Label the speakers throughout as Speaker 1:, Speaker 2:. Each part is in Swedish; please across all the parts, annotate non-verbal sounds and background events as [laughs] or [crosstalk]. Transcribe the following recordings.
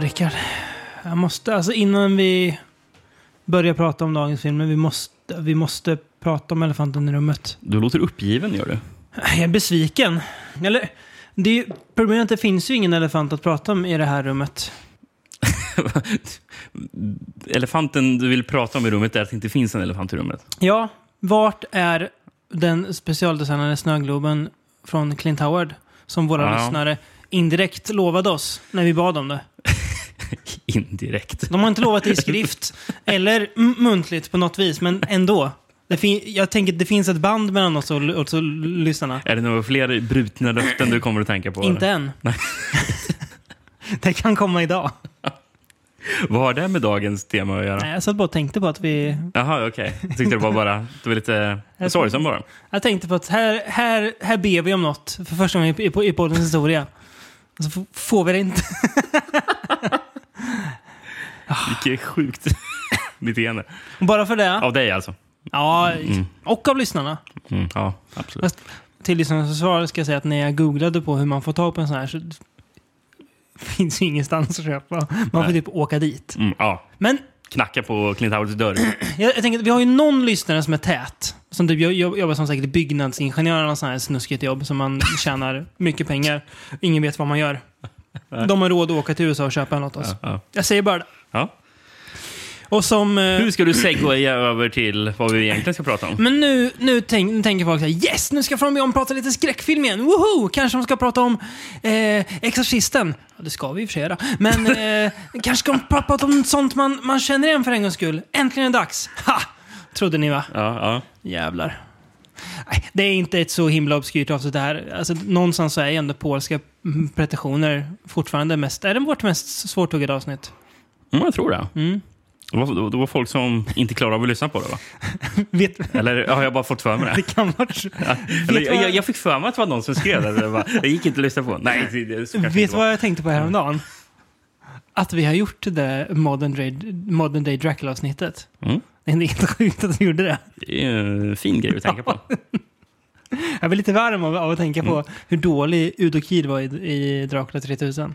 Speaker 1: Rickard. Jag måste, alltså innan vi börjar prata om dagens film, men vi måste, vi måste prata om elefanten i rummet.
Speaker 2: Du låter uppgiven, gör du.
Speaker 1: Jag är besviken. Eller, det är, ju- problemet är att det finns ju ingen elefant att prata om i det här rummet.
Speaker 2: Elefanten du vill prata om i rummet är att det inte finns en elefant i rummet. [laughs]
Speaker 1: Ja, vart är den specialdesignade snögloben från Clint Howard? Som våra
Speaker 2: Ja.
Speaker 1: lyssnare indirekt lovade oss när vi bad om det.
Speaker 2: Indirekt.
Speaker 1: De har inte lovat det i
Speaker 2: [laughs]
Speaker 1: skrift eller m- muntligt på något vis, men ändå. Det fin- jag tänker att det finns ett band mellan oss och, l- och så lyssnarna.
Speaker 2: Är det några fler brutna löften du kommer att tänka på?
Speaker 1: Inte än.
Speaker 2: Nej.
Speaker 1: [laughs] det kan komma idag.
Speaker 2: Vad har det med dagens tema att göra?
Speaker 1: Nej, jag satt bara och tänkte på att vi...
Speaker 2: Jaha, okej. Jag tyckte det var bara... Det var lite sorgsen bara.
Speaker 1: Jag tänkte på att här, här, här ber vi om något för första gången i, i, i poddens historia. Och så f- får vi det inte. [laughs]
Speaker 2: Vilket sjukt [laughs] beteende.
Speaker 1: Och Bara för det.
Speaker 2: Av dig alltså?
Speaker 1: Ja, och av lyssnarna.
Speaker 2: Mm, ja, absolut.
Speaker 1: Fast till lyssnarnas försvar ska jag säga att när jag googlade på hur man får tag på en sån här så finns ju ingenstans att köpa. Man får
Speaker 2: Nej.
Speaker 1: typ åka dit.
Speaker 2: Mm, ja.
Speaker 1: Men [clears throat]
Speaker 2: Knacka på Clint Howards dörr.
Speaker 1: jag, jag tänker att vi har ju någon lyssnare som är tät. Som typ jo- jo- jobbar som säkert byggnadsingenjör eller något sånt här snuskigt jobb som
Speaker 2: [laughs]
Speaker 1: man tjänar mycket pengar. Ingen vet vad man gör. De har råd att åka till USA och köpa något av oss.
Speaker 2: Ja, ja.
Speaker 1: Jag säger bara det.
Speaker 2: Ja.
Speaker 1: Och som... eh,
Speaker 2: Hur ska du segwaya över till vad vi egentligen ska prata om?
Speaker 1: Men nu, nu, tänk, nu tänker folk så här, yes, nu ska From Beyond prata lite skräckfilm igen. Woho! Kanske de ska prata om eh, Exorcisten. Ja, det ska vi i och för sig göra.
Speaker 2: [laughs]
Speaker 1: Men eh, kanske ska de pra- prata om sånt man, man känner igen för en gångs skull. Äntligen är det dags! Ha! Trodde ni va?
Speaker 2: Ja, ja.
Speaker 1: Jävlar. Nej, det är inte ett så himla obskyrt avsnitt det här. Alltså, någonstans så är ju ändå polska mm, pretensioner fortfarande mest... Är det vårt mest svårtuggade avsnitt?
Speaker 2: Mm, jag tror det.
Speaker 1: Mm.
Speaker 2: Det var, det var folk som inte klarade av att lyssna på det, va?
Speaker 1: Vet,
Speaker 2: Eller har jag bara fått för mig det?
Speaker 1: det kan vara...
Speaker 2: [laughs]
Speaker 1: så. [laughs]
Speaker 2: Eller,
Speaker 1: Vet vad-
Speaker 2: jag, jag fick för mig att det var någon som skrev det. Det, var, det gick inte att lyssna på. Nej, det, det, Mm. så kanske
Speaker 1: Vet
Speaker 2: inte
Speaker 1: du
Speaker 2: var.
Speaker 1: vad jag tänkte på häromdagen? Att vi har gjort det där Modern Day, Modern Day Dracula-avsnittet.
Speaker 2: Mm.
Speaker 1: Det är helt sjukt att vi gjorde det.
Speaker 2: Det är ju en fin grej att
Speaker 1: [laughs]
Speaker 2: tänka på.
Speaker 1: Jag blir lite varm av, av att tänka
Speaker 2: Mm.
Speaker 1: på hur dålig Udo Kier var i, i Dracula 3000.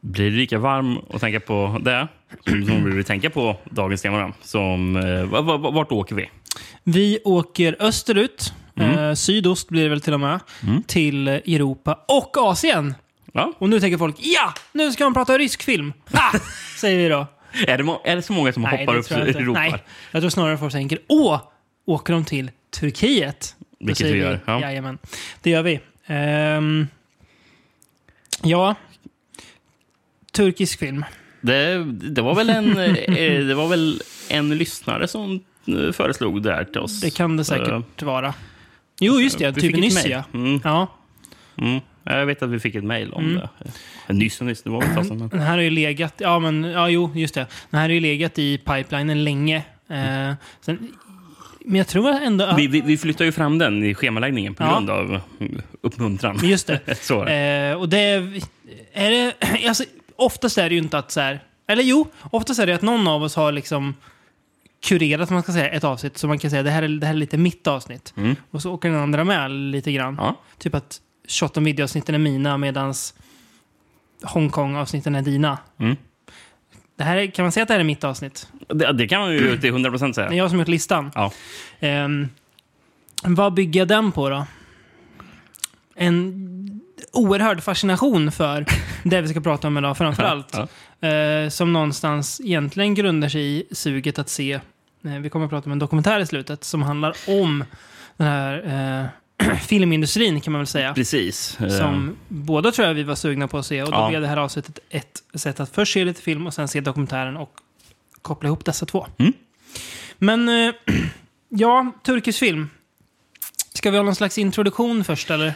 Speaker 2: Blir du lika varm att tänka på det som som blir du tänka på dagens tema? då? Som, eh, va- va- va- vart åker vi?
Speaker 1: Vi åker österut,
Speaker 2: Mm.
Speaker 1: eh, sydost blir det väl till och med,
Speaker 2: Mm.
Speaker 1: till Europa och Asien.
Speaker 2: Ja?
Speaker 1: Och nu tänker folk, ja, nu ska de prata rysk film.
Speaker 2: [laughs]
Speaker 1: Ha! Säger vi då.
Speaker 2: Är, det må- är det så många som hoppar
Speaker 1: det
Speaker 2: upp
Speaker 1: tror jag inte.
Speaker 2: och ropar?
Speaker 1: Nej, jag tror snarare folk tänker, åh, åker de till Turkiet? Då
Speaker 2: Vilket
Speaker 1: säger
Speaker 2: vi gör, ja.
Speaker 1: Jajamän, det gör vi. Ehm, ja, turkisk film.
Speaker 2: Det, det, var väl en, eh, det var väl en lyssnare som eh, föreslog det här till oss.
Speaker 1: Det kan det
Speaker 2: Eh,
Speaker 1: säkert vara. Jo, just det.
Speaker 2: Alltså, vi
Speaker 1: Typ
Speaker 2: fick ett
Speaker 1: nyss,
Speaker 2: mejl.
Speaker 1: ja.
Speaker 2: Mm,
Speaker 1: ja.
Speaker 2: mm. Jag vet att vi fick ett mejl om
Speaker 1: Mm.
Speaker 2: det. Eh, Nyss och nyss, det var väl ett tag sedan. men-
Speaker 1: Den här har ju legat, ja men, ja jo, just det. Den här har ju legat i pipelinen länge. Eh, sen, men jag tror ändå...
Speaker 2: Vi, vi, vi flyttar ju fram den i schemaläggningen på
Speaker 1: Ja.
Speaker 2: grund av mm, uppmuntran.
Speaker 1: Just det.
Speaker 2: [laughs] Så.
Speaker 1: Eh, och det är, är det, [clears throat] alltså, oftast är det ju inte att så här, eller jo, oftast är det att någon av oss har liksom kurerat, man ska säga, ett avsnitt. Så man kan säga det här är, det här är lite mitt avsnitt.
Speaker 2: Mm.
Speaker 1: Och så åker den andra med lite grann.
Speaker 2: Ja.
Speaker 1: Typ att 28 videoavsnitten är mina medans Hongkong-avsnitten är dina.
Speaker 2: Mm.
Speaker 1: Det här, är- kan man säga att det här är mitt avsnitt?
Speaker 2: Det, det kan man ju till 100 procent
Speaker 1: Det är
Speaker 2: säga.
Speaker 1: jag som har gjort listan.
Speaker 2: Ja.
Speaker 1: Ehm, vad bygger jag den på då? En oerhörd fascination
Speaker 2: [laughs]
Speaker 1: för det vi ska prata om idag framförallt.
Speaker 2: Ja.
Speaker 1: Eh, som någonstans egentligen grundar sig i suget att se, eh, vi kommer att prata om en dokumentär i slutet som handlar om den här eh, [clears throat] filmindustrin kan man väl säga.
Speaker 2: Precis. Eh,
Speaker 1: Som båda tror jag vi var sugna på att se och då
Speaker 2: Ja.
Speaker 1: blev det här avsnittet ett sätt att först se lite film och sen se dokumentären och koppla ihop dessa två.
Speaker 2: Mm.
Speaker 1: Men eh, [clears throat] ja, turkisk film. Ska vi ha någon slags introduktion först
Speaker 2: Eh.
Speaker 1: eller?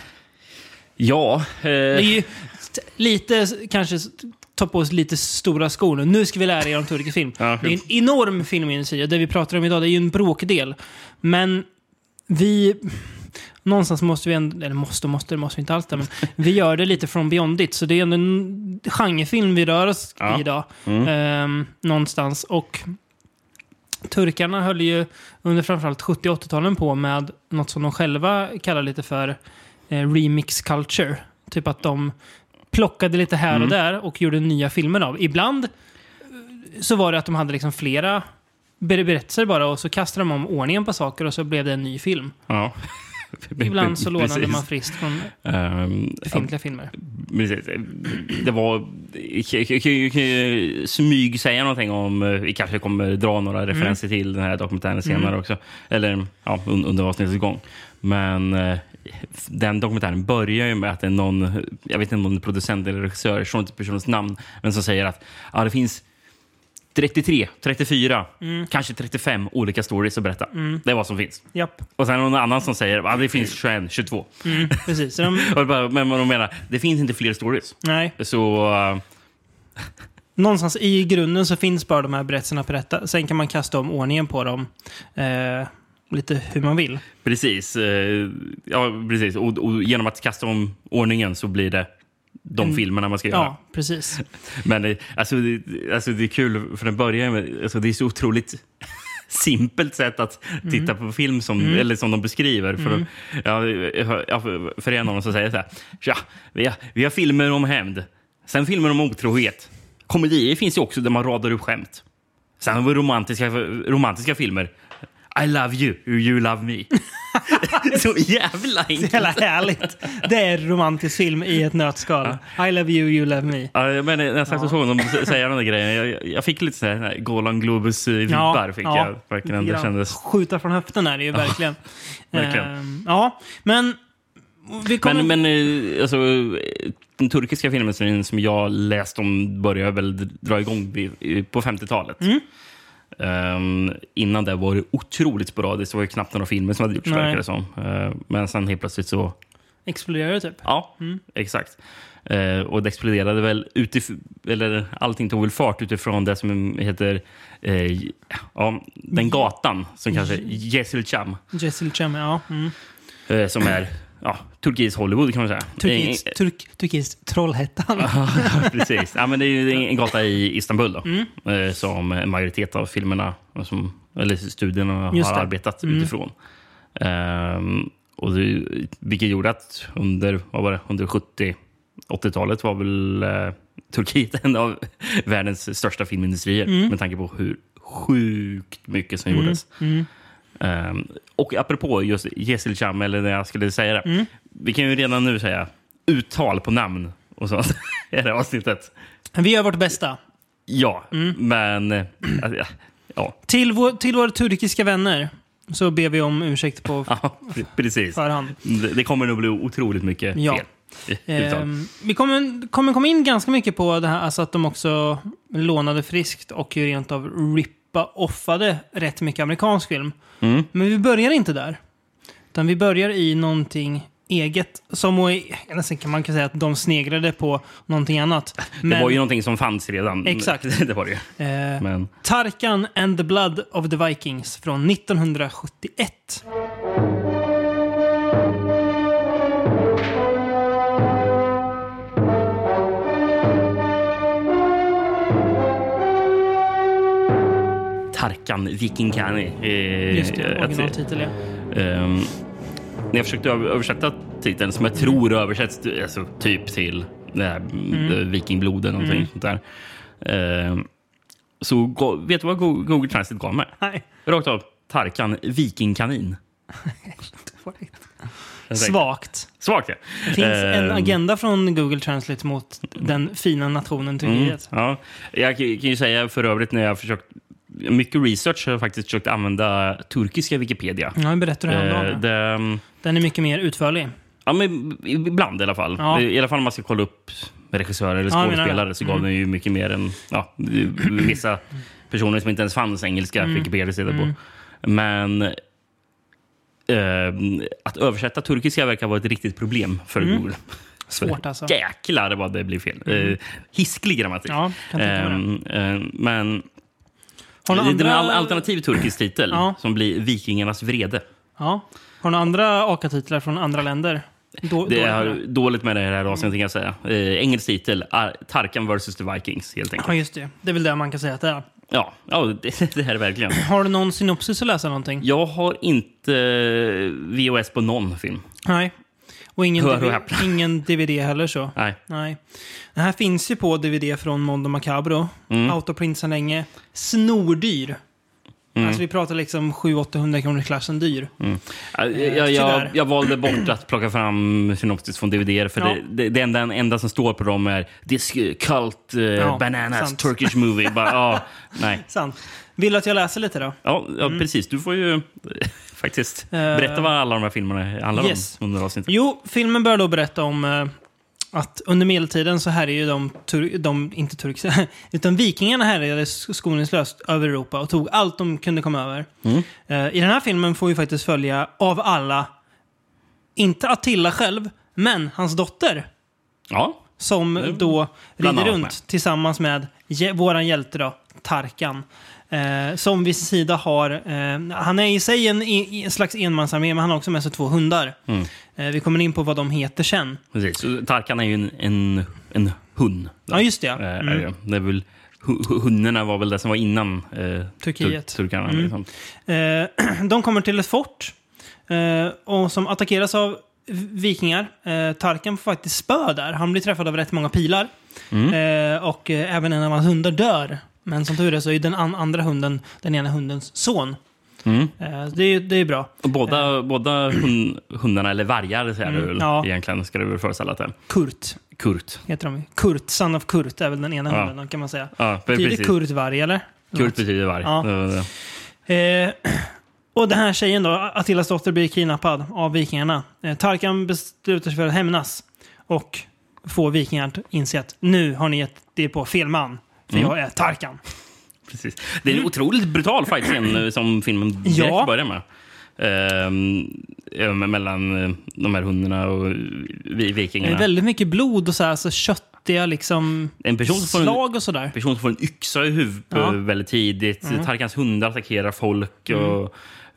Speaker 2: Ja. eh,
Speaker 1: Det är ju t- lite, kanske s- ta på oss lite stora skor nu. Nu ska vi lära er om turkisk film.
Speaker 2: ja.
Speaker 1: Det är en enorm filmindustri och det vi pratar om idag det är ju en bråkdel. Men vi... Någonstans måste vi ändå, eller måste och måste, det måste vi inte alls det, men vi gör det lite från beyond it. Så det är ändå en genrefilm vi rör oss
Speaker 2: Ja.
Speaker 1: i idag.
Speaker 2: Mm.
Speaker 1: Ehm, någonstans. Och turkarna höll ju under framförallt 70 och 80-talen på med något som de själva kallar lite för eh, remix culture. Typ att de plockade lite här
Speaker 2: Mm.
Speaker 1: och där och gjorde nya filmer av. Ibland eh, så var det att de hade liksom flera ber- berättelser bara och så kastade de om ordningen på saker och så blev det en ny film.
Speaker 2: Ja.
Speaker 1: Ibland
Speaker 2: [laughs]
Speaker 1: så lånade
Speaker 2: Precis.
Speaker 1: man friskt från
Speaker 2: Ehm,
Speaker 1: befintliga filmer.
Speaker 2: Precis. Det var... Jag kan ju- kan ju smygsäga någonting om... eh, Vi kanske kommer dra några referenser till den här dokumentären senare också. Eller ja, un- under avsnittets gång. Men eh, den dokumentären börjar ju med att det är någon, jag vet inte om det är producent eller regissör, jag tror inte personens namn, men som säger att ja, det finns 33, 34, kanske 35 olika stories att berätta. Det är vad som finns.
Speaker 1: Japp,
Speaker 2: Och sen är det någon annan som säger att det finns 21, 22.
Speaker 1: mm, precis. Så de,
Speaker 2: Och det bara, men vad de menar, det finns inte fler stories.
Speaker 1: nej.
Speaker 2: Så... eh,
Speaker 1: Någonstans i grunden så finns bara de här berättelserna på detta. Sen kan man kasta om ordningen på dem eh, lite hur man vill.
Speaker 2: Precis. eh, Ja, precis. Och, och genom att kasta om ordningen så blir det de
Speaker 1: Mm.
Speaker 2: filmerna man ska göra.
Speaker 1: Ja, precis.
Speaker 2: Men eh, alltså, det, alltså, det är kul, för den börjar med... Alltså, det är så otroligt simpelt sätt att titta på film som, eller som de beskriver. För, ja, jag hör- ja, för- för en av dem som säger så här. Tja, vi, har, vi har filmer om hämnd. Sen filmer om otrohet. Komedier finns ju också där man radar upp skämt. Sen har vi romantiska, romantiska filmer. I love you, you love [laughs] me. så jävla enkelt.
Speaker 1: Jävla härligt. Det är romantisk film i ett nötskal. I love you, you love me.
Speaker 2: Ja, jag menar, när jag satt och såg dem säga de där grejerna, jag, jag fick lite sådär här Golan Globus-vibbar. fick
Speaker 1: ja,
Speaker 2: jag verkligen. Det
Speaker 1: lite grann.
Speaker 2: kändes...
Speaker 1: Skjuta från höften är det ju verkligen.
Speaker 2: [laughs] verkligen.
Speaker 1: Ehm, ja, men... Vi kommer...
Speaker 2: Men, men eh, alltså, eh, den turkiska filmindustrin som jag läst om började väl dra igång vid- eh, på 50-talet.
Speaker 1: Mm.
Speaker 2: Ehm, innan det var det otroligt sporadiskt. Det var ju knappt några filmer som hade gjorts,
Speaker 1: Nej.
Speaker 2: verkar det som. Ehm, men sen helt plötsligt så...
Speaker 1: Exploderar det typ?
Speaker 2: Ja, exakt. Eh, och det exploderade väl utif- eller allting tog väl fart utifrån det som heter eh, ja, den gatan som kanske Yesilcham,
Speaker 1: Jessil Cem, ja. Mm.
Speaker 2: eh, som är ja, Turkiets Hollywood kan man säga. Eh,
Speaker 1: Turkiets, turk, Turkiets Trollhättan.
Speaker 2: Ja, [laughs] precis. Ja, men det är ju en- en gata i Istanbul då,
Speaker 1: Mm.
Speaker 2: eh, som en majoritet av filmerna och som, eller studierna
Speaker 1: Just
Speaker 2: har
Speaker 1: det. Mm.
Speaker 2: arbetat utifrån. Ehm, och det, vilket gjorde att under, vad var det, under 70 80-talet var väl eh, Turkiet [laughs] en av världens största filmindustrier
Speaker 1: Mm.
Speaker 2: med tanke på hur sjukt mycket som gjordes.
Speaker 1: Mm.
Speaker 2: Ehm, och apropå just Yesilcham, eller när jag skulle säga det.
Speaker 1: Mm.
Speaker 2: Vi kan ju redan nu säga uttal på namn och sånt i det här avsnittet.
Speaker 1: Vi gör vårt bästa.
Speaker 2: Ja,
Speaker 1: Mm.
Speaker 2: men... eh, Alltså, ja, ja,
Speaker 1: Till, vår, till våra turkiska vänner så ber vi om ursäkt på
Speaker 2: ja, pre- precis.
Speaker 1: förhand.
Speaker 2: Det- Det kommer nog bli otroligt mycket
Speaker 1: Ja.
Speaker 2: fel. eh, i uttal.
Speaker 1: Ehm, vi kommer, kommer komma in ganska mycket på det här, alltså att de också lånade friskt och ju rent av rippa-offade rätt mycket amerikansk film.
Speaker 2: Mm.
Speaker 1: Men vi börjar inte där. Utan vi börjar i någonting eget. Som och, nästan kan man kan säga att de sneglade på någonting annat. Men,
Speaker 2: [laughs] Det var ju någonting som fanns redan.
Speaker 1: Exakt.
Speaker 2: [laughs] det var det ju.
Speaker 1: eh,
Speaker 2: Men,
Speaker 1: Tarkan and the Blood of the Vikings från 1971.
Speaker 2: Tarkan Vikinkani.
Speaker 1: Just det, originaltitel ja.
Speaker 2: Ehm, när jag försökte över- översätta titeln, som jag tror översätts t- alltså, typ till det här, mm. eh, vikingblod eller
Speaker 1: Mm.
Speaker 2: någonting sånt där. Ehm, så go- vet du vad Go- Google Translate gav mig? [laughs]
Speaker 1: Nej,
Speaker 2: Rakt av. Tarkan vikingkanin. Jag tänkte,
Speaker 1: svagt.
Speaker 2: Svagt ja.
Speaker 1: Det finns en
Speaker 2: Ehm,
Speaker 1: agenda från Google Translate mot den fina nationen
Speaker 2: Mm.
Speaker 1: Turkiet.
Speaker 2: Ja. Jag kan kan ju säga för övrigt när jag har försökt mycket research har jag faktiskt försökt använda turkiska Wikipedia.
Speaker 1: Ja, jag berättade det
Speaker 2: Eh,
Speaker 1: häromdagen.
Speaker 2: det,
Speaker 1: Den är mycket mer utförlig.
Speaker 2: Ja, men ibland i alla fall.
Speaker 1: Ja.
Speaker 2: I alla fall om man ska kolla upp regissörer eller
Speaker 1: Ja, jag menar
Speaker 2: skådespelare
Speaker 1: det. Mm.
Speaker 2: så gav den ju mycket mer än ja, vissa personer som inte ens fanns engelska
Speaker 1: Mm.
Speaker 2: Wikipedia-sidor på. Men eh, att översätta turkiska verkar vara ett riktigt problem för Google.
Speaker 1: Mm. Svårt alltså. Mm.
Speaker 2: Jäklar vad det blir fel. Eh, hisklig grammatik.
Speaker 1: Ja, kan tänka mig det.
Speaker 2: Ehm, ehm, men
Speaker 1: Har några
Speaker 2: det är en al-
Speaker 1: andra-
Speaker 2: alternativ turkisk titel
Speaker 1: Ja.
Speaker 2: som blir Vikingarnas vrede.
Speaker 1: Ja. Har du några andra AKA-titlar från andra länder? Då,
Speaker 2: Det
Speaker 1: då-
Speaker 2: är dåligt med det här
Speaker 1: Mm.
Speaker 2: avsnittet kan jag säga. Eh, engelsk titel, Ar- Tarkan vs. The Vikings helt
Speaker 1: Ja,
Speaker 2: enkelt.
Speaker 1: just det. Det är väl det man kan säga att det är.
Speaker 2: Ja, ja [laughs] det, det här är verkligen.
Speaker 1: Har du någon synopsis att läsa någonting?
Speaker 2: Jag har inte VOS på någon film.
Speaker 1: Nej. Och ingen,
Speaker 2: Hör och
Speaker 1: DV
Speaker 2: häpna.
Speaker 1: ingen DVD heller så.
Speaker 2: Nej.
Speaker 1: Nej. Den här finns ju på DVD från Mondo Macabro.
Speaker 2: Mm.
Speaker 1: Autoprint sedan länge. Snordyr.
Speaker 2: Mm.
Speaker 1: Alltså vi pratar liksom 700-800 kronors klassen dyr.
Speaker 2: Ja,
Speaker 1: Eh,
Speaker 2: Jag,
Speaker 1: tyvärr.
Speaker 2: jag, jag valde bort att plocka fram synopsis från DVD för
Speaker 1: Ja.
Speaker 2: det, det, det enda, enda som står på dem är This eh, cult eh, bananas
Speaker 1: sant.
Speaker 2: Turkish
Speaker 1: [laughs]
Speaker 2: movie. Bara, ja, nej.
Speaker 1: Sant. Vill du att jag läser lite då?
Speaker 2: Ja, ja
Speaker 1: Mm.
Speaker 2: precis. Du får ju [laughs] faktiskt berätta vad alla de här filmerna handlar
Speaker 1: Eh. yes.
Speaker 2: om under avsnittet.
Speaker 1: Jo, filmen börjar då berätta om eh, att under medeltiden så här är ju de, tur- de inte turkar, [laughs] utan vikingarna härjade sk- skoningslöst över Europa och tog allt de kunde komma över.
Speaker 2: Mm.
Speaker 1: Eh, I den här filmen får vi faktiskt följa, av alla, inte Attila själv, men hans dotter.
Speaker 2: Ja,
Speaker 1: Som då
Speaker 2: Mm. bland
Speaker 1: rider
Speaker 2: annat
Speaker 1: runt
Speaker 2: med.
Speaker 1: tillsammans med hje- våran hjälte då, Tarkan. Eh, som vid sin sida har, eh, han är i sig en, i, en slags enmansarmé men han har också med sig två hundar.
Speaker 2: Mm.
Speaker 1: Eh, vi kommer in på vad de heter sen.
Speaker 2: precis. Så Tarkan är ju en, en, en hund.
Speaker 1: Ja just det.
Speaker 2: Eh,
Speaker 1: ja. Mm.
Speaker 2: är det. Det är väl, hu- hu- hundarna var väl det som var innan eh,
Speaker 1: Turkiet. Mm.
Speaker 2: Tur, turkarna. Liksom.
Speaker 1: Eh, [clears throat] de kommer till ett fort eh, och som attackeras av v- vikingar. Eh, Tarkan får faktiskt spö där. Han blir träffad av rätt många pilar.
Speaker 2: Mm.
Speaker 1: Eh, och eh, även en av hans hundar dör. Men som tur är så är ju den an- andra hunden den ena hundens son.
Speaker 2: Mm.
Speaker 1: Eh, det, är, ju- det är bra.
Speaker 2: Och Båda, båda hun, hundarna, eller vargar, säger du väl,
Speaker 1: Mm, ja.
Speaker 2: egentligen, ska du väl föreställa dig.
Speaker 1: Kurt
Speaker 2: Kurt.
Speaker 1: heter de ju. Kurt, son of Kurt, är väl den ena
Speaker 2: Ja.
Speaker 1: hunden då, kan man säga.
Speaker 2: Ja, pre-
Speaker 1: Betyder
Speaker 2: precis.
Speaker 1: Kurt varg eller?
Speaker 2: Kurt betyder varg.
Speaker 1: Ja.
Speaker 2: Det var det.
Speaker 1: Eh, [clears throat] och den här tjejen då, Attilas dotter, blir kidnappad av vikingarna. Eh, Tarkan beslutar sig för att hämnas och får vikingarna att inse att nu har ni gett er på fel man. För
Speaker 2: Mm.
Speaker 1: jag är Tarkan.
Speaker 2: Precis. Det är en otroligt brutal fight-scen eh, som filmen direkt
Speaker 1: Mm. Ja.
Speaker 2: börjar med. Ehm, eh, mellan eh, de här hundarna och eh, vi,
Speaker 1: Det är
Speaker 2: vikingarna.
Speaker 1: väldigt mycket blod och så här, så köttiga liksom
Speaker 2: En person som får en-
Speaker 1: slag och sådär.
Speaker 2: En person som får en yxa i huvudet
Speaker 1: Ja. Mm.
Speaker 2: eh, väldigt tidigt. Tarkans hundar attackerar folk. Och,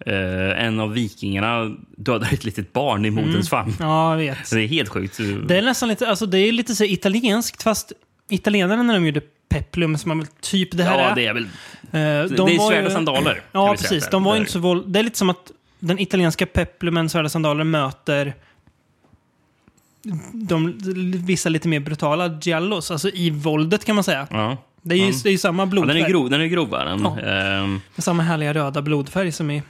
Speaker 2: eh, en av vikingarna dödar ett litet barn i moderns famn.
Speaker 1: Ja, jag vet.
Speaker 2: Så det är helt sjukt.
Speaker 1: Mm. Det är nästan lite, alltså det är lite så här italienskt, fast italienarna när de gjorde Peplum, som man väl typ det här
Speaker 2: ja,
Speaker 1: är.
Speaker 2: det är väl...
Speaker 1: eh,
Speaker 2: Det,
Speaker 1: de
Speaker 2: det är
Speaker 1: var
Speaker 2: svärd
Speaker 1: ju-
Speaker 2: och sandaler. kan
Speaker 1: Ja,
Speaker 2: vi säga
Speaker 1: precis.
Speaker 2: att
Speaker 1: De var
Speaker 2: det
Speaker 1: ju
Speaker 2: är.
Speaker 1: inte så våld... Det är lite som att den italienska Peplumens röda sandaler möter de vissa lite mer brutala giallos, alltså i våldet kan man säga.
Speaker 2: Ja.
Speaker 1: Det är ju,
Speaker 2: Mm.
Speaker 1: det är ju samma
Speaker 2: Ja,
Speaker 1: blodfärg.
Speaker 2: den är grov, den är grov är den.
Speaker 1: Ja.
Speaker 2: Ehm,
Speaker 1: Samma härliga röda blodfärg som i...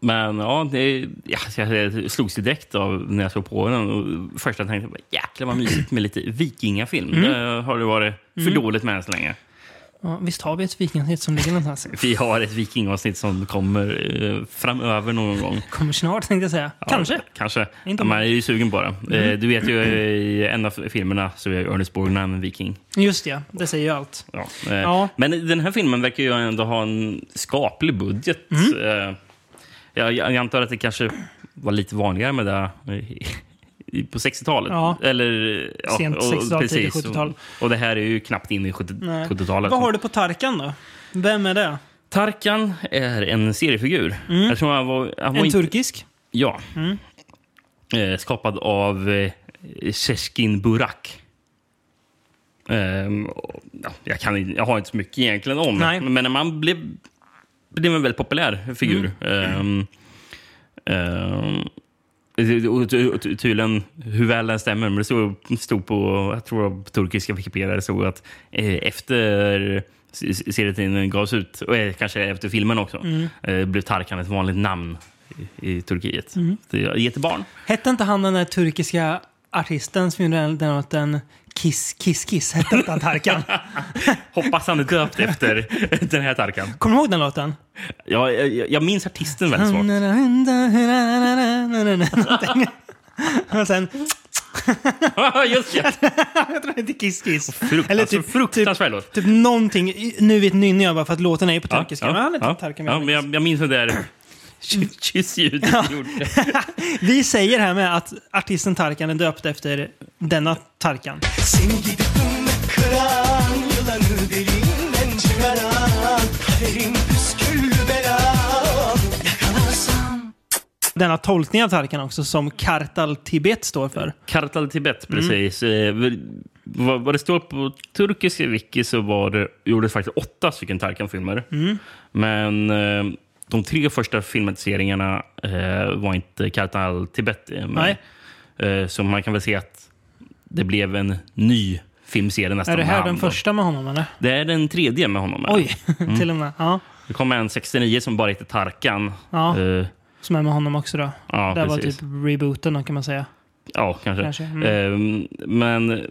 Speaker 2: Men ja, det, ja, så jag- jag slogs ju direkt av när jag såg på den. Och första jag tänkte jag jäklar vad mysigt med lite vikingafilm.
Speaker 1: Mm.
Speaker 2: Det har det varit för dåligt med än så länge.
Speaker 1: Ja, visst har vi ett vikingasnitt som ligger någonstans?
Speaker 2: Vi har ett vikingavsnitt som kommer eh, framöver någon gång.
Speaker 1: Kommer snart tänkte jag säga.
Speaker 2: Ja,
Speaker 1: Kanske.
Speaker 2: Kanske.
Speaker 1: Inte Mm.
Speaker 2: Ja, man är ju sugen på det. Eh, Du vet ju eh, i en av filmerna så är Ernest Borgnine en viking.
Speaker 1: Just det, det säger ju allt.
Speaker 2: Ja. eh,
Speaker 1: Ja.
Speaker 2: Men den här filmen verkar ju ändå ha en skaplig budget.
Speaker 1: Mm.
Speaker 2: Eh, Jag, jag antar att det kanske var lite vanligare med det eh, i- på 60-talet.
Speaker 1: Ja.
Speaker 2: Eller, ja,
Speaker 1: Sent
Speaker 2: och-
Speaker 1: 60-tal, tidigt
Speaker 2: precis.
Speaker 1: 70-tal.
Speaker 2: Och, och det här är ju knappt in i 70
Speaker 1: Nej.
Speaker 2: 70-talet.
Speaker 1: Vad har du på Tarkan då? Vem är det?
Speaker 2: Tarkan är en seriefigur. Jag tror han var, han var
Speaker 1: Mm. En
Speaker 2: inte-
Speaker 1: turkisk?
Speaker 2: Ja. Eh, skapad av eh, Sheskin Burak. Ehm, och, ja, jag, kan, in- jag har inte så mycket egentligen om
Speaker 1: Nej.
Speaker 2: men när man blev, blev en väldigt populär figur. Ehm, ehm, det- och ty- och ty- tydligen hur väl den stämmer, men det stod, stod på jag tror på turkiska Wikipedia det stod att eh, efter se- se- serietidningen gavs ut, och eh, kanske efter filmen också,
Speaker 1: Mm.
Speaker 2: eh, blev Tarkan ett vanligt namn i, i Turkiet.
Speaker 1: Mm.
Speaker 2: Det är ett barn.
Speaker 1: Hette inte han den där turkiska artisten som gjorde den den låten Kiss Kiss Kiss? Hette inte han
Speaker 2: [laughs]
Speaker 1: Tarkan?
Speaker 2: Hoppas han är döpt efter
Speaker 1: [laughs]
Speaker 2: den här Tarkan.
Speaker 1: Kommer du ihåg den låten?
Speaker 2: Jag, jag, jag minns artisten väldigt [laughs] svagt.
Speaker 1: Någonting. [laughs] Och sen, [laughs]
Speaker 2: Just det!
Speaker 1: jag tror det heter Kiss Kiss.
Speaker 2: Frukt,
Speaker 1: Eller
Speaker 2: alltså,
Speaker 1: typ-
Speaker 2: fruktansvärd låt.
Speaker 1: Typ någonting, i- nu vet nynnar jag bara för att låten är ju på
Speaker 2: Ja,
Speaker 1: turkiska. men han heter Tarkan.
Speaker 2: ja, men jag, jag minns
Speaker 1: [clears throat]
Speaker 2: det där kyssljudet ja. gjorde.
Speaker 1: [laughs] Vi säger här med att artisten Tarkan är döpt efter denna Tarkan.
Speaker 3: Seni gidip kıran Yılanı deliğinden çıkaran Kaderim püsküllü belam Yakalarsam
Speaker 1: Denna tolkning av Tarkan också som Kartal Tibet står för.
Speaker 2: Kartal Tibet,
Speaker 1: Mm.
Speaker 2: precis. Eh, väl- vad, vad det står på
Speaker 1: Mm.
Speaker 2: turkisk wiki så var det, gjordes faktiskt åtta stycken Tarkan-filmer. Men eh, de tre första filmatiseringarna eh, var inte Kartal Tibet. eh, Men,
Speaker 1: Nej.
Speaker 2: Eh, så man kan väl se att det blev en ny filmserie nästan.
Speaker 1: Är det
Speaker 2: med
Speaker 1: här
Speaker 2: han
Speaker 1: den
Speaker 2: då.
Speaker 1: första med honom eller?
Speaker 2: Det är den tredje med Mm. honom. eller?
Speaker 1: Oj, [laughs] till och med. Ja,
Speaker 2: Det kom en 69 som bara hette Tarkan.
Speaker 1: ja,
Speaker 2: Eh,
Speaker 1: som är med honom också då.
Speaker 2: ja,
Speaker 1: det här var
Speaker 2: precis.
Speaker 1: typ rebooten då, kan man säga.
Speaker 2: Ja, kanske.
Speaker 1: Kanske. Mm.
Speaker 2: Ehm, men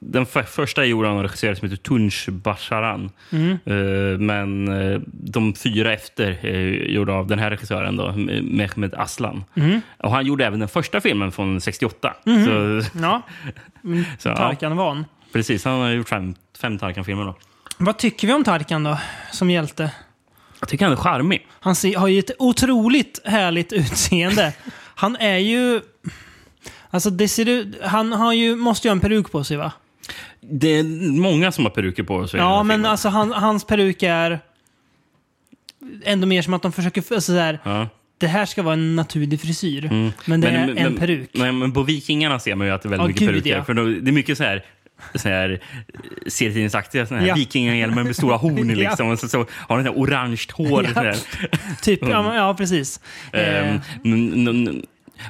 Speaker 2: den för- första gjorde han en regisserare som heter Tunch Basharan.
Speaker 1: Mm.
Speaker 2: Ehm, men eh, de fyra efter eh, gjorde av den här regissören, då, M- Mehmet Aslan.
Speaker 1: Mm.
Speaker 2: Och han gjorde även den första filmen från 68. Så,
Speaker 1: Ja,
Speaker 2: så, ja,
Speaker 1: Tarkan Van.
Speaker 2: precis. Han har gjort fem, fem Tarkan-filmer. då.
Speaker 1: Vad tycker vi om Tarkan då, som hjälte?
Speaker 2: Jag tycker han är charmig.
Speaker 1: Han ser, har ju ett otroligt härligt [laughs] utseende. Han är ju... Alltså, det ser ut... Han har ju, måste ju ha en peruk på sig, va?
Speaker 2: Det är många som har peruker på sig. i den
Speaker 1: Ja,
Speaker 2: här
Speaker 1: men
Speaker 2: filmen.
Speaker 1: alltså han, hans peruk är ändå mer som att de försöker... Alltså, så här,
Speaker 2: Ja.
Speaker 1: det här ska vara en naturlig frisyr,
Speaker 2: Mm.
Speaker 1: men det är
Speaker 2: men-
Speaker 1: en
Speaker 2: men-
Speaker 1: peruk.
Speaker 2: Nej, men på Vikingarna ser man ju att det är väldigt
Speaker 1: Ja,
Speaker 2: mycket
Speaker 1: gud,
Speaker 2: peruker.
Speaker 1: ja.
Speaker 2: För då, det är mycket så här, så här eh, serietidningsaktiga såna här
Speaker 1: Ja.
Speaker 2: vikingahjälmar med stora horn.
Speaker 1: [laughs] Ja.
Speaker 2: Liksom, och så, så har den här orange hår.
Speaker 1: Ja.
Speaker 2: så här.
Speaker 1: Typ, ja, men- ja precis.
Speaker 2: Mm. Ehm,
Speaker 1: Eh,
Speaker 2: n- n-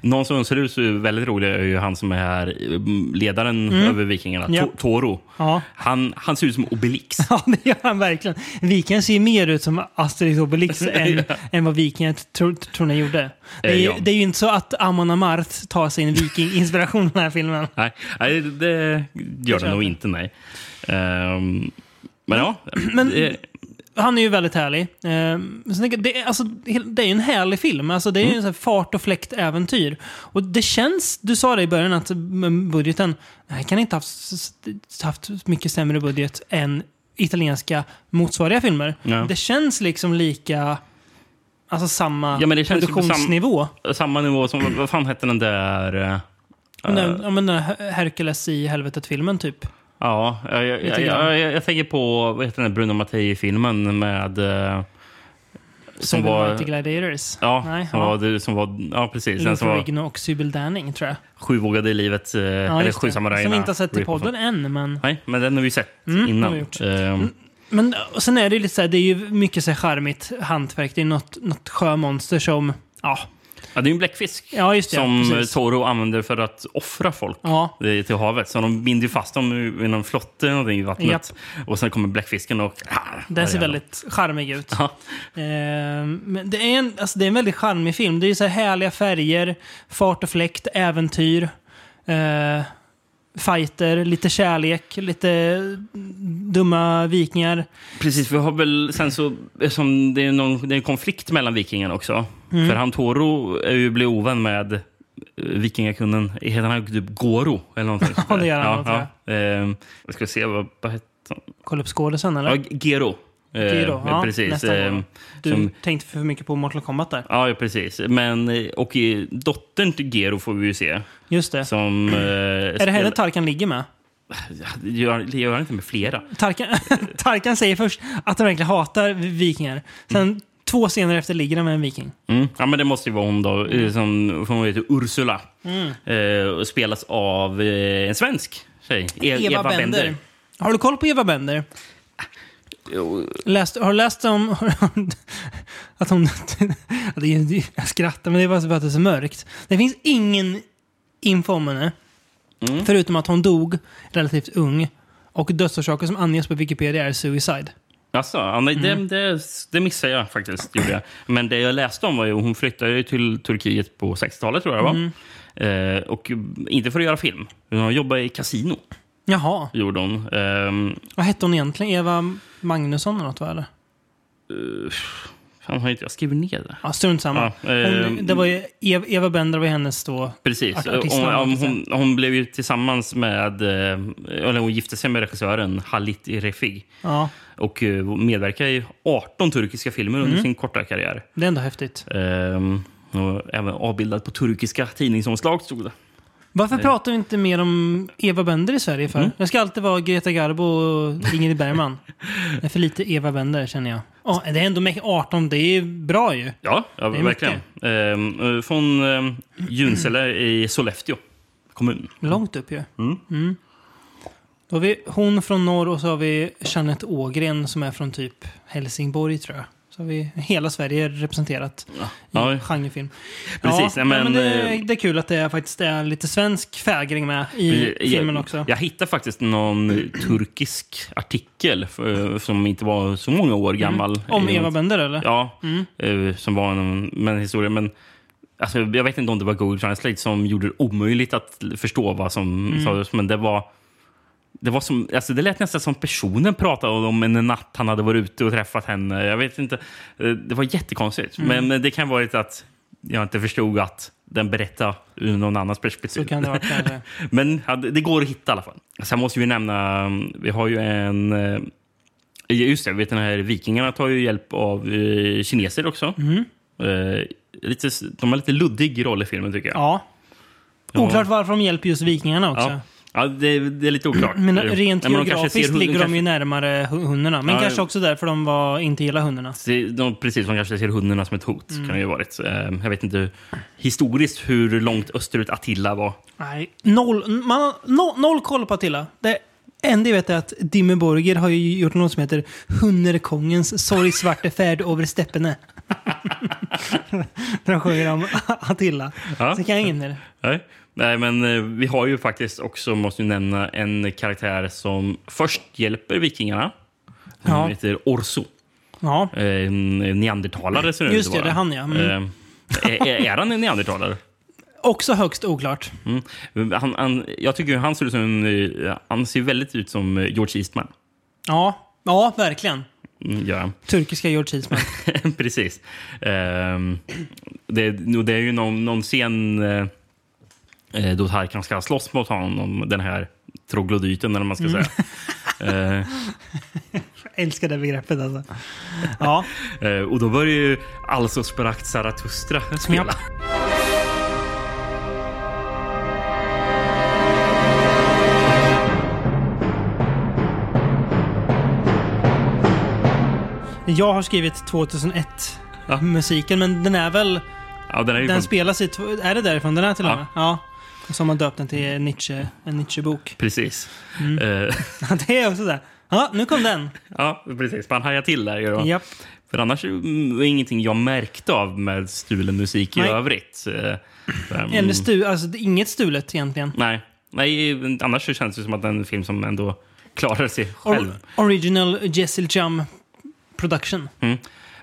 Speaker 2: någon som ser ut så väldigt rolig är ju han som är här, eh, ledaren över Vikingarna,
Speaker 1: Mm. Ja.
Speaker 2: To- Toro.
Speaker 1: ja.
Speaker 2: Han, han ser ut som Obelix.
Speaker 1: [laughs] ja, det gör han verkligen. Viken ser ju mer ut som Asterix och Obelix än, än vad Viken tror tror ni gjorde. Det är,
Speaker 2: Eh,
Speaker 1: ju,
Speaker 2: ja.
Speaker 1: det är ju inte så att Amon Amarth tar sin vikinginspiration i den här filmen.
Speaker 2: nej, nej, det gör
Speaker 1: tror
Speaker 2: det nog
Speaker 1: jag.
Speaker 2: inte, nej. Ehm, men ja,
Speaker 1: Men-
Speaker 2: det,
Speaker 1: Han är ju väldigt härlig. Eh, sen tänker jag, det, är, alltså, det är ju en härlig film. Alltså,
Speaker 2: Mm.
Speaker 1: det är ju en sån här fart och fläkt äventyr. Och det känns, du sa det i början, att mm, budgeten, nej, kan inte ha haft, haft mycket sämre budget än italienska motsvariga filmer.
Speaker 2: Ja.
Speaker 1: Det känns liksom lika, alltså samma
Speaker 2: Ja, men det känns ju på sam-
Speaker 1: produktionsnivå.
Speaker 2: samma nivå som, vad fan hette den där... eh,
Speaker 1: Men den- Ja, men den här Hercules i helvetet-filmen typ.
Speaker 2: Ja, jag, jag,
Speaker 1: Lite
Speaker 2: jag,
Speaker 1: grann.
Speaker 2: jag, jag, tänker på vad heter den där Bruno Mattei-filmen med... eh, som
Speaker 1: Som
Speaker 2: var...
Speaker 1: var... Gladiators.
Speaker 2: Ja,
Speaker 1: Nej,
Speaker 2: som,
Speaker 1: ja.
Speaker 2: Var, det- som var... Ja, precis. Den som
Speaker 1: Luther
Speaker 2: var
Speaker 1: Rigno och Sybil Danning tror jag.
Speaker 2: Sju vågade i livet. eh,
Speaker 1: Ja,
Speaker 2: eller
Speaker 1: just
Speaker 2: Sju
Speaker 1: det.
Speaker 2: samurajerna.
Speaker 1: Som vi inte har sett i
Speaker 2: Rip och
Speaker 1: podden
Speaker 2: sånt.
Speaker 1: än, men...
Speaker 2: Nej, men den har vi sett
Speaker 1: Mm,
Speaker 2: innan.
Speaker 1: har vi gjort.
Speaker 2: Ehm,
Speaker 1: Men och sen är det ju lite så här, det är ju mycket så här charmigt hantverk. Det är något, något sjömonster som, ja,
Speaker 2: ja, det är ju en bläckfisk
Speaker 1: ja just det.
Speaker 2: som
Speaker 1: ja,
Speaker 2: eh,
Speaker 1: precis.
Speaker 2: Toro använder för att offra folk.
Speaker 1: ja,
Speaker 2: eh, till havet. Så de binder ju fast dem i i någon flotte eller någonting i vattnet. Och sen kommer bläckfisken och... Ah,
Speaker 1: den
Speaker 2: där
Speaker 1: ser
Speaker 2: är de.
Speaker 1: väldigt charmig ut.
Speaker 2: Ja,
Speaker 1: Eh, men det är, en, alltså det är en väldigt charmig film. Det är ju så här härliga färger, fart och fläkt, äventyr, eh, fighter, lite kärlek, lite dumma vikingar.
Speaker 2: Precis, vi har väl sen så, som det är, någon, det är en konflikt mellan vikingarna också.
Speaker 1: Mm.
Speaker 2: För han Toro är ju, blir ovän med eh, vikingakunden, heter han typ Goro eller någonting?
Speaker 1: [laughs]
Speaker 2: sånt
Speaker 1: Ja,
Speaker 2: där?
Speaker 1: det gör han, tror
Speaker 2: Ehm, jag ska se, vad, vad hette han?
Speaker 1: Kolla upp skådisen eller?
Speaker 2: Ja, Gero. Ehm,
Speaker 1: Giro, ja,
Speaker 2: precis.
Speaker 1: nästa
Speaker 2: ehm,
Speaker 1: gång. Du
Speaker 2: som-
Speaker 1: tänkte för mycket på Mortal Kombat där.
Speaker 2: ja, precis. Men, eh, och eh, dottern till Gero får vi ju se.
Speaker 1: Just det.
Speaker 2: Som, eh,
Speaker 1: Är det henne Tarkan ligger med?
Speaker 2: Gör, gör han inte med flera?
Speaker 1: Tarkan, [laughs] Tarkan säger först att han verkligen hatar vikingar. Sen två scener efter ligger han med en viking.
Speaker 2: Mm. Ja, men det måste ju vara hon då. eh, Som, för hon heter Ursula. Eh, och spelas av eh, en svensk tjej. E-
Speaker 1: Har du koll på Eva Bender?
Speaker 2: Jo,
Speaker 1: Läst, har du läst om [laughs] att hon... [laughs] att det är, ju- jag skrattar, men det är bara så att det är så mörkt. Det finns ingen info om henne,
Speaker 2: Mm.
Speaker 1: förutom att hon dog relativt ung. Och dödsorsaker som anges på Wikipedia är suicide.
Speaker 2: Alltså, ja, nej, det, det, det missade jag faktiskt. Gjorde jag. Men det jag läste om var ju hon flyttade ju till Turkiet på 60-talet tror jag det var. Eh, och inte för att göra film. utan Hon jobbade i kasino.
Speaker 1: Jaha.
Speaker 2: Gjorde hon. Ehm,
Speaker 1: Vad hette hon egentligen? Eva Magnusson eller något, va? Eller?
Speaker 2: fan, har inte jag skrivit ner det?
Speaker 1: Ja, strunt samma.
Speaker 2: Ja,
Speaker 1: Hon,
Speaker 2: ehm,
Speaker 1: det var ju Eva, Eva Bender var ju hennes då.
Speaker 2: Precis.
Speaker 1: Art- artistnamn,
Speaker 2: Hon, hon,
Speaker 1: måste jag
Speaker 2: hon, hon blev ju tillsammans med... eh, Eller hon gifte sig med regissören Halit Refik.
Speaker 1: Ja,
Speaker 2: och eh, medverkade i 18 turkiska filmer
Speaker 1: Mm.
Speaker 2: under sin korta karriär.
Speaker 1: det är ändå häftigt.
Speaker 2: Ehm, och även avbildad på turkiska tidningsomslag, stod det.
Speaker 1: Varför pratar vi inte mer om Eva Bender i Sverige
Speaker 2: Mm.
Speaker 1: för? Det ska alltid vara Greta Garbo och Ingrid Bergman. det är för lite Eva Bender känner jag. Ja, det är ändå med 18, det är bra ju.
Speaker 2: Ja, ja
Speaker 1: är
Speaker 2: verkligen. Ehm, eh, från um, Junsele i Sollefteå kommun.
Speaker 1: Långt upp ju. Mm. Då har vi hon från norr och så har vi Jeanette Ågren som är från typ Helsingborg tror jag. Så Så har vi hela Sverige representerat i
Speaker 2: Ja.
Speaker 1: genrefilm.
Speaker 2: Precis,
Speaker 1: ja,
Speaker 2: ja, men,
Speaker 1: men det,
Speaker 2: eh,
Speaker 1: det är kul att det faktiskt är lite svensk fägring med i filmen också.
Speaker 2: Jag hittade faktiskt någon turkisk artikel eh, som inte var så många år gammal.
Speaker 1: Mm. Om
Speaker 2: I-
Speaker 1: Eva Bönder eller? Mm,
Speaker 2: Ja, eh, som var en, men en historia. Men, alltså, jag vet inte om det var Google Translate som gjorde det omöjligt att förstå vad som
Speaker 1: Mm.
Speaker 2: sades, men det var... Det, var som, alltså det lät nästan som personen pratade om en natt han hade varit ute och träffat henne. Jag vet inte. Eh, Det var jättekonstigt.
Speaker 1: Mm.
Speaker 2: Men eh, det kan vara att jag inte förstod att den berättade ur någon annans perspektiv.
Speaker 1: Så kan
Speaker 2: [laughs]
Speaker 1: det vara kanske.
Speaker 2: Men ja, det det går att hitta i alla fall. Sen måste vi nämna, mm, vi har ju en... eh, Just det, vet, den här vikingarna tar ju hjälp av eh, kineser också.
Speaker 1: Mhm.
Speaker 2: Eh, lite, s- de har lite luddig roll i filmen tycker jag.
Speaker 1: Ja. Oklart varför de hjälper just vikingarna också.
Speaker 2: Ja, ja det, det är lite oklart.
Speaker 1: Men
Speaker 2: Eh,
Speaker 1: rent
Speaker 2: nej, men de kanske
Speaker 1: geografiskt
Speaker 2: ser hund-
Speaker 1: ligger de
Speaker 2: kanske-
Speaker 1: ju närmare hu- hundarna. Men
Speaker 2: Ja,
Speaker 1: kanske
Speaker 2: jo.
Speaker 1: också därför de var, inte gillar hundarna.
Speaker 2: Se- De, precis, de kanske ser hundarna som ett hot. Kan det ju ha varit. Eh, jag vet inte historiskt hur långt österut Attila var.
Speaker 1: Nej, noll, man, har no, noll koll på Attila. Det enda jag vet är att Dimmy Borger har ju gjort något som heter Hunnerkongens sorgsvarte färd över steppene. [laughs] Där de sjunger om Attila.
Speaker 2: Ja.
Speaker 1: Så kan jag inget mer.
Speaker 2: Nej. Nej, men eh, vi har ju faktiskt också, måste ju nämna, en karaktär som först hjälper vikingarna. Han
Speaker 1: Ja.
Speaker 2: heter Orso.
Speaker 1: Ja.
Speaker 2: Eh, En neandertalare ser
Speaker 1: Just
Speaker 2: ut
Speaker 1: det,
Speaker 2: att
Speaker 1: det är
Speaker 2: vara.
Speaker 1: han, ja. Mm.
Speaker 2: Eh, är, är- är han en neandertalare?
Speaker 1: Också högst oklart.
Speaker 2: Mm. Han, han, jag tycker ju han ser ut som... eh, Han ser väldigt ut som eh, George Eastman.
Speaker 1: Ja, ja verkligen.
Speaker 2: Mm, gör han.
Speaker 1: Turkiska George
Speaker 2: [laughs]
Speaker 1: Eastman.
Speaker 2: Precis. Ehm, det, nu, det är ju någon, någon scen eh, eh, då Tarkan ska slåss mot honom, den här troglodyten eller vad man ska
Speaker 1: Mm.
Speaker 2: säga. Eh,
Speaker 1: Älskar det begreppet alltså. Ja.
Speaker 2: Eh, och då börjar ju Alltså sprakt Zarathustra spela.
Speaker 1: Japp. Jag har skrivit 2001
Speaker 2: Ja.
Speaker 1: musiken, men den är väl...
Speaker 2: Ja, den är ju
Speaker 1: Den
Speaker 2: från-
Speaker 1: spelas i... tv- Är det därifrån den är till och
Speaker 2: Ja.
Speaker 1: med? Ja. Som har döpt den till Nietzsche, en Nietzsche-bok. [laughs]
Speaker 2: Precis.
Speaker 1: Mm.
Speaker 2: Eh, [laughs]
Speaker 1: det är också det. Ja, nu kom den.
Speaker 2: ja, precis. Man hajar till där. Gör man.
Speaker 1: Japp.
Speaker 2: För annars är mm, det ingenting jag märkte av med stulen musik i
Speaker 1: Nej.
Speaker 2: övrigt. Eh, där, mm,
Speaker 1: Eller stu, alltså, det är inget stulet egentligen.
Speaker 2: nej. nej, annars så känns det som att det är en film som ändå klarar sig själv.
Speaker 1: Or, original Jessel Jum production.
Speaker 2: Mm.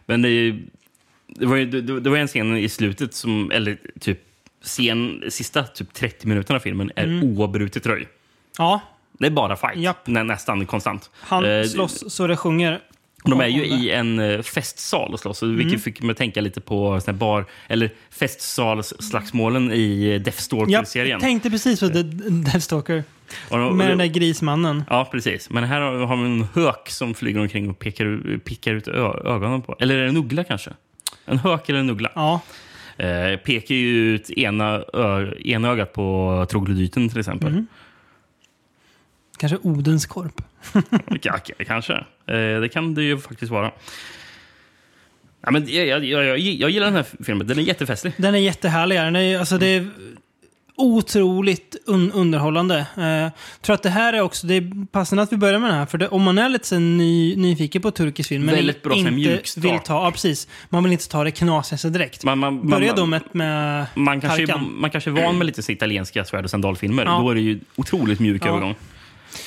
Speaker 2: Men det, är ju- det, var ju, det, det var en scen i slutet, som, eller typ scen, sista typ 30 minuterna av filmen, är oavbrutet röj.
Speaker 1: Ja,
Speaker 2: Det är bara fight.
Speaker 1: Mm. Japp.
Speaker 2: Nä, nästan konstant.
Speaker 1: han
Speaker 2: Eh,
Speaker 1: slåss så det sjunger.
Speaker 2: De är ju
Speaker 1: om det. Mm.
Speaker 2: i en eh, festsal och slåss, vilket fick mig att tänka lite på sån här bar, eller festsalsslagsmålen i eh, Death
Speaker 1: Japp,
Speaker 2: Stalker-serien.
Speaker 1: jag tänkte precis på The Death Stalker.
Speaker 2: Och de- Eh. och
Speaker 1: Med den där
Speaker 2: de-
Speaker 1: grismannen.
Speaker 2: Ja, precis. Men här har har vi en hök som flyger omkring och pekar, pickar ut ö- ögonen på. Eller är det en uggla kanske? En hök eller en uggla?
Speaker 1: Ja,
Speaker 2: Eh, pekar ju ut ena, ö, ena ögat på troglodyten till exempel.
Speaker 1: Mhm. kanske Odens korp.
Speaker 2: Ja, k- kanske. Eh, det kan det ju faktiskt vara. Ja, men jag, jag, jag, jag jag gillar den här filmen. Den är jättefestlig.
Speaker 1: Den är jättehärlig. Den är, alltså, det är
Speaker 2: Mm.
Speaker 1: otroligt un underhållande. Eh, Jag tror att det här är också, det är passande att vi börjar med den här. För det, om man är lite så ny, nyfiken på turkisk film, men
Speaker 2: Väldigt bra sån
Speaker 1: inte
Speaker 2: här mjukstart.
Speaker 1: vill ta, ja, precis. Man vill inte ta det knasigaste direkt.
Speaker 2: Man, man,
Speaker 1: Börja
Speaker 2: man,
Speaker 1: då med, med
Speaker 2: man kanske,
Speaker 1: Tarkan.
Speaker 2: man kanske är van med lite så italienska svärd och sandalfilmer.
Speaker 1: Ja.
Speaker 2: Då är det ju otroligt mjuk
Speaker 1: Ja.
Speaker 2: övergång.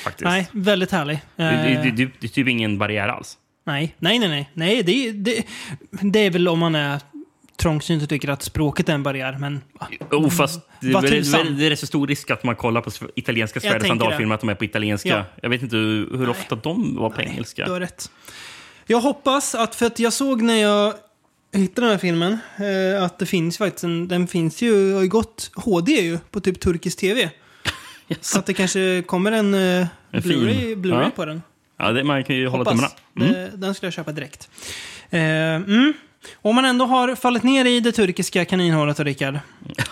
Speaker 2: Faktiskt.
Speaker 1: Nej, väldigt härlig.
Speaker 2: Det, det,
Speaker 1: Eh,
Speaker 2: det, det, det är typ ingen barriär alls.
Speaker 1: Nej, nej, nej. nej. nej det, det, det är väl om man är trångsynt och tycker att språket är en barriär, men
Speaker 2: Oh, fast det,
Speaker 1: Ah. Vad
Speaker 2: det,
Speaker 1: tusan.
Speaker 2: det, det är så stor risk att man kollar på sv- italienska
Speaker 1: Jag
Speaker 2: svärd och
Speaker 1: tänker
Speaker 2: sandalfilmer att de är på italienska.
Speaker 1: Ja.
Speaker 2: Jag vet inte hur, hur ofta de var på engelska.
Speaker 1: Du har rätt. Jag hoppas att, för att jag såg när jag hittade den här filmen, eh, att det finns faktiskt en, den finns ju, har ju gått HD ju, på typ turkisk
Speaker 2: [laughs]
Speaker 1: tv. Så att det kanske kommer en, eh,
Speaker 2: film.
Speaker 1: Blu-ray Blu
Speaker 2: Ja.
Speaker 1: på den.
Speaker 2: Ja, det, man kan ju hålla tummarna. Mm.
Speaker 1: Hoppas. Eh. Det, den skulle jag köpa direkt. Eh, mm. Om man ändå har fallit ner i det turkiska kaninhålet, då, Rickard,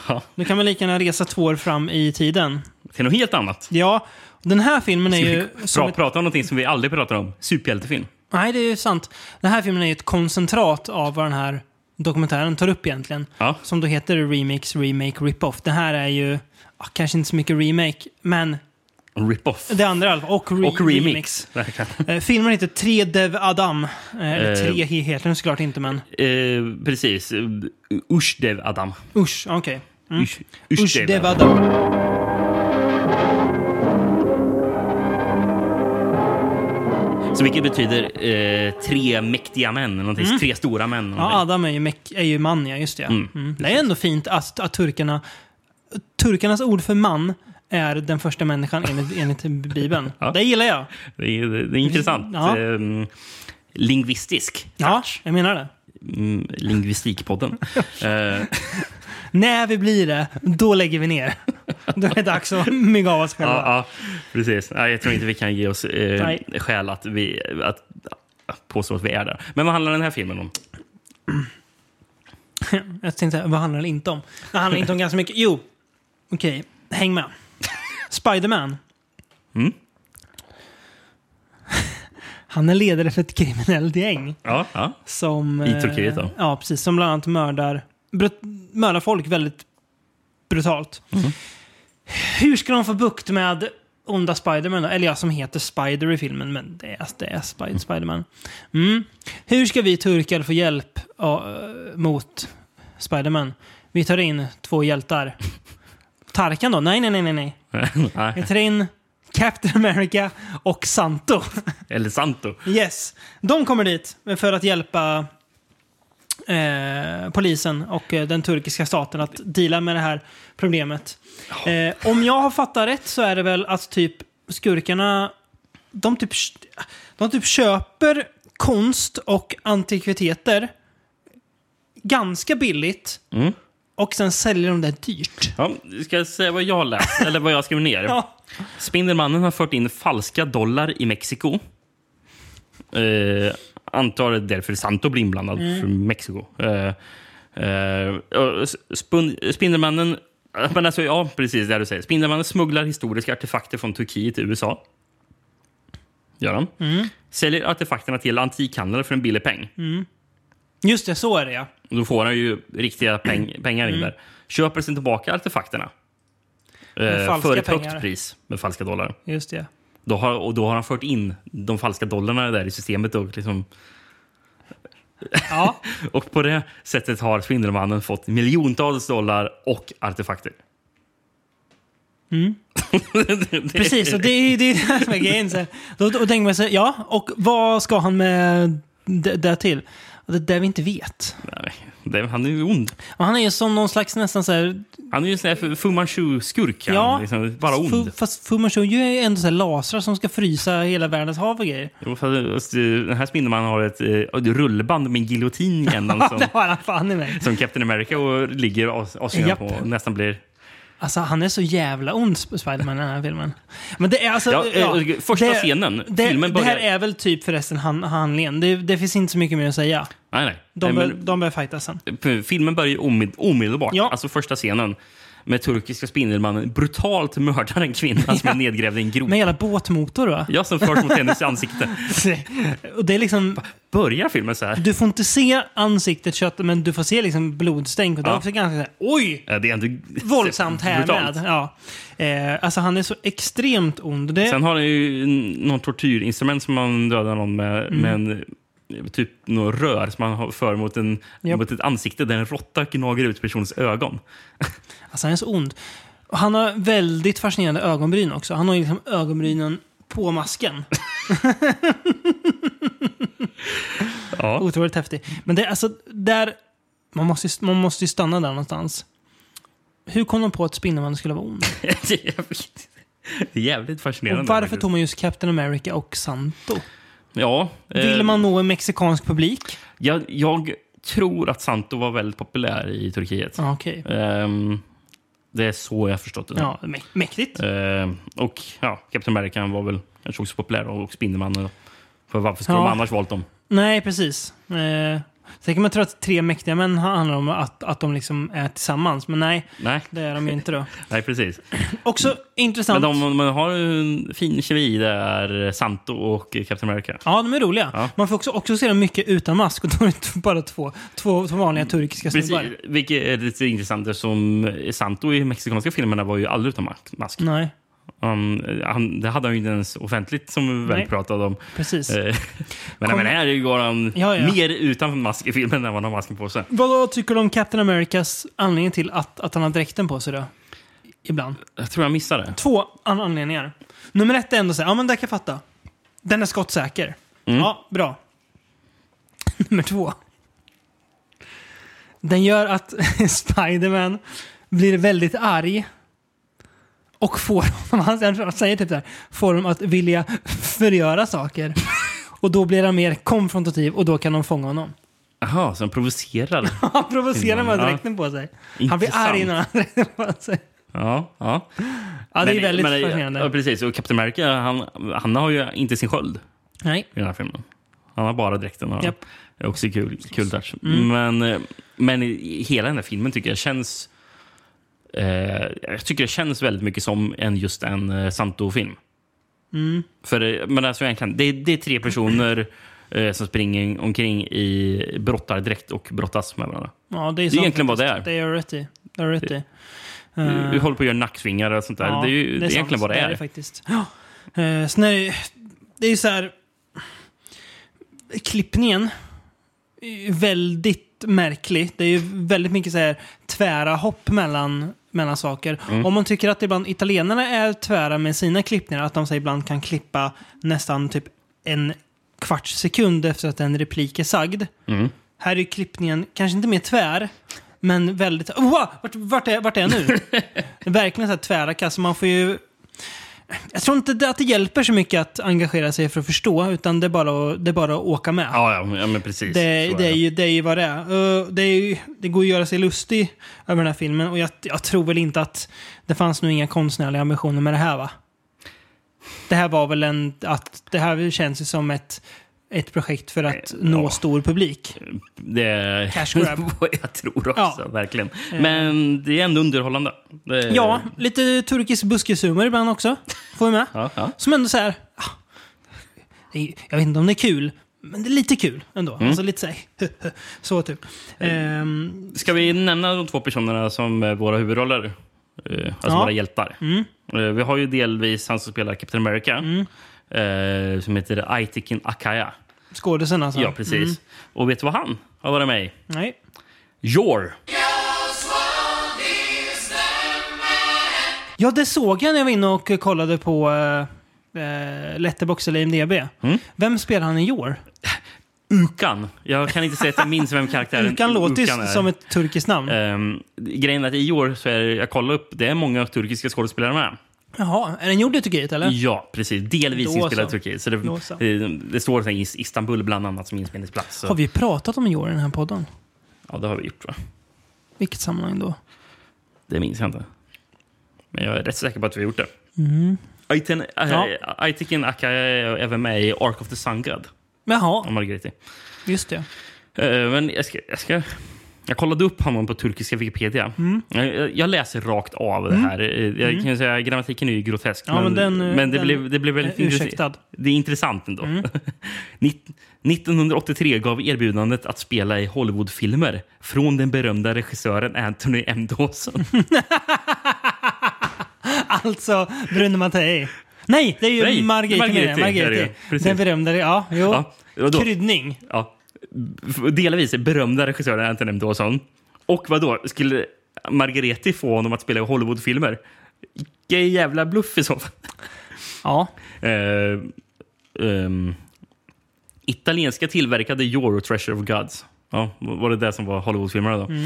Speaker 2: Ja,
Speaker 1: då kan man lika gärna resa två år fram i tiden.
Speaker 2: till något helt annat.
Speaker 1: Ja, den här filmen är
Speaker 2: Ska vi
Speaker 1: ju... som
Speaker 2: pra,
Speaker 1: ett-
Speaker 2: prata om någonting som vi aldrig pratar om. Superhjältefilm.
Speaker 1: Nej, det är ju sant. Den här filmen är ju ett koncentrat av vad den här dokumentären tar upp egentligen.
Speaker 2: Ja.
Speaker 1: Som då heter Remix, Remake, Rip-Off. Det här är ju, ah, kanske inte så mycket remake, men
Speaker 2: Rip-off.
Speaker 1: Det andra i alla fall. Och, re-
Speaker 2: Och remix. Verkligen.
Speaker 1: Eh, filmen heter Tre Dev Adam. Eh, eller
Speaker 2: Eh.
Speaker 1: tre he- heter den såklart inte, men...
Speaker 2: Eh, precis. Ushdev Adam.
Speaker 1: Usch, okej. Mm.
Speaker 2: Ush,
Speaker 1: Usch, det var dem.
Speaker 2: Så vilket betyder eh, tre mäktiga män, eller någonting, tre stora män. eller
Speaker 1: Mm. Ja,
Speaker 2: någonting.
Speaker 1: Adam är ju, mek- är ju man, ja. Just det. ja.
Speaker 2: Mm,
Speaker 1: Mm. Det är ändå fint att, att turkarna... Turkarnas ord för man är den första människan enligt, enligt Bibeln.
Speaker 2: Ja.
Speaker 1: Det gillar jag.
Speaker 2: det, är, det är intressant.
Speaker 1: Ja.
Speaker 2: Ehm, lingvistisk.
Speaker 1: Ja, jag menar det.
Speaker 2: Mm,
Speaker 1: [laughs]
Speaker 2: Lingvistikpodden. Eh,
Speaker 1: När vi blir det, då lägger vi
Speaker 2: [laughs]
Speaker 1: ner. Då är det dags att mygga av oss
Speaker 2: Ja,
Speaker 1: själva.
Speaker 2: ja, precis. Nej, jag tror inte vi kan ge oss eh,
Speaker 1: Nej.
Speaker 2: skäl att, vi, att att påstå att vi är där. Men vad handlar den här filmen om?
Speaker 1: Jag tänkte, så här, vad handlar det inte om? Det handlar inte om ganska mycket. Jo, okej, häng med. Spiderman.
Speaker 2: Mm.
Speaker 1: Han är ledare för ett kriminellt gäng.
Speaker 2: Ja, ja. [laughs]
Speaker 1: Som,
Speaker 2: I
Speaker 1: eh,
Speaker 2: Turkiet då?
Speaker 1: Ja, precis. Som bland annat mördar, brut, mördar folk väldigt brutalt.
Speaker 2: Mhm.
Speaker 1: Hur ska de få bukt med onda Spiderman då? Eller ja, som heter Spider i filmen, men det är, det är Spider Spiderman. Mm. Hur ska vi turkar få hjälp ja, eh, mot Spiderman? Vi tar in två hjältar. Tarkan då? Nej, nej, nej, nej, nej. Vi
Speaker 2: Nej.
Speaker 1: tar in Captain America och Santo.
Speaker 2: Eller Santo.
Speaker 1: Yes. De kommer dit för att hjälpa eh, polisen och eh, den turkiska staten att deala med det här problemet. Eh, om jag har fattat rätt så är det väl att typ skurkarna, de typ, de typ köper konst och antikviteter ganska billigt
Speaker 2: Mm.
Speaker 1: och sen säljer de det dyrt.
Speaker 2: Ja, ska jag säga vad jag har läst, eller vad jag skrev ner?
Speaker 1: Ja.
Speaker 2: Spindelmannen har fört in falska dollar i Mexiko. Eh, antar det är därför Santo blir inblandad,
Speaker 1: Mm.
Speaker 2: från Mexiko. Eh, eh, och s- spun, spindelmannen... eh, Men alltså, ja, precis det du säger. Spindelmannen smugglar historiska artefakter från Turkiet till USA. Gör han.
Speaker 1: Mm.
Speaker 2: Säljer artefakterna till antikhandlare för en billig peng.
Speaker 1: Just det, så är det ja.
Speaker 2: Och Då får han ju riktiga
Speaker 1: Mm.
Speaker 2: peng, pengar in där. Köper sen tillbaka artefakterna. Eh,
Speaker 1: falska
Speaker 2: för ett
Speaker 1: pengar.
Speaker 2: högt pris med falska dollar.
Speaker 1: Just det.
Speaker 2: Då har, och då har han fört in de falska dollarna där i systemet. Och, liksom,
Speaker 1: Ja.
Speaker 2: och på det sättet har Spindelmannen fått miljontals dollar och artefakter.
Speaker 1: Precis, och det är ju det, är det som är grejen. Så här. Då, då tänker man sig, ja, och vad ska han med det, det till? Och Det där vi inte vet.
Speaker 2: Nej, det, han är ju ond.
Speaker 1: Och han är ju som någon slags nästan så här...
Speaker 2: Han är ju en sån här Fu Manchu-skurk. han.
Speaker 1: Ja.
Speaker 2: liksom, bara
Speaker 1: Fu,
Speaker 2: ond.
Speaker 1: fast Fu Manchu gör ju ändå så här lasrar som ska frysa hela världens hav och grejer.
Speaker 2: Jo, fast, eh, Den här Spindelmannen har ett, eh, ett rullband med en giljotin
Speaker 1: [laughs]
Speaker 2: i ändan som,
Speaker 1: Det har han fan i mig.
Speaker 2: som Captain America och ligger as- aslingen
Speaker 1: Japp.
Speaker 2: på och nästan blir...
Speaker 1: Alltså, han är så jävla ond, Sp- Spiderman, i den här filmen. Men det är alltså...
Speaker 2: Ja, eh,
Speaker 1: ja,
Speaker 2: första
Speaker 1: det-
Speaker 2: scenen.
Speaker 1: Det,
Speaker 2: filmen
Speaker 1: det
Speaker 2: börjar...
Speaker 1: här är väl typ förresten han, handlingen. Det, det finns inte så mycket mer att säga.
Speaker 2: Nej, nej.
Speaker 1: De,
Speaker 2: nej,
Speaker 1: bör,
Speaker 2: men-
Speaker 1: de börjar fightas sen.
Speaker 2: P- Filmen börjar ju omed- omedelbart,
Speaker 1: Ja.
Speaker 2: alltså första scenen med turkiska Spindelmannen brutalt mördar en kvinna som är nedgrävd i en grop.
Speaker 1: Med hela båtmotor, va?
Speaker 2: Jag som förs mot hennes ansikte.
Speaker 1: [laughs] Och det är liksom...
Speaker 2: Börjar filmen så här?
Speaker 1: Du får inte se ansiktet kött, men du får se liksom blodstänk. Och det är
Speaker 2: Ja.
Speaker 1: också ganska så här, oj!
Speaker 2: Ja, Det är ändå
Speaker 1: Våldsamt
Speaker 2: brutalt.
Speaker 1: härmed. Ja. Eh, alltså han är så extremt ond. Det,
Speaker 2: Sen har han ju n- någon tortyrinstrument som man dödar någon med.
Speaker 1: Mm.
Speaker 2: med en, typ några rör som man har för mot, en,
Speaker 1: Japp.
Speaker 2: mot ett ansikte där en råtta gnager ut personens ögon.
Speaker 1: alltså han är så ond. Och han har väldigt fascinerande ögonbryn också. Han har ju liksom ögonbrynen på
Speaker 2: [laughs]
Speaker 1: masken.
Speaker 2: Ja.
Speaker 1: Otroligt häftig. Men det är alltså där... Man måste, ju- man måste ju stanna där någonstans. Hur kom de på att Spindelmannen skulle vara ond?
Speaker 2: [laughs] Det är jävligt- det är jävligt fascinerande.
Speaker 1: Och varför
Speaker 2: faktiskt.
Speaker 1: tog man just Captain America och Santo?
Speaker 2: Ja, eh,
Speaker 1: Ville man nå en mexikansk publik?
Speaker 2: Jag, jag tror att Santo var väldigt populär i Turkiet.
Speaker 1: Ja, Okej.
Speaker 2: Ehm, det är så jag har förstått det.
Speaker 1: Ja, mä- mäktigt.
Speaker 2: Ehm, och ja, Captain America var väl kanske också populär och och Spindelmannen. då. För varför skulle
Speaker 1: Ja.
Speaker 2: de annars valt dem?
Speaker 1: Nej, precis. Eh, sen kan man tro att tre mäktiga män handlar om att, att de liksom är tillsammans, men nej,
Speaker 2: Nej,
Speaker 1: det är de ju inte då.
Speaker 2: nej precis.
Speaker 1: Också intressant.
Speaker 2: Men de, man har ju en fin kemi där, Santo och Captain America.
Speaker 1: Ja, de är roliga.
Speaker 2: Ja.
Speaker 1: Man får också, också se dem mycket utan mask och då är det t- bara två, två, två vanliga turkiska
Speaker 2: Precis,
Speaker 1: snubbar.
Speaker 2: vilket är lite intressant eftersom Santo i mexikanska filmerna var ju aldrig utan ma- mask.
Speaker 1: Nej.
Speaker 2: Han, han, det hade han ju inte ens offentligt som vi
Speaker 1: Nej.
Speaker 2: väl pratade om.
Speaker 1: Precis. [laughs]
Speaker 2: Eh, men,
Speaker 1: Kom-
Speaker 2: men här går han
Speaker 1: Ja, ja.
Speaker 2: mer utanför mask i filmen än vad han har masken på sig.
Speaker 1: Vad tycker du om Captain Americas anledning till att, att han har dräkten på sig då? Ibland.
Speaker 2: Jag tror jag missade.
Speaker 1: Två an- anledningar. Nummer ett är ändå så här, ja men där kan jag fatta. Den är skottsäker.
Speaker 2: Mm.
Speaker 1: Ja, bra. [laughs] Nummer två. Den gör att [laughs] Spiderman blir väldigt arg. Och får [laughs] honom, han- han säger typ där, får honom att vilja förgöra
Speaker 2: [laughs]
Speaker 1: saker. Och då blir han mer konfrontativ och då kan de fånga honom. [laughs]
Speaker 2: Jaha, så han provocerar.
Speaker 1: Han provocerar med
Speaker 2: Mm. Ja.
Speaker 1: dräkten på sig. Han blir
Speaker 2: Intressant.
Speaker 1: arg innan han [laughs] har dräkten på sig.
Speaker 2: Ja, ja.
Speaker 1: Ja, det är
Speaker 2: Men-
Speaker 1: väldigt
Speaker 2: men-
Speaker 1: fascinerande.
Speaker 2: Ja, precis. Och Captain America, han, han har ju inte sin sköld
Speaker 1: Nej.
Speaker 2: i den här filmen. Han har bara dräkten. Och
Speaker 1: Japp.
Speaker 2: Det är också kul, kul touch. Men, eh, men i- hela den här filmen tycker jag känns... Eh, jag tycker det känns väldigt mycket som en, just en eh, Santo-film. För, eh, men alltså, jag kan, det, det är tre personer eh, som springer omkring i brottardräkt och brottas med varandra.
Speaker 1: Ja, det är,
Speaker 2: Det är
Speaker 1: sant
Speaker 2: egentligen vad
Speaker 1: faktiskt.
Speaker 2: det är.
Speaker 1: Det är rätt i. Det är rätt i. Eh.
Speaker 2: Du, du håller på att göra nacksvingar och sånt där. det är ju det är egentligen vad det är.
Speaker 1: faktiskt. Ja. Eh, sen är det, ju- det är ju så här... Klippningen är ju väldigt märklig. Det är ju väldigt mycket så här tvära hopp mellan, mellan saker. Om man tycker att ibland italienarna är tvära med sina klippningar, att de så här ibland kan klippa nästan typ en kvarts sekund efter att en replik är sagd. Här är ju klippningen kanske inte mer tvär, men väldigt... Wow, vart, vart, är, vart är jag nu? Verkligen så här tvära kast. Man får ju... Jag tror inte det- att det hjälper så mycket att engagera sig för att förstå, utan det är bara att, det är bara att åka med.
Speaker 2: Ja, ja, ja, men precis.
Speaker 1: det,
Speaker 2: Så
Speaker 1: det, är
Speaker 2: det.
Speaker 1: ju, det är ju vad det är. Eh, det, är ju, det går ju att göra sig lustig över den här filmen och jag, jag tror väl inte att det fanns nog inga konstnärliga ambitioner med det här va? Det här var väl en... Att, det här känns ju som ett, ett projekt för att nå
Speaker 2: Eh, ja.
Speaker 1: stor publik.
Speaker 2: Det
Speaker 1: Cash grab.
Speaker 2: [laughs] vad jag tror också,
Speaker 1: Ja. Eh.
Speaker 2: verkligen. Men det är ändå underhållande. Det,
Speaker 1: Ja, lite turkisk buskishumor ibland också. Får vi med.
Speaker 2: ja, ja.
Speaker 1: Som ändå så här... ah, det är- Jag vet inte om det är kul, men det är lite kul ändå.
Speaker 2: Mm.
Speaker 1: Alltså lite så här, [laughs] Så typ.
Speaker 2: Eh.
Speaker 1: Ehm,
Speaker 2: Ska vi nämna de två personerna som är våra huvudroller? Eh, Alltså
Speaker 1: Ja. Mm.
Speaker 2: våra hjältar. Eh, Vi har ju delvis han som spelar Captain America.
Speaker 1: Mm.
Speaker 2: eh, Som heter Aitekin Akaya.
Speaker 1: skådisen alltså.
Speaker 2: Ja, precis. Och vet du vad han har varit med i?
Speaker 1: Nej.
Speaker 2: Your.
Speaker 1: Ja, det såg jag när jag var inne och kollade på uh, Letterbox eller IMDB.
Speaker 2: Mm.
Speaker 1: Vem spelar han i år?
Speaker 2: Ukan. Jag kan inte säga att jag minns vem karaktären
Speaker 1: Ukan låter ju
Speaker 2: är.
Speaker 1: som ett turkiskt namn.
Speaker 2: Ehm, grejen är att i år så är det, jag kollar upp, det är många turkiska skådespelare med.
Speaker 1: Jaha, är den gjord i Turkiet eller?
Speaker 2: Ja, precis. Delvis
Speaker 1: Då
Speaker 2: inspelad
Speaker 1: så.
Speaker 2: i Turkiet. Så
Speaker 1: Då så.
Speaker 2: det, det, det står så här, Is- Istanbul bland annat som inspelningsplats. Så.
Speaker 1: Har vi pratat om Jor i den här podden?
Speaker 2: Ja, det har vi gjort va?
Speaker 1: Vilket sammanhang då?
Speaker 2: Det minns jag inte. Men jag är rätt säker på att vi har gjort det. Aiten, äh,
Speaker 1: Mm. Ja.
Speaker 2: Aitekin Aka är även med i Ark of the Sun God
Speaker 1: Jaha,
Speaker 2: av Margrethi.
Speaker 1: just det.
Speaker 2: Eh, men jag ska, jag ska... Jag kollade upp honom på turkiska Wikipedia.
Speaker 1: Mm.
Speaker 2: Jag, jag läser rakt av det här. Eh, Jag kan ju säga, grammatiken är ju grotesk.
Speaker 1: Ja, men den, eh,
Speaker 2: men det,
Speaker 1: den
Speaker 2: blev, det blev väldigt
Speaker 1: är
Speaker 2: intress-
Speaker 1: Eh, ursäktad.
Speaker 2: Det är intressant ändå. [laughs] Nitt- 1983 gav erbjudandet att spela i Hollywoodfilmer från den berömda regissören Anthony M. Dawson.
Speaker 1: Alltså Bruno Mattei. Nej, det är ju
Speaker 2: Nej,
Speaker 1: Margrethe.
Speaker 2: Margrethe
Speaker 1: Margrethe,
Speaker 2: är det ju.
Speaker 1: Margrethe.
Speaker 2: Precis.
Speaker 1: Den berömda, ja. Jo.
Speaker 2: Ja, vadå?
Speaker 1: Kryddning.
Speaker 2: Ja. F- Delvis är berömda regissören Anthony M. Dawson. Och vad då skulle Margrethi få honom att spela i Hollywoodfilmer? Vilken jävla bluff i så fall.
Speaker 1: Ja.
Speaker 2: Eh, ehm, italienska tillverkade Euro Treasure of Gods. Ja, var det det som var Hollywoodfilmerna då? Eh,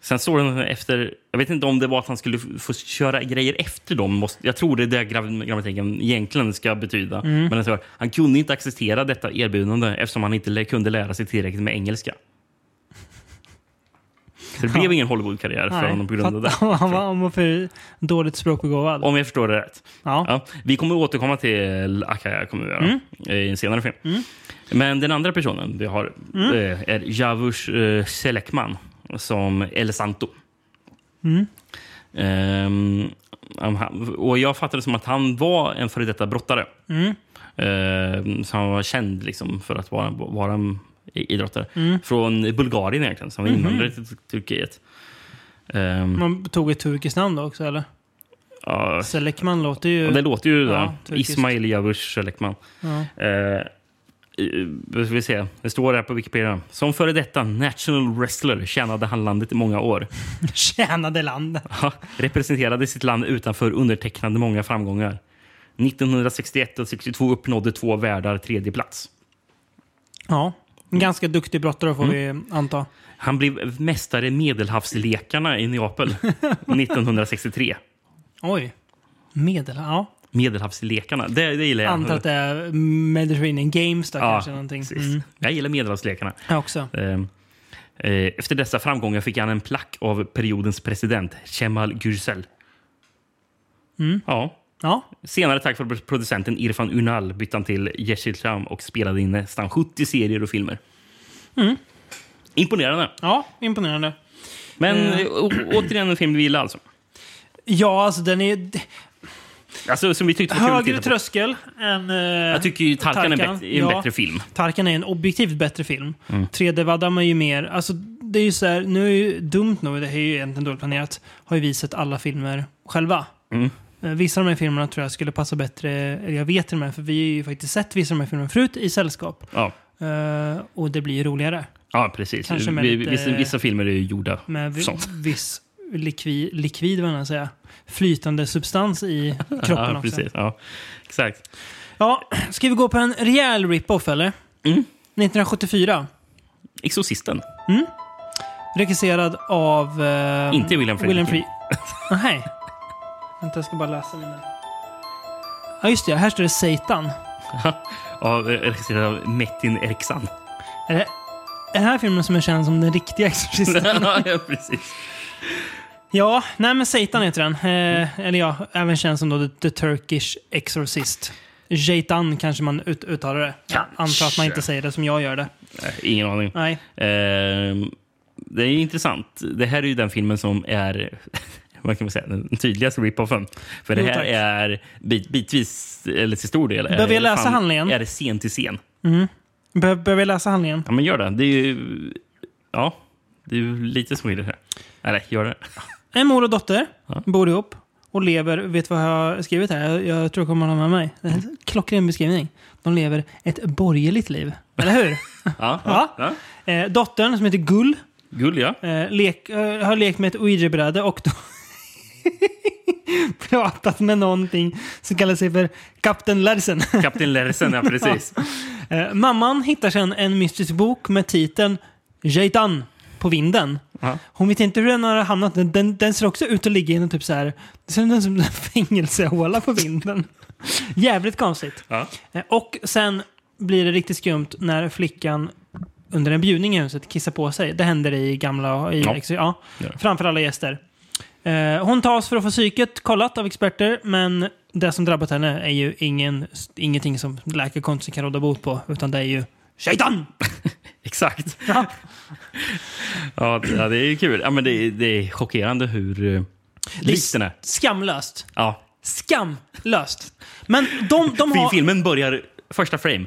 Speaker 2: Sen står det efter... Jag vet inte om det var att han skulle f- få köra grejer efter dem. Måste, jag tror det är det gra- grammatiken egentligen ska betyda. Men alltså, han kunde inte acceptera detta erbjudande eftersom han inte lä- kunde lära sig tillräckligt med engelska. Så det blev ingen Hollywoodkarriär för
Speaker 1: Nej,
Speaker 2: honom på grund av det.
Speaker 1: fatt- Han var, han var för dåligt språkbegåvad.
Speaker 2: Om jag förstår det rätt.
Speaker 1: Ja.
Speaker 2: Ja, vi kommer att återkomma till Akaya kommer vi göra, i en senare film. Men den andra personen vi har eh, är Javush eh, Selekman som El Santo.
Speaker 1: Mm,
Speaker 2: Ehm, han- han- och Jag fattade som att han var en före detta brottare.
Speaker 1: mm,
Speaker 2: Ehm, så han var känd liksom, för att vara, vara en idrottare.
Speaker 1: Mm.
Speaker 2: Från Bulgarien egentligen, så han var invandrare till Turkiet. Ehm,
Speaker 1: Mm. Man tog ett turkiskt namn då också, eller?
Speaker 2: ja,
Speaker 1: Selekman låter ju...
Speaker 2: det låter ju
Speaker 1: Ja,
Speaker 2: ja,
Speaker 1: turkiskt.
Speaker 2: Ismail Javush Selekman.
Speaker 1: Ja. [laughs]
Speaker 2: Eh, i- vi ska se. Det står här på Wikipedia. Som före detta national wrestler tjänade han landet i många år.
Speaker 1: Tjänade landet.
Speaker 2: Ja, representerade sitt land utanför undertecknande många framgångar. 1961 och 62 uppnådde två världar tredje plats.
Speaker 1: Ja. En ganska duktig brottare får
Speaker 2: Mm.
Speaker 1: vi anta.
Speaker 2: Han blev mästare i medelhavslekarna i Neapel
Speaker 1: [laughs]
Speaker 2: 1963.
Speaker 1: Oj. Medel, ja.
Speaker 2: Medelhavslekarna, det, det gillar jag.
Speaker 1: Antar att det är Mediterranean Games då kanske. Någonting.
Speaker 2: precis.
Speaker 1: Mm.
Speaker 2: Jag gillar medelhavslekarna.
Speaker 1: Jag också.
Speaker 2: Ehm, eh, Efter dessa framgångar fick han en plack av periodens president, Kemal Gürsel.
Speaker 1: Mm.
Speaker 2: Ja.
Speaker 1: Ja.
Speaker 2: Senare tack för producenten Irfan Unal bytte han till Yeşilçam och spelade in nästan 70 serier och filmer.
Speaker 1: Mm.
Speaker 2: Imponerande.
Speaker 1: ja, imponerande.
Speaker 2: Men
Speaker 1: Eh.
Speaker 2: eh, å- återigen en film vi gillar alltså.
Speaker 1: Ja, alltså den är d-
Speaker 2: alltså som vi tyckte var kul att
Speaker 1: högre
Speaker 2: titta på.
Speaker 1: tröskel än... eh,
Speaker 2: Jag tycker ju Tarkan är en,
Speaker 1: Tarkan,
Speaker 2: bättre, är en
Speaker 1: ja.
Speaker 2: bättre film.
Speaker 1: Tarkan är en objektivt bättre film.
Speaker 2: Mm.
Speaker 1: 3D-vaddar man ju mer... Alltså, det är ju så här, nu är ju dumt nog, det här är ju egentligen dåligt planerat, har ju vi sett alla filmer själva.
Speaker 2: Mm.
Speaker 1: Eh, Vissa av de här filmerna tror jag skulle passa bättre, eller jag vet till och med, för vi har ju faktiskt sett vissa av de här filmerna förut i sällskap.
Speaker 2: Ja.
Speaker 1: Eh, och det blir ju roligare.
Speaker 2: ja, precis.
Speaker 1: Kanske med
Speaker 2: Vi,
Speaker 1: lite-
Speaker 2: vissa, vissa filmer är ju gjorda.
Speaker 1: Med vi,
Speaker 2: Sånt.
Speaker 1: viss likvi, likvid, vad man säga. Flytande substans i kroppen
Speaker 2: [laughs] ja,
Speaker 1: också.
Speaker 2: precis. Ja. Exakt.
Speaker 1: Ja, ska vi gå på en rejäl rip-off eller? 1974.
Speaker 2: Mm. Exorcisten.
Speaker 1: Regisserad av... eh,
Speaker 2: Inte William Friedkin.
Speaker 1: William
Speaker 2: [laughs]
Speaker 1: Fri- Nej. Vänta, jag ska bara läsa mina... Ja, just det. Här står det Satan.
Speaker 2: Av, eh, regisserad av Metin
Speaker 1: [laughs]
Speaker 2: Erksan.
Speaker 1: Är det den här filmen som är känd som den riktiga
Speaker 2: [laughs]
Speaker 1: Exorcisten?
Speaker 2: ja, precis.
Speaker 1: ja, nej men Satan heter den. Eh, eller ja, även känd som då The, the Turkish Exorcist. Jaitan kanske man ut, uttalar det. Jag Antar att man inte säger det som jag gör det.
Speaker 2: Nej, Ingen aning.
Speaker 1: Nej.
Speaker 2: Ehm, det är ju intressant. Det här är ju den filmen som är [laughs] vad kan man säga, den tydligaste rip-offen. För det
Speaker 1: Jo,
Speaker 2: här
Speaker 1: tack.
Speaker 2: är bit, bitvis, eller till stor del, är
Speaker 1: Behöver
Speaker 2: det
Speaker 1: jag läsa
Speaker 2: fan-
Speaker 1: handlingen?
Speaker 2: Är det scen till scen.
Speaker 1: Be- Behöver jag läsa handlingen?
Speaker 2: Ja, men gör det. Det är ju... Ja, det är ju lite spoiler här. Nej, nej,
Speaker 1: [laughs]
Speaker 2: gör det.
Speaker 1: En mor och dotter
Speaker 2: Ja.
Speaker 1: bor ihop och lever, vet du vad jag har skrivit här? Jag, jag tror jag kommer att ha med mig. Det är en klockren beskrivning. De lever ett borgerligt liv. Eller hur?
Speaker 2: Ja,
Speaker 1: Ja.
Speaker 2: ja. ja.
Speaker 1: eh, dottern, som heter Gull,
Speaker 2: Gull, ja.
Speaker 1: eh, lek, eh, har lekt med ett ouija-bräde och då [laughs] pratat med någonting som kallar sig för Kapten Larsen.
Speaker 2: Kapten Lersen, ja
Speaker 1: [laughs]
Speaker 2: precis.
Speaker 1: Eh, mamman hittar sedan en mystisk bok med titeln Jaitan på vinden.
Speaker 2: Ja.
Speaker 1: Hon vet inte hur den har hamnat. Den, den, den ser också ut att ligga i en typ så här... Det ser ut som en fängelsehåla på vinden. Jävligt konstigt.
Speaker 2: Ja.
Speaker 1: Eh, Och sen blir det riktigt skumt när flickan under en bjudning i huset kissar på sig. Det händer i gamla... I,
Speaker 2: Ja.
Speaker 1: ex- ja,
Speaker 2: Ja.
Speaker 1: Framför alla gäster. Eh, hon tas för att få psyket kollat av experter, men det som drabbat henne är ju ingen, ingenting som läkarkonsten kan råda bot på, utan det är ju Shaitan!
Speaker 2: Exakt.
Speaker 1: [laughs] Ja.
Speaker 2: Ja, det- ja, det är kul. Ja, men det, är- det är chockerande hur eh, likt den är.
Speaker 1: Skamlöst.
Speaker 2: Ja.
Speaker 1: Skamlöst. Men de, de
Speaker 2: Fi-
Speaker 1: har...
Speaker 2: Filmen börjar första frame.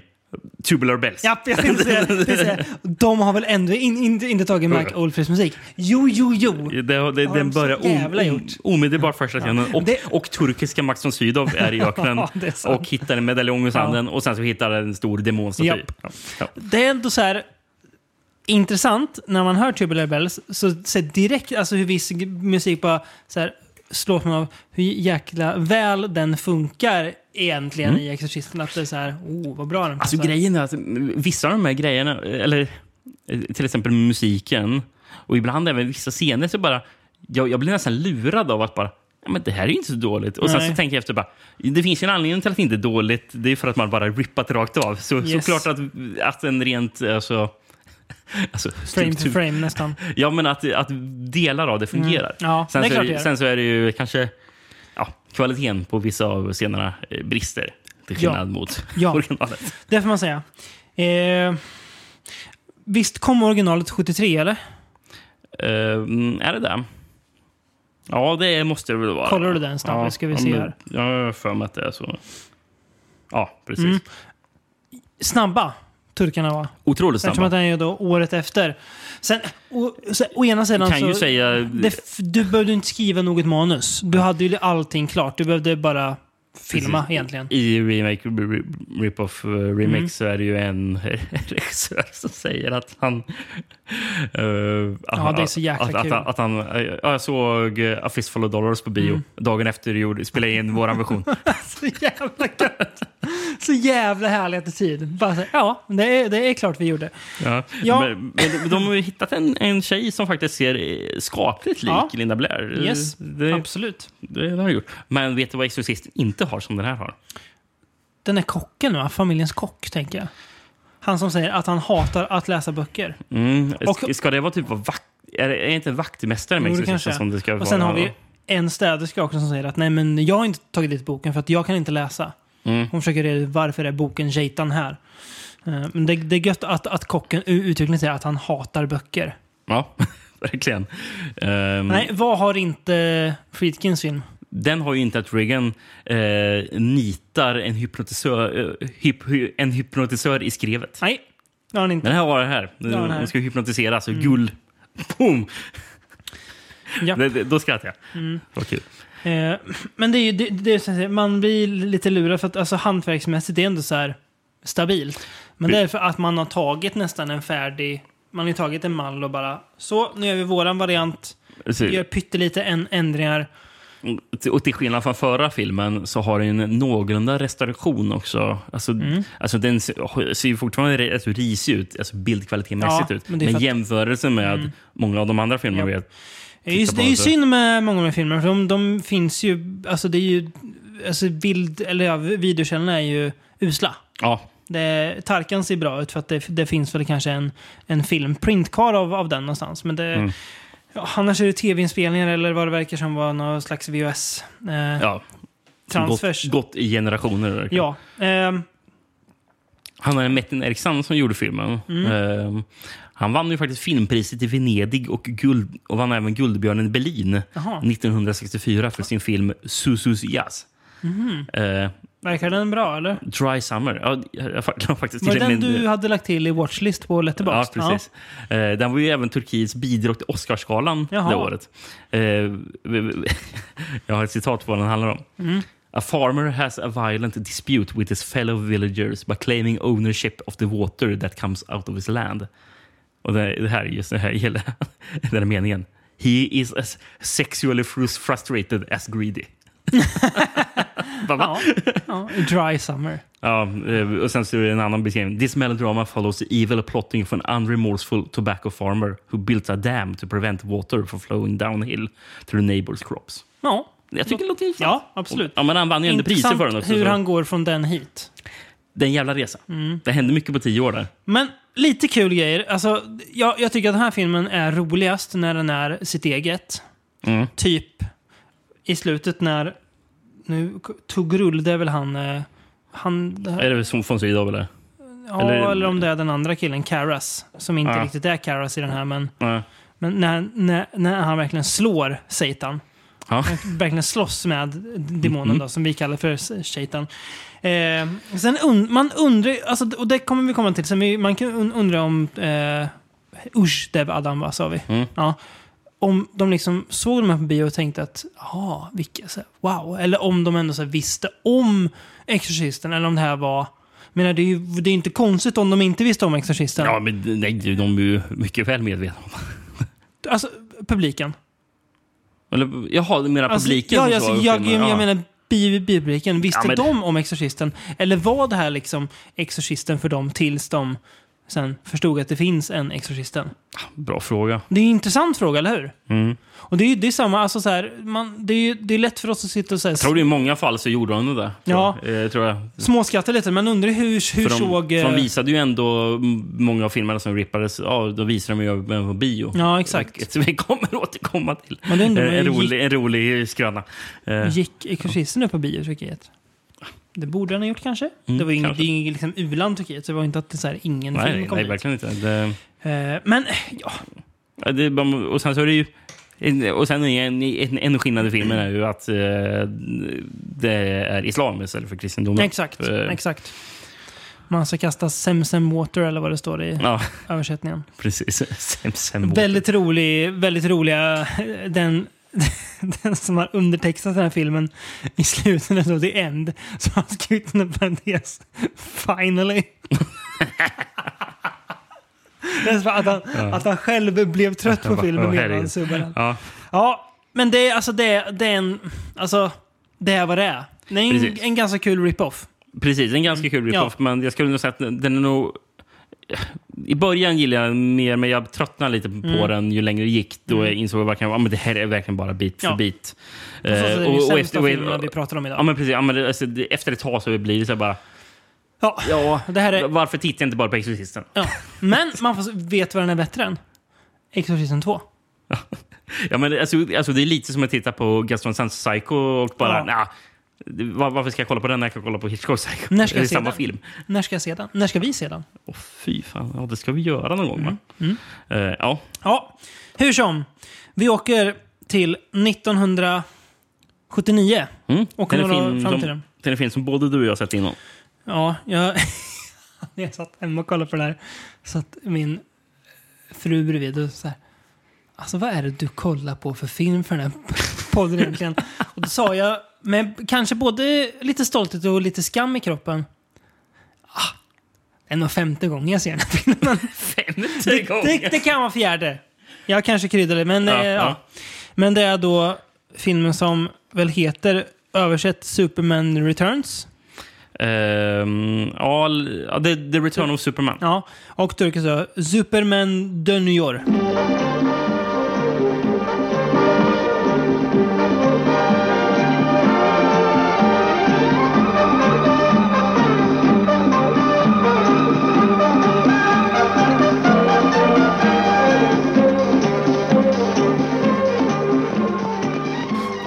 Speaker 2: Tubular bells.
Speaker 1: Ja, jag tänkte säga, jag tänkte säga, de har väl ändå in, in, inte tagit Mark Oldfields musik? Jo, jo, jo.
Speaker 2: [laughs] Det, det,
Speaker 1: Har
Speaker 2: den
Speaker 1: de så
Speaker 2: börjar om,
Speaker 1: jävla
Speaker 2: om,
Speaker 1: gjort?
Speaker 2: omedelbart första scenen. Och,
Speaker 1: Det-
Speaker 2: och turkiska Max von Sydow
Speaker 1: [laughs]
Speaker 2: är i öknen
Speaker 1: Ja, det är sant.
Speaker 2: och hittar en medaljong i sanden. Och sen så hittar han en stor demonstaty.
Speaker 1: Japp.
Speaker 2: Ja, ja.
Speaker 1: Det är ändå så här intressant när man hör Tubular Bells, så, så här direkt, alltså hur viss g- musik bara så här, slås man av hur jäkla väl den funkar egentligen i Exorcisten. Att det är så här, oh vad bra den
Speaker 2: Mm. Alltså
Speaker 1: passar.
Speaker 2: grejen är att vissa av de här grejerna, eller eh, till exempel musiken och ibland även vissa scener så bara, jag, jag blir nästan lurad av att bara Ja, men det här är ju inte så dåligt. Och sen
Speaker 1: Nej.
Speaker 2: så tänker jag efter bara, det finns ju en anledning till att det inte är dåligt. Det är för att man bara rippat rakt av. Så
Speaker 1: Yes.
Speaker 2: såklart att, att en rent... Alltså, alltså,
Speaker 1: Frame to
Speaker 2: struktur-
Speaker 1: frame nästan.
Speaker 2: Ja, men att, att delar av det fungerar.
Speaker 1: Ja,
Speaker 2: sen,
Speaker 1: det är
Speaker 2: så
Speaker 1: klart det
Speaker 2: ju,
Speaker 1: gör.
Speaker 2: sen så är det ju kanske ja, kvaliteten på vissa av scenerna eh, brister. Till
Speaker 1: Ja.
Speaker 2: skillnad mot
Speaker 1: Ja.
Speaker 2: originalet.
Speaker 1: Det får man säga. Eh, visst kom originalet 73 eller?
Speaker 2: Eh, mm, är det det? Ja, det måste det väl vara.
Speaker 1: Kollar du den snabbt? Ska vi se
Speaker 2: men-
Speaker 1: här.
Speaker 2: Ja, jag har för mig att det är så. Ja, precis.
Speaker 1: Mm. Snabba turkarna va?
Speaker 2: Otroligt
Speaker 1: Eftersom
Speaker 2: snabba.
Speaker 1: att den är ju då året efter. Sen, å, sen, å ena sidan
Speaker 2: kan
Speaker 1: så...
Speaker 2: ju säga...
Speaker 1: alltså det, f- du behövde inte skriva något manus. Du hade ju allting klart. Du behövde bara filma
Speaker 2: Precis.
Speaker 1: egentligen. [laughs]
Speaker 2: I remake, re- rip-off eh, remix
Speaker 1: Mm.
Speaker 2: så är det ju en [laughs] regissör som säger att han... eh, att-
Speaker 1: det är så jäkla
Speaker 2: att,
Speaker 1: kul.
Speaker 2: Att, att han, eh, ja, jag såg eh, A Fistful of Dollars på
Speaker 1: Mm.
Speaker 2: bio. Dagen efter gjorde, spelade jag in vår version.
Speaker 1: Så jävla gött! Så jävla härligt i tid. Bara så, här, ja, det är, det är klart vi gjorde.
Speaker 2: Ja.
Speaker 1: Ja.
Speaker 2: Men, men de- de har ju hittat en, en tjej som faktiskt ser eh, skapligt lik
Speaker 1: Ja.
Speaker 2: Linda Blair.
Speaker 1: Yes,
Speaker 2: det,
Speaker 1: absolut.
Speaker 2: det har de gjort. Men vet du vad Exorcisten inte har som den här har?
Speaker 1: Den är kocken va? Familjens kock, tänker jag. Han som säger att han hatar att läsa böcker.
Speaker 2: Mm.
Speaker 1: Och-
Speaker 2: ska det vara typ vad vakt... Är det är det inte vaktmästaren med
Speaker 1: Jo, det kanske
Speaker 2: Exorcisten
Speaker 1: är.
Speaker 2: som det ska vara?
Speaker 1: Och sen har vi en städerska också som säger att nej men jag har inte tagit dit boken för att jag kan inte läsa.
Speaker 2: Mm.
Speaker 1: Hon försöker reda ut varför är boken Jaitan här. Eh, Men det, det är gött att, att kocken u- uttryckligen säger att han hatar böcker.
Speaker 2: Ja, [laughs] verkligen. Ehm,
Speaker 1: Nej, vad har inte Friedkins film?
Speaker 2: Den har ju inte att Reagan eh, nitar en hypnotisör, eh, hyp, hy, en hypnotisör i skrevet.
Speaker 1: Nej, det har han inte.
Speaker 2: Den här har det här.
Speaker 1: har den här. Mm.
Speaker 2: Hon ska hypnotiseras och gull. Boom!
Speaker 1: Ja. Mm.
Speaker 2: Det, det, då skrattar jag. Vad kul.
Speaker 1: Eh, Men det är ju, det, det är, så att säga, man blir lite lurad för att alltså, hantverksmässigt det är ändå så här stabilt. Men det är för att man har tagit nästan en färdig, man har ju tagit en mall och bara så, nu gör vi våran variant,
Speaker 2: Så-
Speaker 1: gör pyttelite en, ändringar.
Speaker 2: Och till skillnad från förra filmen så har den en någorlunda restauration också. Alltså,
Speaker 1: Mm.
Speaker 2: alltså den ser ser ju fortfarande re- alltså, risig ut, alltså bildkvalitetsmässigt
Speaker 1: Ja,
Speaker 2: ut.
Speaker 1: men
Speaker 2: Men,
Speaker 1: det är för att- Mm.
Speaker 2: jämförelse med många av de andra filmerna.
Speaker 1: Ja.
Speaker 2: Ja.
Speaker 1: Det är ju,
Speaker 2: Titta
Speaker 1: det
Speaker 2: bara
Speaker 1: är ju
Speaker 2: inte.
Speaker 1: synd med många av de filmerna, för de, de finns ju, alltså det är ju, alltså bild, eller ja, videokällorna är ju usla.
Speaker 2: Ja,
Speaker 1: Det, Tarkan ser bra ut för att det, det finns väl kanske en, en film, print kvar av, av den någonstans. Men det,
Speaker 2: Mm.
Speaker 1: ja, annars är det tv-inspelningar eller vad det verkar som var någon slags VHS-transfers. Eh,
Speaker 2: ja.
Speaker 1: transfers.
Speaker 2: Gått, gått i generationer. verkligen.
Speaker 1: Ja. ehm,
Speaker 2: Han är Metin Eriksson som gjorde filmen.
Speaker 1: Mm.
Speaker 2: Ehm, han vann ju faktiskt filmpriset i Venedig och, guld, och vann även Guldbjörnen i Berlin
Speaker 1: jaha.
Speaker 2: 1964 för sin film Susus Jazz.
Speaker 1: Mhm.
Speaker 2: Ehm,
Speaker 1: Verkar den bra eller?
Speaker 2: Dry Summer. Ja, jag har faktiskt
Speaker 1: Var det
Speaker 2: till och
Speaker 1: den
Speaker 2: med-
Speaker 1: du hade lagt till i Watchlist på
Speaker 2: Ja,
Speaker 1: Letterboxd?
Speaker 2: precis. Eh, den var ju även Turkiets bidrag till Oscarsgalan
Speaker 1: Jaha.
Speaker 2: det året. Eh, [laughs] jag har ett citat på vad den handlar om.
Speaker 1: Mm.
Speaker 2: A farmer has a violent dispute with his fellow villagers by claiming ownership of the water that comes out of his land. Och det, det här är just det här gäller [laughs] den här meningen. He is as sexually frus- frustrated as greedy. [laughs] Bara, va?
Speaker 1: Ja. ja. Dry Summer.
Speaker 2: Ja, eh, och sen så är det en annan beskrivning. This melodrama follows the evil plotting of an unremorseful tobacco farmer who built a dam to prevent water from flowing downhill to the neighbors crops.
Speaker 1: Ja,
Speaker 2: Jag tycker det låter intressant.
Speaker 1: ja absolut.
Speaker 2: Ja, men han vann ju ändå priser
Speaker 1: Intressant
Speaker 2: för den också.
Speaker 1: hur
Speaker 2: så-
Speaker 1: han går från den hit. Mm.
Speaker 2: Det är en jävla resa. Det hände mycket på tio år där.
Speaker 1: Men lite kul grejer. Alltså, jag, jag tycker att den här filmen är roligast när den är sitt eget.
Speaker 2: Mm.
Speaker 1: Typ i slutet när... Nu, Tugrull, det är väl han... eh, Han... det här-
Speaker 2: Är det som von Sydow eller?
Speaker 1: ja, eller,
Speaker 2: eller-
Speaker 1: om det är den andra killen, Karas. Som inte
Speaker 2: Ja.
Speaker 1: riktigt är Karas i den här, men,
Speaker 2: Ja.
Speaker 1: men när, när, när han verkligen slår Satan.
Speaker 2: Ja.
Speaker 1: Han verkligen slåss med demonen
Speaker 2: Mm-hmm.
Speaker 1: då, som vi kallar för Satan. Eh, sen und man undrar, alltså, och det kommer vi komma till, sen vi, man kan un- undra om eh, Ush Dev Adam, vad sa vi?
Speaker 2: Mm.
Speaker 1: Ja. Om de liksom såg de här på bio och tänkte att, ja, vilka, så här, wow. Eller om de ändå så här, visste om Exorcisten, eller om det här var... Jag menar, det är ju det är inte konstigt om de inte visste om Exorcisten.
Speaker 2: ja, men nej, de är ju mycket väl medvetna om.
Speaker 1: Alltså, publiken.
Speaker 2: Eller, jaha, du menar publiken?
Speaker 1: Alltså, ja,
Speaker 2: som
Speaker 1: alltså,
Speaker 2: såg
Speaker 1: jag,
Speaker 2: filmen?
Speaker 1: jag,
Speaker 2: Ja.
Speaker 1: menar bi- biopubliken. Visste
Speaker 2: Ja, men-
Speaker 1: de om Exorcisten? Eller var det här liksom Exorcisten för dem tills de sen förstod att det finns en Exorcisten?
Speaker 2: Bra fråga.
Speaker 1: Det är en intressant fråga, eller hur?
Speaker 2: Mm.
Speaker 1: Och det är, ju- det är samma, alltså så här, man, det, är, ju- det är lätt för oss att sitta och säga,
Speaker 2: Jag tror det i många fall så gjorde de det där.
Speaker 1: Ja.
Speaker 2: Eh, tror jag.
Speaker 1: småskratta lite, men undrar hur, hur
Speaker 2: För de,
Speaker 1: såg...
Speaker 2: för
Speaker 1: eh,
Speaker 2: de visade ju ändå m- många av filmerna som rippades. Ja, de visade de ju även på bio.
Speaker 1: Ja,
Speaker 2: [laughs]
Speaker 1: exakt.
Speaker 2: Som vi kommer återkomma till.
Speaker 1: Men det
Speaker 2: En,
Speaker 1: undrar man
Speaker 2: en,
Speaker 1: ju,
Speaker 2: rolig, en eh, rolig skröna. Eh,
Speaker 1: Gick Exorcisten upp på bio i Turkiet? Det borde han ha gjort kanske? det var ju inget, det
Speaker 2: Mm, kanske.
Speaker 1: är inget liksom u-land Turkiet, så det var ju inte att det så här, ingen film
Speaker 2: nej,
Speaker 1: kom
Speaker 2: nej,
Speaker 1: dit.
Speaker 2: verkligen inte. Det,
Speaker 1: Eh, men ja,
Speaker 2: ja, det, är bara- och sen så är det ju... en- Och sen är en, en, en skillnad i filmen är ju att eh, det är islam istället för kristendom.
Speaker 1: Exakt,
Speaker 2: Eh,
Speaker 1: exakt. Man ska kasta Semsem Water eller vad det står i
Speaker 2: Ja,
Speaker 1: översättningen.
Speaker 2: precis. Sem, sem,
Speaker 1: Väldigt rolig, väldigt roliga, den, [laughs] den som har undertextat den här filmen i slutet, när det står the end, så har han skrivit en parentes. Finally. [laughs] Det är så att, han, att han själv blev trött
Speaker 2: han
Speaker 1: på
Speaker 2: bara,
Speaker 1: filmen
Speaker 2: "Åh,
Speaker 1: medan
Speaker 2: herregud."
Speaker 1: han subbade den.
Speaker 2: Ja,
Speaker 1: Ja, men det är alltså det, det är en, alltså det är vad det är. Det är en,
Speaker 2: Precis.
Speaker 1: en ganska kul rip-off.
Speaker 2: precis. En ganska kul rip-off, men jag skulle nog säga att den är nog... I början gillade jag den mer, men jag tröttnade lite på
Speaker 1: Mm.
Speaker 2: den ju längre det gick. Då jag insåg jag verkligen att ah, men det här är verkligen bara bit för
Speaker 1: Ja.
Speaker 2: bit. Eh,
Speaker 1: Alltså, det är den sämsta
Speaker 2: och-
Speaker 1: filmen vi pratar om
Speaker 2: Ja,
Speaker 1: idag.
Speaker 2: men precis. Ja, men det, alltså, det, efter ett tag så blir det så här bara...
Speaker 1: Ja,
Speaker 2: Ja,
Speaker 1: det här är,
Speaker 2: Varför tittar jag inte bara på Exorcisten?
Speaker 1: ja. Men man får, vet vad den är bättre än? Exorcisten 2.
Speaker 2: Ja, men alltså, alltså, det är lite som att titta på Gaston Sands Psycho och bara...
Speaker 1: Ja.
Speaker 2: "Nah, det- var, varför ska jag kolla på den när jag kan kolla på Hitchcocks Psycho?
Speaker 1: När ska
Speaker 2: det är
Speaker 1: jag se
Speaker 2: samma
Speaker 1: den?
Speaker 2: film.
Speaker 1: När ska jag se den? När ska vi se den?
Speaker 2: Åh, fy fan, ja, det ska vi göra någon gång. Va?
Speaker 1: Mm,
Speaker 2: Eh, ja.
Speaker 1: Ja, hur som. Vi åker till 1979.
Speaker 2: Mm.
Speaker 1: Och
Speaker 2: Till en
Speaker 1: några
Speaker 2: film
Speaker 1: framtiden.
Speaker 2: som- Till en film som både du och jag sett innan.
Speaker 1: Ja, jag, [laughs] jag satt hemma och kollade på det här. Så att min fru bredvid och så här. Alltså vad är det du kollar på för film för den här [laughs] podden egentligen? Och då sa jag, med kanske både lite stolthet och lite skam i kroppen. Ah, det är nog femte gången jag ser den här filmen.
Speaker 2: [laughs] Femte
Speaker 1: det, det, det kan vara fjärde. Jag kanske kryddade, men,
Speaker 2: Ja,
Speaker 1: eh, ja.
Speaker 2: ja.
Speaker 1: men det är då filmen som väl heter översatt Superman Returns.
Speaker 2: Ehm, ja, l- ja, The, The Return of Superman.
Speaker 1: Ja, och turkisk ö, Superman Dönüyor.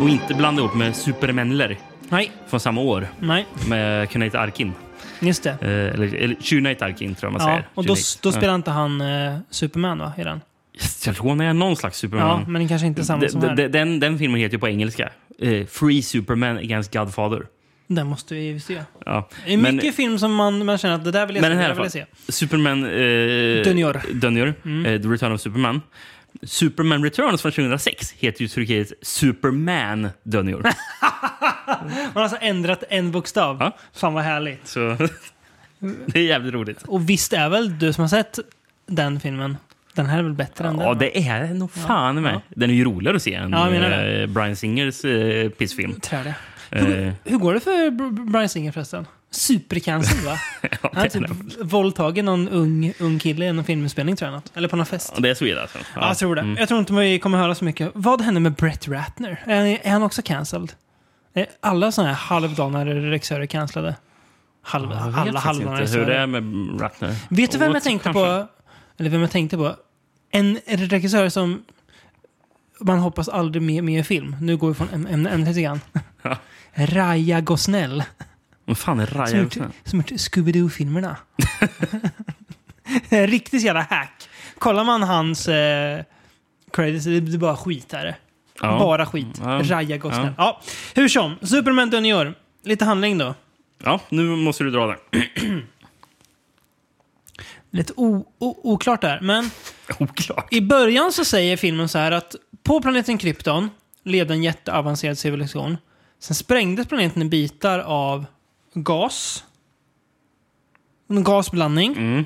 Speaker 2: Och inte blanda ihop med Supermanler
Speaker 1: Nej,
Speaker 2: från samma år
Speaker 1: nej,
Speaker 2: med Kunate Arkin.
Speaker 1: just det.
Speaker 2: Eh, eller eller Shunite Arkin tror jag man
Speaker 1: Ja,
Speaker 2: säger.
Speaker 1: och då,
Speaker 2: Shunite.
Speaker 1: då spelar inte han eh, Superman va, i den?
Speaker 2: Jag tror han är någon slags Superman.
Speaker 1: Ja, men det kanske inte är samma
Speaker 2: D-
Speaker 1: som
Speaker 2: d-
Speaker 1: här.
Speaker 2: d- den, den filmen heter ju på engelska eh, Free Superman Against Godfather.
Speaker 1: Den måste vi ju se.
Speaker 2: Ja.
Speaker 1: Det är
Speaker 2: Men-
Speaker 1: mycket film som man, man känner att det där vill jag se.
Speaker 2: Men
Speaker 1: Det
Speaker 2: den här
Speaker 1: där vill
Speaker 2: i alla
Speaker 1: jag se. Mm.
Speaker 2: fall. Superman... Eh,
Speaker 1: Dönjör.
Speaker 2: Dönjör. Eh, The Return of Superman. Superman Returns från 2006 heter ju Turkiet Superman
Speaker 1: [laughs]
Speaker 2: Dönjör.
Speaker 1: Man har alltså ändrat en bokstav.
Speaker 2: Ja.
Speaker 1: Fan vad härligt.
Speaker 2: Så det är jävligt roligt.
Speaker 1: Och visst är väl du som har sett den filmen, den här är väl bättre än den?
Speaker 2: Ja, det är nog fan med.
Speaker 1: ja.
Speaker 2: Den är ju roligare att se än
Speaker 1: Ja, jag menar det.
Speaker 2: eh, Brian Singers eh, pissfilm.
Speaker 1: Tror jag det.
Speaker 2: Eh,
Speaker 1: Hur går det för Br- Br- Bryan Singer förresten? Supercancer va?
Speaker 2: [laughs] ja,
Speaker 1: Han har
Speaker 2: det, är,
Speaker 1: typ våldtagit någon ung, ung kille i någon filminspelning tror jag. Något. Eller på någon fest.
Speaker 2: det är så illa alltså.
Speaker 1: Ja, jag tror det. Jag tror inte vi kommer höra så mycket. Vad hände med Brett Ratner? Är han, är han också cancelled? Är alla sådana här halvdana regissörer cancellade? Halv,
Speaker 2: Jag vet
Speaker 1: alla
Speaker 2: faktiskt
Speaker 1: halvdana
Speaker 2: inte hur det
Speaker 1: regissörer.
Speaker 2: är med Ratner.
Speaker 1: Vet du vem
Speaker 2: Och
Speaker 1: jag tänkte
Speaker 2: kanske-
Speaker 1: på? Eller vem jag tänkte på? En regissör som man hoppas aldrig mer med i film. Nu går vi från äm- ämne ämnet lite grann.
Speaker 2: Ja.
Speaker 1: Raya Gosnell.
Speaker 2: Vad fan är
Speaker 1: Som
Speaker 2: Ryan?
Speaker 1: gjort, som gjort Scooby-Doo-filmerna. [laughs] En Riktigt jävla hack. Kollar man hans eh, credits, det är bara skit här.
Speaker 2: Ja.
Speaker 1: Bara skit.
Speaker 2: Ja.
Speaker 1: Raya Gosnell. Ja. Hur som, Superman Dunior. Lite handling då.
Speaker 2: ja, nu måste du dra den. [laughs]
Speaker 1: Lite o- o- oklart där, men
Speaker 2: Oklart.
Speaker 1: I början så säger filmen så här att på planeten Krypton levde en jätteavancerad civilisation. Sen sprängdes planeten i bitar av gas. En gasblandning.
Speaker 2: Mm.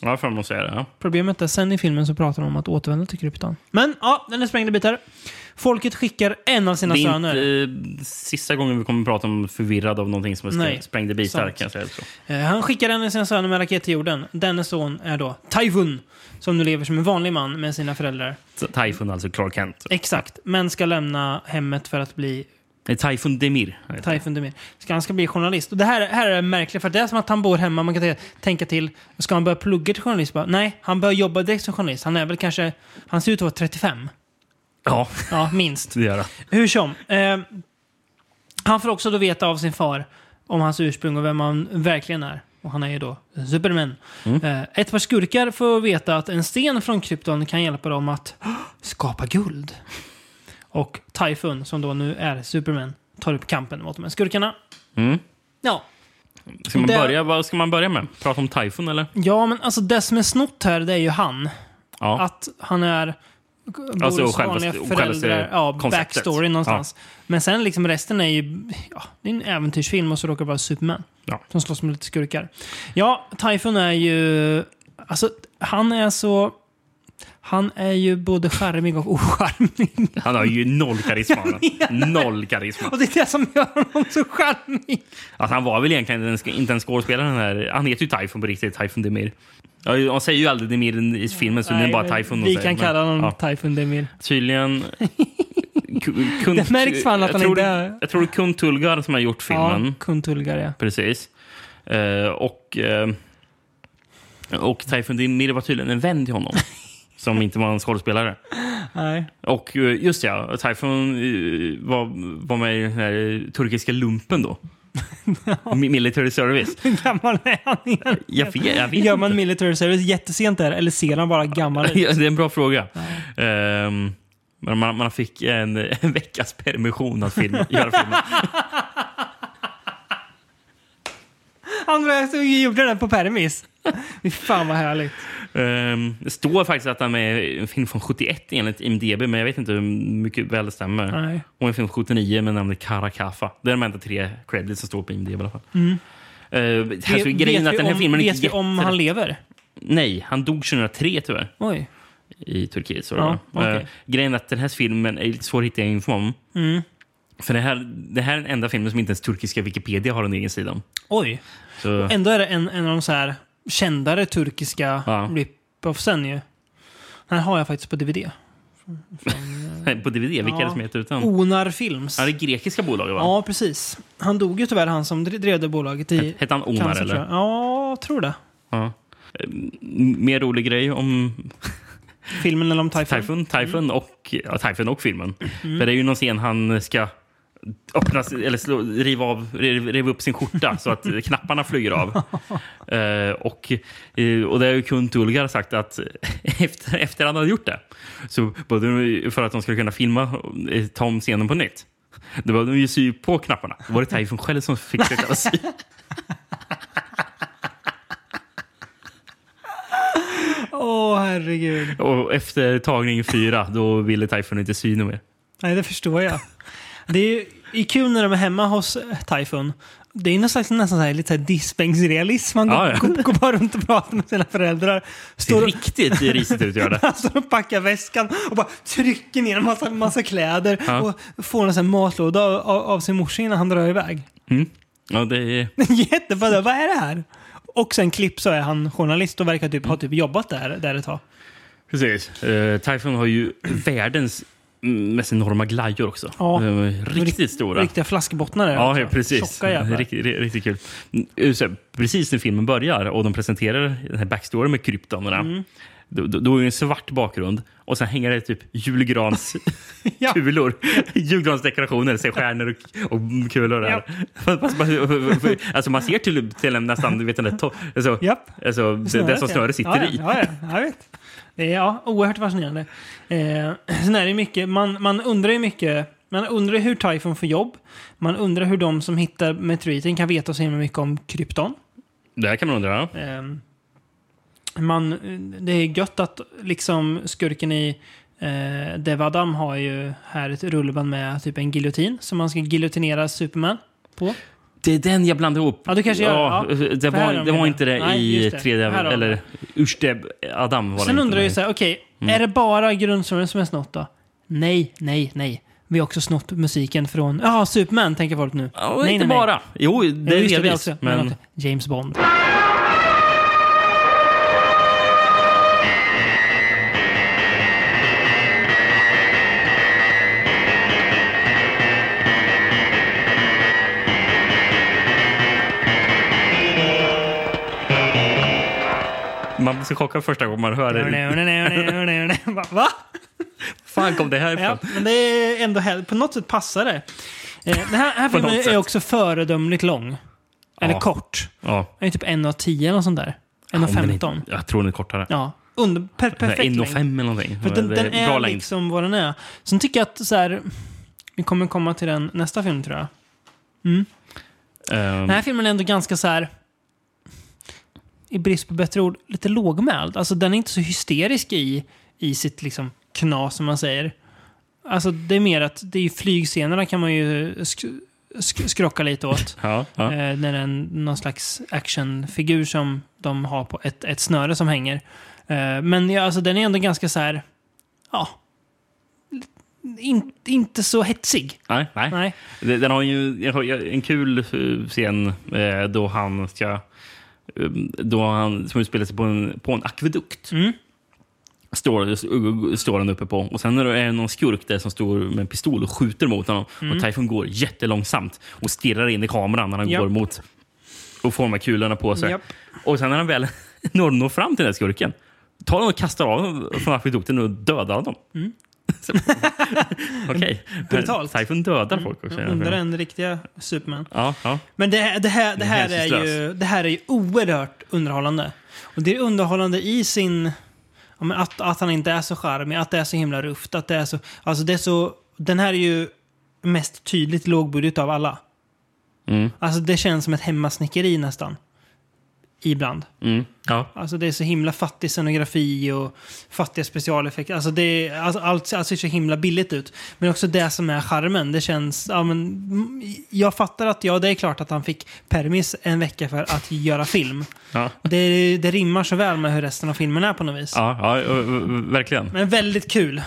Speaker 2: Ja, fan måste jag säga det. Ja.
Speaker 1: Problemet är sen i filmen så pratar de om att återvända till Krypton. Men ja, den är sprängd i bitar. Folket skickar en av sina
Speaker 2: Det är
Speaker 1: söner.
Speaker 2: inte eh, sista gången vi kommer prata om förvirrad av någonting som
Speaker 1: Nej.
Speaker 2: Nej. sprängde bitar.
Speaker 1: Sant.
Speaker 2: Kan jag säga så.
Speaker 1: Eh, Han skickar en av sina söner med en raket till jorden. Denne son är då Typhon, som nu lever som en vanlig man med sina föräldrar.
Speaker 2: Så Typhoon, alltså Clark Kent.
Speaker 1: Exakt, men ska lämna hemmet för att bli
Speaker 2: Nej, Typhoon Demir. heter han.
Speaker 1: Taifun Demir. Ska han ska bli journalist. Och det här, här är märkligt, för det är som att han bor hemma. Man kan tänka, tänka till, ska han börja plugga till journalist? Bara, nej, han börjar jobba direkt som journalist. Han är väl kanske, han ser ut att vara 35.
Speaker 2: Ja,
Speaker 1: Ja, minst.
Speaker 2: det gör han.
Speaker 1: Hur som. Eh, han får också då veta av sin far om hans ursprung och vem han verkligen är. Och han är ju då Superman. Eh, ett par skurkar får veta att en sten från krypton kan hjälpa dem att skapa guld. Och Typhon, som då nu är Superman, tar upp kampen mot de här skurkarna.
Speaker 2: Mm.
Speaker 1: Ja.
Speaker 2: Ska man
Speaker 1: Det-
Speaker 2: börja, vad ska man börja med? Prata om Typhoon eller?
Speaker 1: Ja, men alltså det som är snott här, det är ju han.
Speaker 2: Ja.
Speaker 1: Att han är... Bor
Speaker 2: Alltså,
Speaker 1: hos
Speaker 2: själva-
Speaker 1: vanliga
Speaker 2: själva
Speaker 1: föräldrar. Ja,
Speaker 2: konceptet.
Speaker 1: backstory någonstans. Men sen liksom resten är ju... Ja, det är en äventyrsfilm och så råkar det vara Superman.
Speaker 2: Ja.
Speaker 1: Som slåss med lite skurkar. Ja, Typhoon är ju... Alltså, han är så... Han är ju både charmig och ocharmig. [laughs]
Speaker 2: Han har ju noll karisma. noll karisma.
Speaker 1: Och det är det som gör honom så charmig.
Speaker 2: Alltså, han var väl egentligen en- inte en skådespelare. Den här. Han heter ju Typhoon på riktigt, Typhoon Demir. Ja, han säger ju aldrig Demir i filmen, så nu är det
Speaker 1: Nej,
Speaker 2: bara
Speaker 1: men
Speaker 2: Typhoon. de
Speaker 1: Vi
Speaker 2: säger.
Speaker 1: kan
Speaker 2: Men-
Speaker 1: kalla honom
Speaker 2: ja.
Speaker 1: Typhoon Demir. [laughs]
Speaker 2: Tydligen... Ku- kun-
Speaker 1: Det märks fan att
Speaker 2: jag
Speaker 1: han
Speaker 2: tror
Speaker 1: inte
Speaker 2: det-
Speaker 1: är-
Speaker 2: Jag tror det är Kun Tulgar som har gjort filmen.
Speaker 1: Ja, Kun Tulgar, ja.
Speaker 2: Precis. Eh, och, eh, och Typhoon Demir var tydligen en vän
Speaker 1: [laughs]
Speaker 2: till honom. Som inte var en skådespelare.
Speaker 1: Nej.
Speaker 2: Och eh, just ja, Typhoon eh, var, var med i den här turkiska
Speaker 1: [laughs]
Speaker 2: lumpen då. Mi- Military service.
Speaker 1: Hur gammal är han igen?
Speaker 2: Jag vet, jag vet
Speaker 1: Gör man
Speaker 2: inte.
Speaker 1: military service jättesent där, eller ser han bara gammal ut?
Speaker 2: [laughs] Ja, Det är en bra fråga. Ehm, men man, man fick en, en veckas permission att filma, [laughs] göra filmen.
Speaker 1: Han var- så gjorde det där på permis. Fy fan vad härligt.
Speaker 2: Ehm, det står faktiskt att han är med i en film från 71 enligt IMDB, men jag vet inte hur mycket väl det stämmer.
Speaker 1: Nej.
Speaker 2: Och en film från 79 med namnet Karakaffa. Det är de enda tre credits som står på IMDB i alla fall. Mm. alltså, grejen är att den här
Speaker 1: om,
Speaker 2: filmen är
Speaker 1: vet
Speaker 2: inte
Speaker 1: vi om
Speaker 2: jätte-
Speaker 1: han lever?
Speaker 2: Nej, han dog 2003 tyvärr
Speaker 1: Oj.
Speaker 2: i Turkiet. Så
Speaker 1: Ja,
Speaker 2: det var.
Speaker 1: okej. Mm.
Speaker 2: Eh, grejen är att den här filmen är lite svår att hitta info om. För det här, det här är den enda filmen som inte ens turkiska Wikipedia har en egen sida om.
Speaker 1: Oj.
Speaker 2: Så,
Speaker 1: Ändå är det en, en av de så här kändare turkiska
Speaker 2: Ja.
Speaker 1: rip-offsen ju. Den här har jag faktiskt på DVD.
Speaker 2: [laughs] på DVD, vilka
Speaker 1: Ja.
Speaker 2: är det som heter utan?
Speaker 1: Onar Films.
Speaker 2: Ja, det är grekiska bolag va?
Speaker 1: Ja, precis. Han dog ju tyvärr, han som dre- drev det bolaget i
Speaker 2: Hette han Omar
Speaker 1: cancer,
Speaker 2: eller?
Speaker 1: tror jag. Ja, jag tror det.
Speaker 2: Ja. Eh, Mer rolig grej om
Speaker 1: Filmen eller om Typhoon.
Speaker 2: Typhoon, Typhoon, och, ja, Typhoon och filmen. För det är ju någon scen han ska öppna, sin- eller slå, riva, av, riv- riva upp sin skjorta så att knapparna flyger av. Eh, och, eh, och det har ju Kun Tulgar sagt att [laughs] efter, efter han hade gjort det, så behövde de, för att de skulle kunna filma, eh, ta om scenen på nytt, då behövde de ju sy på knapparna. Då var det Typhoon själv som fick försöka sy.
Speaker 1: Åh, herregud.
Speaker 2: Och efter tagning fyra, då ville Typhoon inte sy något mer.
Speaker 1: Nej, det förstår jag. Det är, ju, det är kul när de är hemma hos eh, Typhoon. Det är någon slags, nästan så här, lite så här diskbänksrealism. Han går,
Speaker 2: Ja, ja.
Speaker 1: går, går bara runt och pratar med sina föräldrar. Står och,
Speaker 2: Riktigt risigt ut gör det.
Speaker 1: han [laughs] står och packar väskan och bara trycker ner en massa, massa kläder
Speaker 2: Ja.
Speaker 1: och får en sån här matlåda av, av, av sin morsa innan han drar iväg.
Speaker 2: Mm. Ja, det är...
Speaker 1: Jättebra. Vad är det här? Och sen klipp så är han journalist och verkar typ, ha typ jobbat där, där ett tag.
Speaker 2: Precis. Eh, Typhoon har ju [clears throat] världens mest enorma glajjor också.
Speaker 1: Ja.
Speaker 2: Eh, riktigt stora.
Speaker 1: Riktiga flaskbottnar är det
Speaker 2: Ja,
Speaker 1: också.
Speaker 2: ja, precis. Mm,
Speaker 1: Tjocka jävlar.
Speaker 2: Riktigt, riktigt kul. Mm, så här, Precis när filmen börjar och de presenterar den här backstoryn med kryptonerna.
Speaker 1: Mm.
Speaker 2: Då, då, då är det en svart bakgrund och sen hänger det typ julgrans
Speaker 1: [laughs]
Speaker 2: [laughs]
Speaker 1: Ja.
Speaker 2: kulor. Julgransdekorationer, så här stjärnor och, och kulor. Där. Fast man, alltså man ser till, till en nästan, du vet den där to- alltså,
Speaker 1: Japp.
Speaker 2: alltså, det, det som
Speaker 1: ja.
Speaker 2: snöret sitter
Speaker 1: ja,
Speaker 2: i.
Speaker 1: Ja, ja, jag vet. Det är ja, oerhört fascinerande. Eh, sen är det mycket, man, man undrar ju mycket. Man undrar hur Typhon får jobb. Man undrar hur de som hittar meteoriten kan veta så himla mycket om krypton.
Speaker 2: Det här kan man undra. ja.
Speaker 1: Eh, man, det är gött att liksom skurken i eh, Devadam har ju här ett rullband med typ en giljotin som man ska giljotinera Superman på.
Speaker 2: Det är den jag blandade ihop.
Speaker 1: Ja, du kanske gör det. Ja.
Speaker 2: Det,
Speaker 1: För här
Speaker 2: var,
Speaker 1: är de
Speaker 2: det
Speaker 1: redan.
Speaker 2: var inte det
Speaker 1: Nej,
Speaker 2: i
Speaker 1: just det.
Speaker 2: 3D,
Speaker 1: Här har de
Speaker 2: eller Ursteb Adam var det
Speaker 1: Sen
Speaker 2: inte,
Speaker 1: undrar jag ju
Speaker 2: nej.
Speaker 1: så här, okej,
Speaker 2: Mm.
Speaker 1: är det bara grundstoryn som är snott då? Nej, nej, nej. Vi har också snott musiken från, ja, Superman tänker folk nu.
Speaker 2: Ja,
Speaker 1: nej,
Speaker 2: inte
Speaker 1: nej, nej.
Speaker 2: bara. Jo, det
Speaker 1: Ja,
Speaker 2: är
Speaker 1: just det, det
Speaker 2: delvis.
Speaker 1: också. Men...
Speaker 2: men
Speaker 1: också James Bond.
Speaker 2: man blir så chockad första gången man hör det.
Speaker 1: Va? Va?
Speaker 2: fan kom det här ifrån?
Speaker 1: Ja, men det är ändå, här- på något sätt passar det. Eh, Den här, här
Speaker 2: [laughs] På något
Speaker 1: filmen är
Speaker 2: sätt.
Speaker 1: också föredömligt lång. Eller
Speaker 2: Ja.
Speaker 1: kort.
Speaker 2: Ja.
Speaker 1: Den är typ 1 av 10 eller sånt där. 1 av
Speaker 2: Om den inte-
Speaker 1: 15.
Speaker 2: Jag tror den är kortare.
Speaker 1: Ja. Under, per, perfekt
Speaker 2: En och
Speaker 1: längd.
Speaker 2: fem eller någonting.
Speaker 1: För den,
Speaker 2: Det
Speaker 1: den är
Speaker 2: bra längd.
Speaker 1: liksom vad den är. Sen tycker jag att så här, vi kommer komma till den nästa film tror jag.
Speaker 2: Ehm,
Speaker 1: Den här filmen är ändå ganska så här i brist på bättre ord, lite lågmäld. Alltså den är inte så hysterisk i, i sitt liksom knas som man säger. Alltså det är mer att det är ju flygscenerna kan man ju sk- sk- skrocka lite åt.
Speaker 2: ja, ja.
Speaker 1: Eh, när det är en, någon slags actionfigur som de har på ett, ett snöre som hänger. Eh, men ja, alltså, den är ändå ganska så här, ja, in, inte så hetsig.
Speaker 2: Nej, nej.
Speaker 1: Nej.
Speaker 2: Den den har ju jag har ju en kul eh, scen eh, då han ska... eh, Då han, som utspelar sig på en, på en akvedukt.
Speaker 1: Mm.
Speaker 2: Står, står han uppe på. Och Sen är det är det någon skurk där som står med en pistol och skjuter mot honom.
Speaker 1: Mm.
Speaker 2: Och Typhoon går jättelångsamt och stirrar in i kameran när han
Speaker 1: Japp.
Speaker 2: går mot och får de här kulorna på sig.
Speaker 1: Japp.
Speaker 2: Och sen när han väl [laughs] når, når fram till den här skurken tar han och kastar av honom från akvedukten och dödar honom. [laughs] Så- Okej.
Speaker 1: Mm. Brutalt. Mm.
Speaker 2: Typhoon dödar folk också. i den här
Speaker 1: Under
Speaker 2: filmen.
Speaker 1: den riktiga Superman.
Speaker 2: Ja, ja.
Speaker 1: Men det här, det här, det här, är, ju,
Speaker 2: hänsynslös.
Speaker 1: det här är ju oerhört underhållande. Och det är underhållande i sin... Ja, men att, att han inte är så charmig, att det är så himla rufft, att det är så... Alltså det är så... Den här är ju mest tydligt lågbudget av alla.
Speaker 2: Mm.
Speaker 1: Alltså det känns som ett hemmasnickeri nästan. Ibland.
Speaker 2: Mm. ja.
Speaker 1: Alltså det är så himla fattig scenografi och fattiga specialeffekter. Alltså det är, alltså, allt, allt ser så himla billigt ut. Men också det som är charmen. Det känns, ja men, mm, jag fattar att, ja det är klart att han fick permis en vecka för att göra film.
Speaker 2: ja.
Speaker 1: Det, det rimmar så väl med hur resten av filmen är på något vis.
Speaker 2: Ja, ja, ö- ö- verkligen.
Speaker 1: Men väldigt kul. Eh,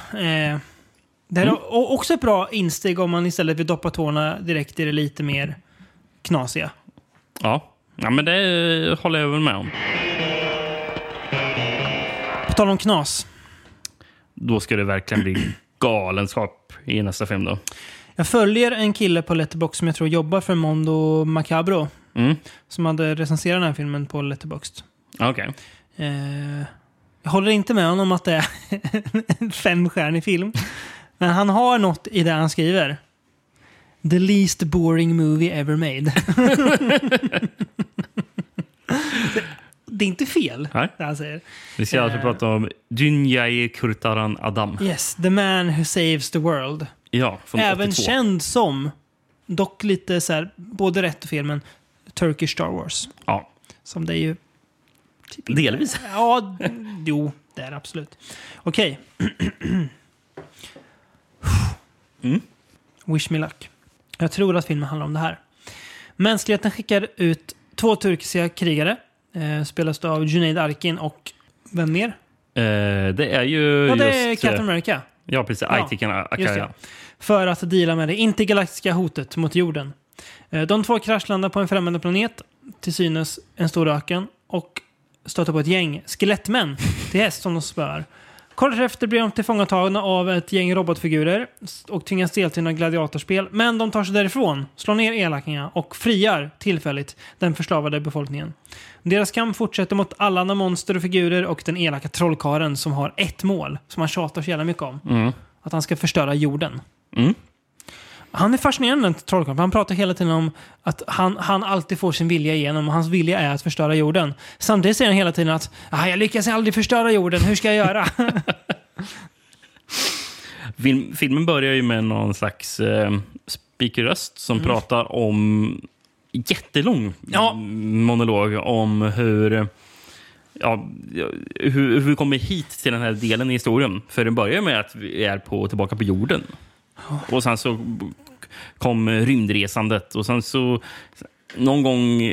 Speaker 1: det här är o- också ett bra insteg om man istället vill doppa tårna direkt i det lite mer knasiga.
Speaker 2: Ja. ja, men det eh, håller jag väl med om.
Speaker 1: På tal om knas.
Speaker 2: Då ska det verkligen bli [clears throat] galenskap i nästa film då.
Speaker 1: Jag följer en kille på Letterboxd som jag tror jobbar för Mondo Macabro.
Speaker 2: Mm.
Speaker 1: Som hade recenserat den här filmen på Letterboxd.
Speaker 2: Okej.
Speaker 1: Eh, jag håller inte med honom att det är [laughs] en femstjärnig film. Men han har något i det han skriver. The least boring movie ever made. [laughs] Det- det är inte fel,
Speaker 2: Nej.
Speaker 1: det han säger.
Speaker 2: Vi ska alltså
Speaker 1: Eh.
Speaker 2: prata om Dünyaye Kurtaran Adam.
Speaker 1: Yes, the man who saves the world.
Speaker 2: Ja, från
Speaker 1: Även
Speaker 2: 82.
Speaker 1: känd som, dock lite så här, både rätt och fel, men Turkish Star Wars.
Speaker 2: Ja.
Speaker 1: Som det är ju... typ
Speaker 2: Delvis.
Speaker 1: Ja, jo, det är det absolut. Okej.
Speaker 2: [clears throat] Mm.
Speaker 1: Wish me luck. Jag tror att filmen handlar om det här. Mänskligheten skickar ut två turkiska krigare. Eh, spelas av Junaid Arkin och vem mer?
Speaker 2: Eh, det är ju
Speaker 1: Ja, det är
Speaker 2: just...
Speaker 1: Captain
Speaker 2: eh,
Speaker 1: America.
Speaker 2: Ja, precis.
Speaker 1: Ja,
Speaker 2: Aitiken
Speaker 1: Just
Speaker 2: Akaya.
Speaker 1: det. För att deala med det intergalaktiska hotet mot jorden. Eh, De två kraschlandar på en främmande planet, till synes en stor öken, och stöter på ett gäng skelettmän till häst som de spöar. Kort efter blir de tillfångatagna av ett gäng robotfigurer och tvingas delta i några gladiatorspel. Men de tar sig därifrån, slår ner elakingarna och friar tillfälligt den förslavade befolkningen. Deras kamp fortsätter mot alla andra monster och figurer och den elaka trollkaren som har ett mål som han tjatar så jävla mycket om.
Speaker 2: Mm.
Speaker 1: Att han ska förstöra jorden.
Speaker 2: Mm.
Speaker 1: Han är fascinerande, den trollkarlen. för Han pratar hela tiden om att han, han alltid får sin vilja igenom och hans vilja är att förstöra jorden. Samtidigt säger han hela tiden att ah, jag lyckas aldrig förstöra jorden, hur ska jag göra? [laughs]
Speaker 2: Film, filmen börjar ju med någon slags eh, speakerröst som pratar om jättelång
Speaker 1: Ja.
Speaker 2: m- monolog om hur, ja, hur, hur vi kommer hit till den här delen i historien. För den börjar med att vi är på, tillbaka på jorden. Och sen så kom rymdresandet och sen så någon gång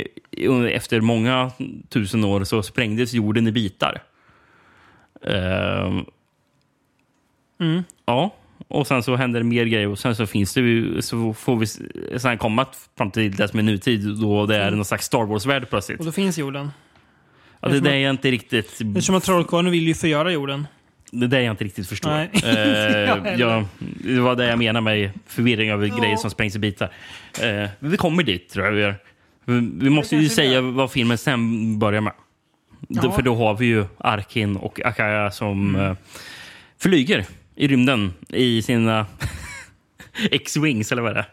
Speaker 2: efter många tusen år så sprängdes jorden i bitar. Ehm,
Speaker 1: Mm.
Speaker 2: Ja, och sen så händer det mer grejer och sen så finns det ju, så får vi s- sen komma t- fram till det som är nutid då det är någon slags Star Wars-värld plötsligt.
Speaker 1: Mm. och då finns jorden.
Speaker 2: Ja, det där är jag inte riktigt,
Speaker 1: Eftersom att trollkarlen vill ju förgöra jorden.
Speaker 2: det där jag inte riktigt förstår.
Speaker 1: Nej. [laughs]
Speaker 2: Eh,
Speaker 1: heller.
Speaker 2: ja, det var det jag menar med förvirring över grejer som sprängs i bitar. Eh, men vi kommer dit tror jag vi gör. Vi, vi måste ju
Speaker 1: kanske vi
Speaker 2: säga vad filmen sen börjar med. Då-
Speaker 1: Ja. Mm.
Speaker 2: För då har vi ju Arkin och Akaya som eh, flyger i rymden i sina [laughs] X-Wings eller vad det är.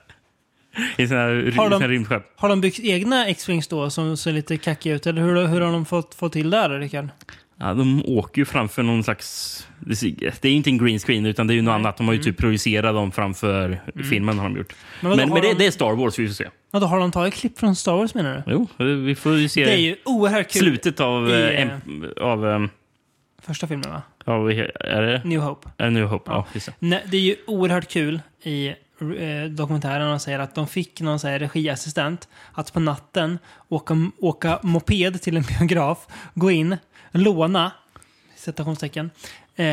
Speaker 2: I sina, ry-
Speaker 1: Har de-
Speaker 2: sina rymdskepp.
Speaker 1: Har de byggt egna X-Wings då som ser lite kackiga ut? Eller hur, hur har de fått, fått till det här, Rickard?
Speaker 2: Ja, de åker ju framför någon slags... Det är ju inte en green screen, utan det är ju något annat. De har ju
Speaker 1: Mm.
Speaker 2: typ projicerat dem framför filmen. har de gjort.
Speaker 1: Men
Speaker 2: Men,
Speaker 1: vadå,
Speaker 2: men,
Speaker 1: har
Speaker 2: det,
Speaker 1: de-
Speaker 2: det är Star Wars vi får se.
Speaker 1: Ja, då har de tagit klipp från Star Wars menar du?
Speaker 2: Jo, vi får ju se
Speaker 1: Det är ju oerhört kul.
Speaker 2: slutet av...
Speaker 1: I,
Speaker 2: eh, em- av, em,
Speaker 1: Första filmen va?
Speaker 2: av eh, är det Eh,
Speaker 1: New Hope.
Speaker 2: A New Hope?
Speaker 1: Ja.
Speaker 2: Ja, just det.
Speaker 1: Nej, det är ju oerhört kul i eh, dokumentären de säger att de fick någon så här, regiassistent att på natten åka, åka moped till en [laughs] biograf, gå in, låna, citationstecken, eh,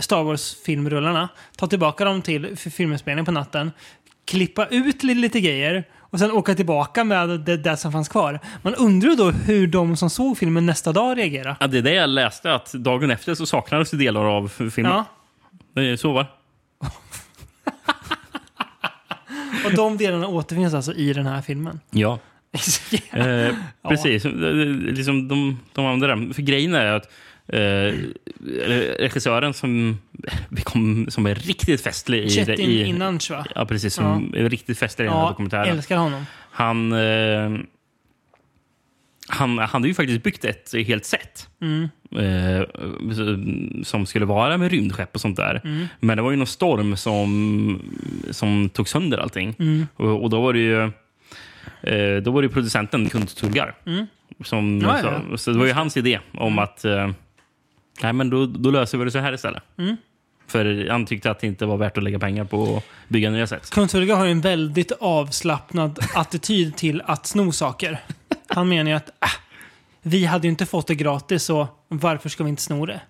Speaker 1: Star Wars-filmrullarna, ta tillbaka dem till f- filminspelningen på natten, klippa ut li- lite grejer och sen åka tillbaka med det, det som fanns kvar. Man undrar ju då hur de som såg filmen nästa dag reagerade.
Speaker 2: Ja, det är det jag läste, att dagen efter så saknades det delar av filmen.
Speaker 1: Ja.
Speaker 2: Det är så, va?
Speaker 1: Och de delarna återfinns alltså i den här filmen. [laughs]
Speaker 2: Ja. [laughs] Eh, precis. Eh, Liksom de, de använder det. För grejen är att eh, regissören som, [laughs] vi kom- som är riktigt festlig i...
Speaker 1: Chetin
Speaker 2: i
Speaker 1: innan va?
Speaker 2: Ja, precis. Som är riktigt festlig i den här
Speaker 1: Ja,
Speaker 2: dokumentären.
Speaker 1: älskar honom.
Speaker 2: Han, eh, han, han har ju faktiskt byggt ett helt set. Eh, som skulle vara med rymdskepp och sånt där. Men det var ju någon storm som, som tog sönder allting. Och, och då var det ju eh, då var det ju producenten Kurt Tulgar. Som,
Speaker 1: Ja,
Speaker 2: sa-
Speaker 1: ja.
Speaker 2: Så det var ju hans idé om att eh, nej, men då, då löser vi det så här istället.
Speaker 1: Mm.
Speaker 2: För han tyckte att det inte var värt att lägga pengar på att bygga nya set.
Speaker 1: Kungsholga har ju en väldigt
Speaker 2: [laughs]
Speaker 1: avslappnad attityd till att sno saker. Han menar ju att äh, vi hade ju inte fått det gratis så varför ska vi inte sno det?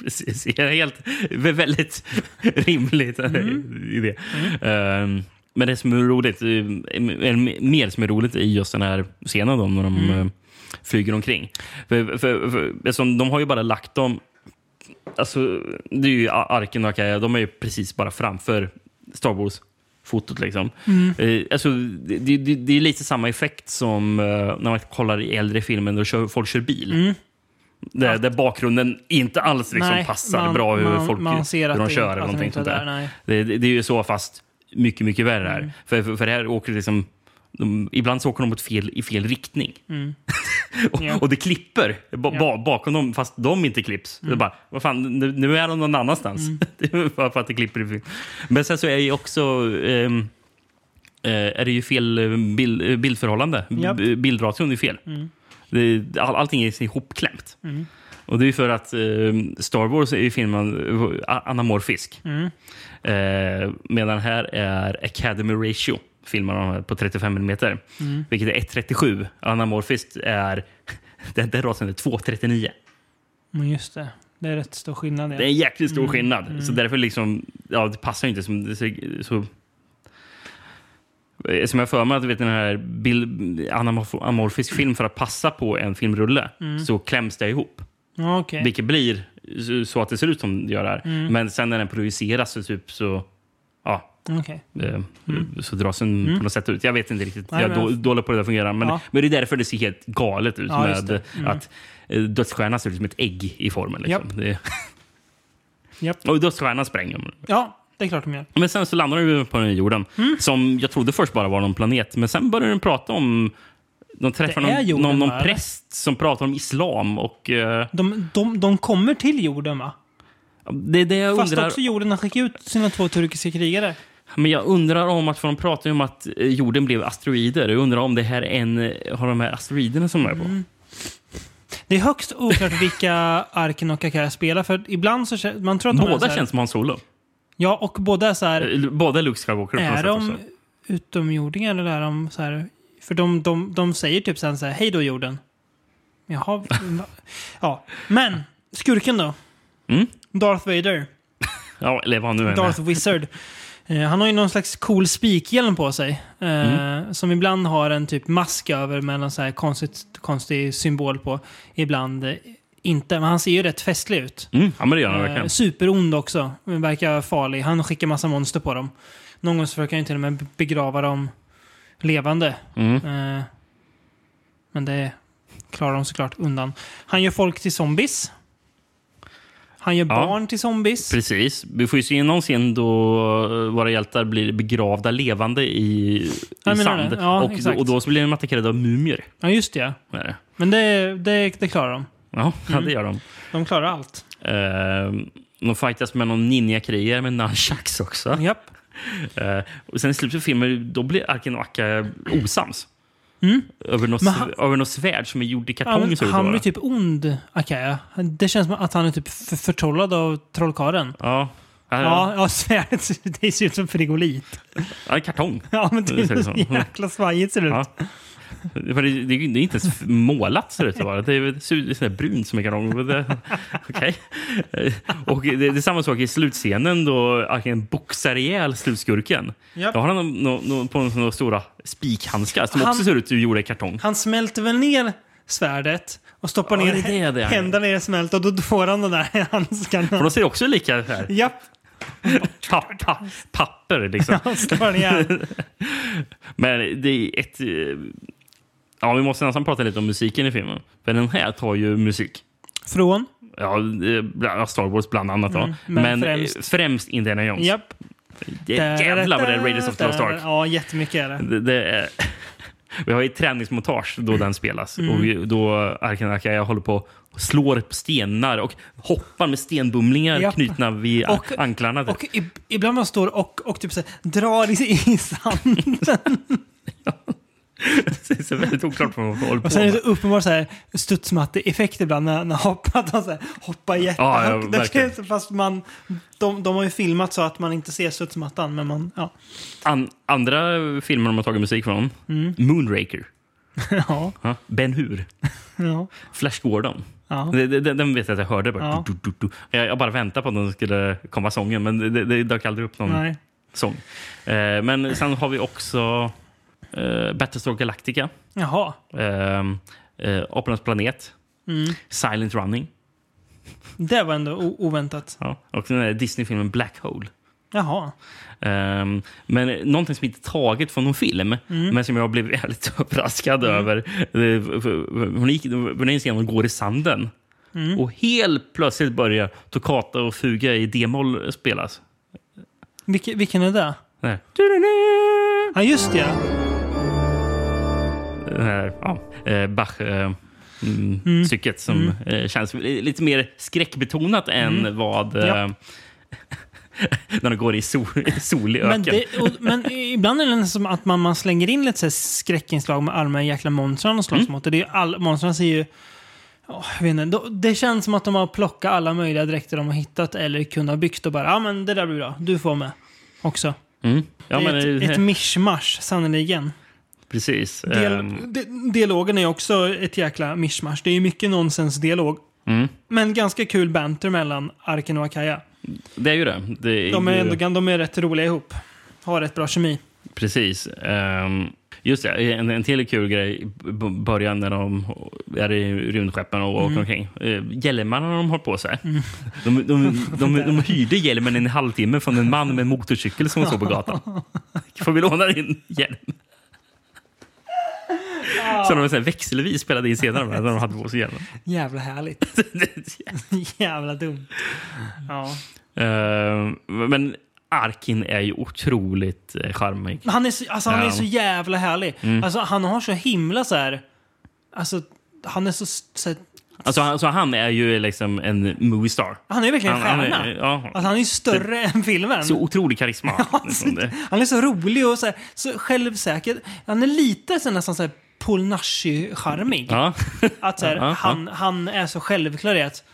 Speaker 2: Precis. Det är Helt, vä- väldigt rimligt idé. Ehm, men det som är roligt, eh, eller mer som är roligt i just den här scenen då, när de eh, flyger omkring. För, för, för, eftersom de har ju bara lagt dem... Alltså, det är ju a- Arken och Akaja, de är ju precis bara framför Star Wars fotot liksom.
Speaker 1: Mm,
Speaker 2: Eh, alltså, det, det, det är lite samma effekt som eh, när man kollar i äldre filmer då kör, folk kör bil.
Speaker 1: mm.
Speaker 2: Där, där bakgrunden inte alls liksom passar bra hur folk
Speaker 1: man ser
Speaker 2: hur de
Speaker 1: att det-
Speaker 2: kör
Speaker 1: att
Speaker 2: eller
Speaker 1: de
Speaker 2: någonting
Speaker 1: inte
Speaker 2: sånt
Speaker 1: är Mm.
Speaker 2: där.
Speaker 1: nej.
Speaker 2: Det, det, det är ju så fast mycket, mycket värre här. För, för, för här åker det liksom... De, ibland så åker de åt fel, i fel riktning.
Speaker 1: Mm,
Speaker 2: och,
Speaker 1: Ja.
Speaker 2: och det klipper ba, ba, bakom dem fast de inte klipps. Det är bara, vad fan, nu, nu är de någon annanstans. [laughs] det är bara för att det klipper i fel. Men sen så är det ju också... ehm, eh, är det ju fel eh, bild, eh, bildförhållande.
Speaker 1: Japp.
Speaker 2: B- Bildration är fel. Det, all, allting är ihopklämt. Och det är ju för att eh, Star Wars är ju filmen eh, anamorfisk.
Speaker 1: mm,
Speaker 2: Eh, medan här är Academy Ratio, filmar de här på 35 mm. Vilket är 1,37. Anamorfiskt är... [laughs] Den, den rasen är 2,39.
Speaker 1: Men just det, det är rätt stor skillnad.
Speaker 2: Det är
Speaker 1: Ja.
Speaker 2: en jäkligt stor skillnad. Så därför liksom, ja, det passar ju inte som... det ser- Så, som jag för mig att du vet, den här bild, anamorf- anamorfisk film för att passa på en filmrulle så kläms det ihop.
Speaker 1: Ja, okej.
Speaker 2: Vilket blir så- så att det ser ut som det gör här. Men sen när den projiceras så typ så... Ja,
Speaker 1: Okej.
Speaker 2: eh, så dras den på något sätt ut. Jag vet inte riktigt.
Speaker 1: Mm. Nej,
Speaker 2: jag är
Speaker 1: men-
Speaker 2: då, dålig på hur det fungerar. Men,
Speaker 1: Ja.
Speaker 2: men det är därför det ser helt galet ut
Speaker 1: Ja, just Mm.
Speaker 2: med att eh, dödsstjärnan ser ut som ett ägg i formen. Liksom.
Speaker 1: Japp.
Speaker 2: Det,
Speaker 1: [laughs] Japp.
Speaker 2: och dödsstjärnan spränger de.
Speaker 1: Ja, det är klart de gör.
Speaker 2: Men sen så landar de ju på den här jorden
Speaker 1: Mm.
Speaker 2: som jag trodde först bara var någon planet. Men sen börjar de prata om... De träffar
Speaker 1: Det är
Speaker 2: någon,
Speaker 1: jorden,
Speaker 2: någon,
Speaker 1: va,
Speaker 2: någon
Speaker 1: eller?
Speaker 2: präst som pratar om islam. Och, eh,
Speaker 1: De, de, de kommer till jorden va?
Speaker 2: det är det jag
Speaker 1: Fast
Speaker 2: undrar.
Speaker 1: också jorden har skickat ut sina två turkiska krigare.
Speaker 2: Men jag undrar om att, för de pratar ju om att eh, jorden blev asteroider. Jag undrar om det här är en eh, har de här asteroiderna som de är på.
Speaker 1: Det är högst
Speaker 2: [laughs]
Speaker 1: oklart vilka Arken och Kakara spelar för ibland så känns... Man tror att de är så
Speaker 2: Båda
Speaker 1: här-
Speaker 2: känns som Han Solo.
Speaker 1: Ja, och båda är så här...
Speaker 2: Eh, Båda är Luke Skywalker. på något
Speaker 1: Är
Speaker 2: sätt
Speaker 1: de
Speaker 2: också.
Speaker 1: utomjordingar eller är de så här... För de, de, de säger typ sen så här, hej då jorden. Jaha. [laughs] va- ja. Men, skurken då?
Speaker 2: Mm.
Speaker 1: Darth Vader.
Speaker 2: Ja, eller vad han nu än är.
Speaker 1: Darth Wizard. Eh, Han har ju någon slags cool spikhjälm på sig. eh,
Speaker 2: Mm.
Speaker 1: Som ibland har en typ mask över med någon så här konstigt, konstig symbol på. Ibland eh, inte. Men han ser ju rätt festlig ut.
Speaker 2: Mm, ja, men det gör han
Speaker 1: Eh,
Speaker 2: verkligen.
Speaker 1: superond också. Men Verkar farlig. Han skickar massa monster på dem. Någon gång så försöker han ju till och med begrava dem levande.
Speaker 2: Mm.
Speaker 1: Eh, men det klarar de såklart undan. Han gör folk till zombies. Han gör
Speaker 2: Ja.
Speaker 1: barn till zombies.
Speaker 2: Precis. Vi får ju se någon scen då eh, våra hjältar blir begravda levande i, i
Speaker 1: Jag menar
Speaker 2: sand.
Speaker 1: det. Ja,
Speaker 2: och,
Speaker 1: exakt.
Speaker 2: och då så blir de attackerade av mumier.
Speaker 1: Ja, just det.
Speaker 2: Är det.
Speaker 1: Men det, det, det klarar de.
Speaker 2: Ja, [laughs] ja
Speaker 1: Mm.
Speaker 2: det gör de.
Speaker 1: De klarar allt.
Speaker 2: Eh, de fightas med någon ninjakrigare med nunchucks också.
Speaker 1: Japp.
Speaker 2: Eh, och sen i slutet av filmen då blir Arkin och Akka osams.
Speaker 1: Mm.
Speaker 2: Över, något,
Speaker 1: Men han-
Speaker 2: över något svärd som är gjort i
Speaker 1: Ja,
Speaker 2: kartong.
Speaker 1: men
Speaker 2: ser det ut att
Speaker 1: han
Speaker 2: vara.
Speaker 1: blir typ ond, Akaya. Det känns som att han är typ för- förtrollad av trollkaren.
Speaker 2: ja. Ja,
Speaker 1: Ja, ja svärdet ser- [laughs] det ser ut som frigolit.
Speaker 2: ja, kartong.
Speaker 1: [laughs] Ja, men
Speaker 2: Det
Speaker 1: det
Speaker 2: ser ut
Speaker 1: är
Speaker 2: som.
Speaker 1: så jäkla svajigt ser det
Speaker 2: Ja.
Speaker 1: ut.
Speaker 2: För det, det, det är inte ens målat, ser det ut att vara. Det är, det ser ut- det är sån där brunt som är kartong. Men det- Okej. Eh, Och det, det är samma sak i slutscenen då Arkin boxar ihjäl slutskurken.
Speaker 1: Japp.
Speaker 2: Då har han nå- nå- på några stora spikhandskar som
Speaker 1: Han-
Speaker 2: också ser ut att gjorda i kartong.
Speaker 1: Han smälter väl ner svärdet och stoppar
Speaker 2: Ja,
Speaker 1: ner
Speaker 2: det är det det är.
Speaker 1: händerna i det smält och då får han den där [laughs]
Speaker 2: För
Speaker 1: handskarna.
Speaker 2: de ser också lika här.
Speaker 1: Japp,
Speaker 2: Papp, papp, papper, liksom.
Speaker 1: han stoppar
Speaker 2: [laughs]
Speaker 1: ner.
Speaker 2: Men det är ett... eh, Ja, vi måste nästan prata lite om musiken i filmen. För den här tar ju musik.
Speaker 1: Från?
Speaker 2: Ja, eh, bland- Star Wars bland annat. Då.
Speaker 1: Mm, men
Speaker 2: men
Speaker 1: främst-
Speaker 2: främst, främst Indiana Jones.
Speaker 1: Japp.
Speaker 2: Det är jävlar vad det är Raiders of the Lost Ark.
Speaker 1: Ja, jättemycket är det.
Speaker 2: Det, det är, [laughs] vi har ju ett träningsmontage då den spelas. Och då Arkan Akaya håller på och slår på stenar och hoppar med stenbumlingar
Speaker 1: Japp.
Speaker 2: knutna vid a-
Speaker 1: Och-
Speaker 2: anklarna. typ.
Speaker 1: Och ib- ibland man står och, och typ så här, drar i, [laughs] i sand.
Speaker 2: [laughs] det är så väldigt oklart vad man håller på
Speaker 1: Och sen är
Speaker 2: med.
Speaker 1: det så uppenbart så här studsmatte-effekt ibland när när hoppat och så här, hoppar
Speaker 2: Ja, ja,
Speaker 1: jättehögt. Det
Speaker 2: verkligen.
Speaker 1: känns- fast man, de, de har ju filmat så att man inte ser studsmattan, men man... Ja.
Speaker 2: An, andra filmer de har tagit musik från. Moonraker.
Speaker 1: ja,
Speaker 2: [laughs] Ja. Ben Hur.
Speaker 1: ja,
Speaker 2: Flash Gordon.
Speaker 1: ja.
Speaker 2: Det- det- Den, den vet jag att jag hörde. Bara,
Speaker 1: Ja.
Speaker 2: du, du, du, du. Jag, jag bara väntade på att den skulle komma sången, men det, det, det dök aldrig upp någon
Speaker 1: Nej.
Speaker 2: sång. Eh, men sen har vi också eh, Battlestar Galactica,
Speaker 1: Jaha.
Speaker 2: eh, eh, Apornas planet,
Speaker 1: Mm.
Speaker 2: Silent Running
Speaker 1: Det var ändå o- oväntat.
Speaker 2: ja. och den där Disney-filmen Black Hole.
Speaker 1: Jaha.
Speaker 2: Ehm, men någonting som inte är taget från någon film, men som jag blev väldigt [laughs] överraskad över. Det- för- för- Hon gick, hon är en scen hon går i sanden. Och helt plötsligt börjar Toccata och Fuga i d-moll spelas.
Speaker 1: Vilke, vilken är det?
Speaker 2: Den här- Du-du-du!
Speaker 1: Ja, just det. ja.
Speaker 2: Den här, ja, eh, Bach. eh, Mm, Stycket som
Speaker 1: Mm.
Speaker 2: eh, känns li- lite mer skräckbetonat än vad... eh, [laughs]
Speaker 1: Ja.
Speaker 2: när de går i sol, solig öken.
Speaker 1: Men, det, och, men ibland är det nästan som att man, man slänger in lite så här skräckinslag med alla de här jäkla monstren de
Speaker 2: Mm.
Speaker 1: slåss mot. Och det är ju all, monstren ser ju... ja, jag vet inte, då- det känns som att de har plockat alla möjliga dräkter de har hittat eller kunde ha byggt och bara ja ah, men det där blir bra, du får med. Också.
Speaker 2: Mm. Ja,
Speaker 1: det
Speaker 2: men,
Speaker 1: är ett,
Speaker 2: eh,
Speaker 1: ett mischmasch sannerligen.
Speaker 2: precis.
Speaker 1: Dial,
Speaker 2: Ehm,
Speaker 1: di- dialogen är också ett jäkla mischmasch. Det är ju mycket nonsensdialog.
Speaker 2: Mm.
Speaker 1: Men ganska kul banter mellan Arken och Akaya.
Speaker 2: Det är ju det. det är
Speaker 1: De är,
Speaker 2: ju,
Speaker 1: ändå, gan- de är rätt roliga ihop. Har rätt bra kemi.
Speaker 2: Precis. Ehm, just det, en, en till kul grej i b- början när de är i rymdskeppen och åker omkring. Uh, hjälmarna de har på sig. De, de, de, de, de hyrde hjälmen en halvtimme från en man med en motorcykel som såg på gatan. Får vi låna din hjälm? Så de så här växelvis spelade in senare när de hade på sig hjälmen. [laughs]
Speaker 1: Jävla härligt. [laughs] Jävla dumt. Ja.
Speaker 2: Ehm, men Arkin är ju otroligt eh, charmig.
Speaker 1: Han är så, alltså, han är
Speaker 2: Ja. Mm.
Speaker 1: så jävla härlig. Alltså, han har så himla så här... Alltså, han är så... så här,
Speaker 2: Alltså, han- så han är ju liksom en movie star.
Speaker 1: han är verkligen en
Speaker 2: Han- han är-
Speaker 1: stjärna.
Speaker 2: ja.
Speaker 1: alltså, han är ju större än filmen.
Speaker 2: Så
Speaker 1: [laughs]
Speaker 2: otrolig karisma. Liksom det.
Speaker 1: Han är så rolig och så, här, så självsäker. Han är lite så här, nästan så här Paul Nashi-charmig.
Speaker 2: Ja.
Speaker 1: Att så här,
Speaker 2: Ja, ja.
Speaker 1: han, han är så självklar i att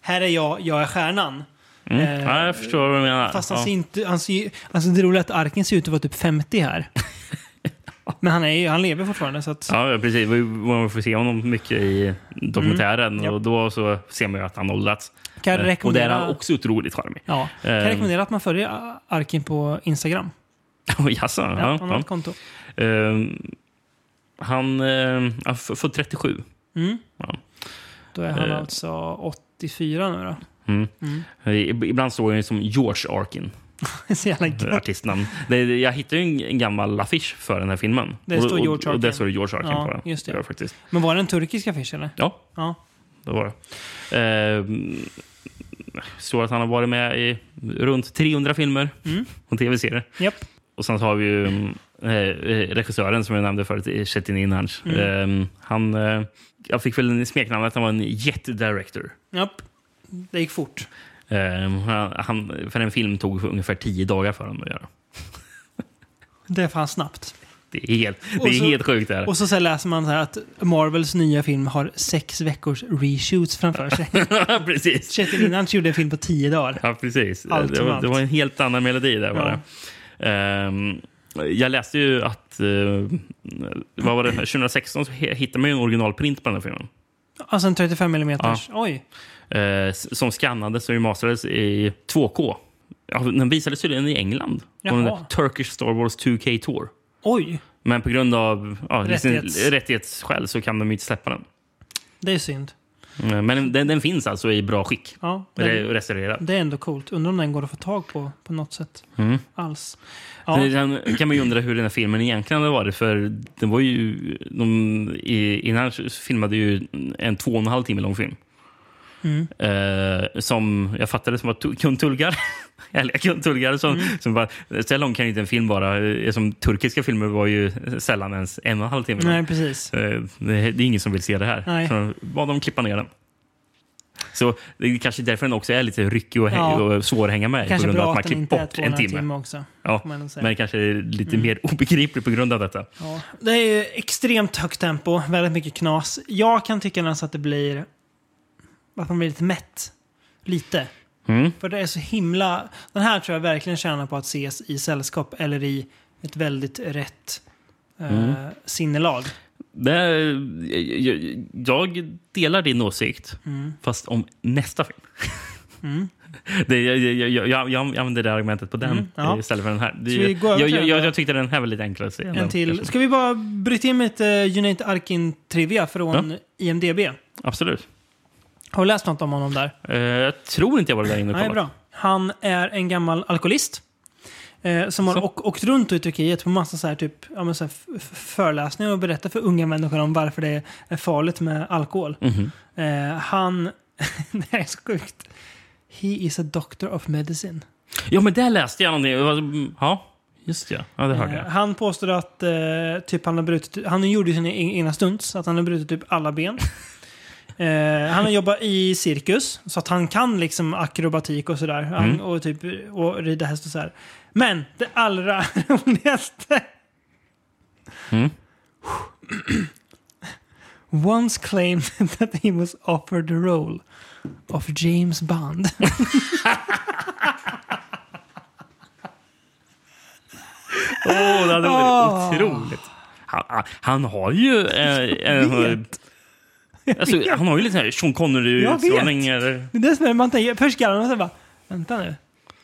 Speaker 1: här är jag, jag är stjärnan. Eh,
Speaker 2: ja, jag förstår vad du menar.
Speaker 1: Fast han
Speaker 2: Mm. ja.
Speaker 1: ser inte... Han ser, ju- alltså det roliga är att Arken ser ut att vara typ 50
Speaker 2: [laughs]
Speaker 1: här. Men han, är, ju- han lever fortfarande så att...
Speaker 2: Ja, ja, precis. Vi- Man får se honom mycket i dokumentären
Speaker 1: Mm.
Speaker 2: och då så ser man ju att han åldrats.
Speaker 1: Kan jag
Speaker 2: Eh, Och där är
Speaker 1: rekommendera-
Speaker 2: han också otroligt charmig. [laughs]
Speaker 1: Ja. Kan jag
Speaker 2: Ehm.
Speaker 1: rekommendera att man följer Arkin på Instagram.
Speaker 2: Oj, Jaså?
Speaker 1: Ja,
Speaker 2: Ja,
Speaker 1: han har
Speaker 2: ja.
Speaker 1: ett konto.
Speaker 2: Ehm, Han eh, han f- får 37.
Speaker 1: Mm.
Speaker 2: Ja.
Speaker 1: Då är han
Speaker 2: Eh.
Speaker 1: alltså 84 nu då.
Speaker 2: Mm. I- Ibland står han ju som
Speaker 1: [laughs]
Speaker 2: George Arkin,
Speaker 1: Det är [laughs] så jävla
Speaker 2: eh,
Speaker 1: gött.
Speaker 2: artistnamn. Det- det- Jag hittade ju en- en gammal affisch för den här filmen.
Speaker 1: Det
Speaker 2: Och-
Speaker 1: står
Speaker 2: och-
Speaker 1: George
Speaker 2: Och där
Speaker 1: Arkin.
Speaker 2: står det George Arkin
Speaker 1: Ja,
Speaker 2: på den.
Speaker 1: just det.
Speaker 2: Ja, faktiskt.
Speaker 1: Men var det en turkisk affisch eller?
Speaker 2: Ja,
Speaker 1: Ja.
Speaker 2: det var det. Ehm, står att han har
Speaker 1: Mm.
Speaker 2: varit med i runt 300 filmer och tv-serier.
Speaker 1: Japp.
Speaker 2: Och sen så har vi ju mm, eh, eh, regissören som jag nämnde förut, eh, Chetin Inhans.
Speaker 1: Mm.
Speaker 2: Eh, han, eh, jag fick väl en smeknamn att han var en jet-director.
Speaker 1: Japp. Det gick fort.
Speaker 2: Eh, han, han, för en film tog ungefär tio dagar för honom att göra.
Speaker 1: Det är fan snabbt.
Speaker 2: Det är helt,
Speaker 1: Och
Speaker 2: det är
Speaker 1: så-
Speaker 2: helt sjukt det här.
Speaker 1: Och så, så läser man så här att Marvels nya film har sex veckors reshoots framför
Speaker 2: [laughs]
Speaker 1: sig.
Speaker 2: [laughs] precis.
Speaker 1: Chetin innan gjorde en film på tio dagar.
Speaker 2: [laughs] Ja, precis.
Speaker 1: Allt
Speaker 2: det,
Speaker 1: som
Speaker 2: var,
Speaker 1: allt.
Speaker 2: det var en helt annan melodi där bara.
Speaker 1: Ja.
Speaker 2: Ehm, jag läste ju att... eh, vad var det? 2016 så he- hittade man ju en originalprint på den här filmen.
Speaker 1: Alltså en 35 mm. Oj.
Speaker 2: Eh, s- som skannades och remasterades i 2K. Ja, den visades tydligen i England. På den
Speaker 1: Jaha.
Speaker 2: där Turkish Star Wars 2K Tour.
Speaker 1: Oj.
Speaker 2: Men på grund av ja,
Speaker 1: Rättighets-
Speaker 2: Rättighets. rättighetsskäl så kan de ju inte släppa den.
Speaker 1: Det är synd.
Speaker 2: Eh, Men den, den finns alltså i bra skick.
Speaker 1: Ja,
Speaker 2: Re-
Speaker 1: det,
Speaker 2: Restaurerad.
Speaker 1: det är ändå coolt. Undrar om den går att få tag på på något sätt.
Speaker 2: Mm.
Speaker 1: Alls.
Speaker 2: Ja.
Speaker 1: Ja.
Speaker 2: Sen kan man ju undra hur den här filmen egentligen hade varit. För den var ju, de, i, innan filmade ju en två och en halv timme lång film.
Speaker 1: Mm.
Speaker 2: Eh, som jag fattade som var tu- kundtulgar. [laughs] Eller kundtulgar som,
Speaker 1: Mm.
Speaker 2: som bara, så lång kan ju inte en film vara. Eh, Som turkiska filmer var ju sällan ens en och en halv timme lång.
Speaker 1: Nej, precis.
Speaker 2: Eh, det, det är ingen som vill se det här.
Speaker 1: Nej.
Speaker 2: Så de bad dem klippa ner den. Så det är kanske därför den också är lite ryckig och, hä-
Speaker 1: Ja.
Speaker 2: och svår att hänga med i.
Speaker 1: Kanske
Speaker 2: på grund av
Speaker 1: bra
Speaker 2: att man
Speaker 1: att den
Speaker 2: klippt
Speaker 1: inte är
Speaker 2: bort
Speaker 1: två
Speaker 2: en
Speaker 1: timme.
Speaker 2: timme.
Speaker 1: timme också.
Speaker 2: Ja,
Speaker 1: Får man ändå säga.
Speaker 2: men kanske är lite
Speaker 1: Mm.
Speaker 2: mer [laughs] obegriplig på grund av detta.
Speaker 1: Ja. Det är ju extremt högt tempo, väldigt mycket knas. Jag kan tycka nästan att det blir... Att man blir lite mätt. Lite.
Speaker 2: Mm.
Speaker 1: För det är så himla... Den här tror jag verkligen tjänar på att ses i sällskap eller i ett väldigt rätt
Speaker 2: Mm.
Speaker 1: eh, sinnelag.
Speaker 2: Det, jag, jag delar din åsikt,
Speaker 1: Mm,
Speaker 2: fast om nästa film. Det, jag, jag, jag, jag, jag använder det argumentet på den
Speaker 1: Mm, ja.
Speaker 2: istället för den här. Det,
Speaker 1: Ska vi gå över till
Speaker 2: jag, jag,
Speaker 1: den
Speaker 2: jag,
Speaker 1: då?
Speaker 2: jag tyckte den här var lite enklare att se. än
Speaker 1: En
Speaker 2: den,
Speaker 1: till.
Speaker 2: kanske.
Speaker 1: Ska vi bara bryta in med lite eh, Unite Arkin-trivia från IMDB?
Speaker 2: Absolut.
Speaker 1: Har du läst något om honom där?
Speaker 2: Eh, jag tror inte jag var där inne och
Speaker 1: Nej,
Speaker 2: kollade.
Speaker 1: bra. Han är en gammal alkoholist. Eh, som har
Speaker 2: Så.
Speaker 1: åkt, åkt runt i Turkiet på massa så här, typ, ja, men så här f- f- föreläsningar och berättat för unga människor om varför det är farligt med alkohol.
Speaker 2: Mhm.
Speaker 1: Eh, han... [laughs] det här är så sjukt. He is a doctor of medicine.
Speaker 2: Ja, men där läste jag någonting. Det var- mm, Ja, just ja. Ja, det hörde
Speaker 1: Eh,
Speaker 2: jag.
Speaker 1: han påstår att eh, typ han har brutit... Han gjorde ju sina e- egna stunts, så att han har brutit typ alla
Speaker 2: [laughs]
Speaker 1: ben. Eh, han har jobbat i cirkus, så att han kan liksom akrobatik och sådär. Han,
Speaker 2: Mm.
Speaker 1: Och typ och rida häst och sådär. Men det allra [laughs] roligaste...
Speaker 2: Mm.
Speaker 1: Once claimed [laughs] that he was offered the role of James Bond.
Speaker 2: Åh, det hade varit
Speaker 1: Åh.
Speaker 2: otroligt. Han, han- han har ju... Eh, eh, alltså, han har ju lite så här Sean
Speaker 1: Jag vet.
Speaker 2: Connery-utstrålning. eller-
Speaker 1: Det är det som är, man tänker, först garvar man och sen bara, vänta nu.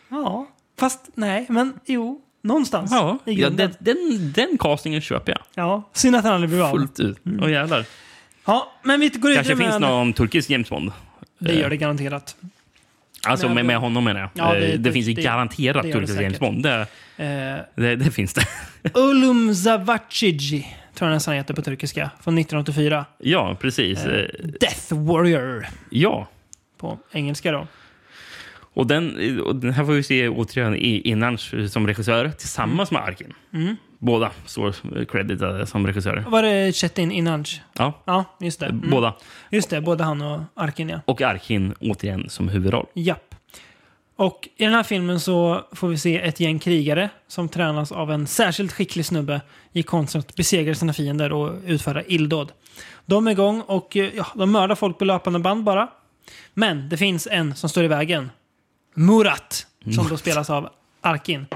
Speaker 1: Ja, fast nej, men jo, någonstans
Speaker 2: Ja,
Speaker 1: i
Speaker 2: ja
Speaker 1: grunden.
Speaker 2: den, den, den castingen köper jag
Speaker 1: Ja, synd att han aldrig blev av.
Speaker 2: fullt ut. Åh jävlar.
Speaker 1: Ja, men vi går
Speaker 2: kanske
Speaker 1: vidare
Speaker 2: finns
Speaker 1: med...
Speaker 2: någon eh, turkisk James Bond.
Speaker 1: Det gör det garanterat.
Speaker 2: Alltså
Speaker 1: Men-
Speaker 2: med, med honom menar jag.
Speaker 1: Ja, det-
Speaker 2: Eh, det,
Speaker 1: det-
Speaker 2: finns ju
Speaker 1: det-
Speaker 2: garanterat
Speaker 1: det gör det
Speaker 2: turkisk James
Speaker 1: säkert.
Speaker 2: Bond. Det,
Speaker 1: Eh,
Speaker 2: det, det finns det. [laughs]
Speaker 1: Ulum Zavacigi, tror jag nästan heter på turkiska, från 1984.
Speaker 2: ja, precis. Eh,
Speaker 1: Death Warrior
Speaker 2: Ja.
Speaker 1: på engelska då.
Speaker 2: Och den, och den här får vi se återigen i- innan som regissör tillsammans
Speaker 1: Mm.
Speaker 2: med Arkin. Båda står eh, creditade som regissörer.
Speaker 1: Var det Chetin Inanj?
Speaker 2: Ja,
Speaker 1: Ja, just det. Mm.
Speaker 2: Eh, båda.
Speaker 1: Just det, både han och Arkin, ja.
Speaker 2: Och Arkin återigen som huvudroll.
Speaker 1: Japp. Och i den här filmen så får vi se ett gäng krigare som tränas av en särskilt skicklig snubbe i konsten att besegra sina fiender och utföra illdåd. De är igång och eh, ja, de mördar folk på löpande band bara. Men det finns en som står i vägen. Murat, som då spelas av Arkin.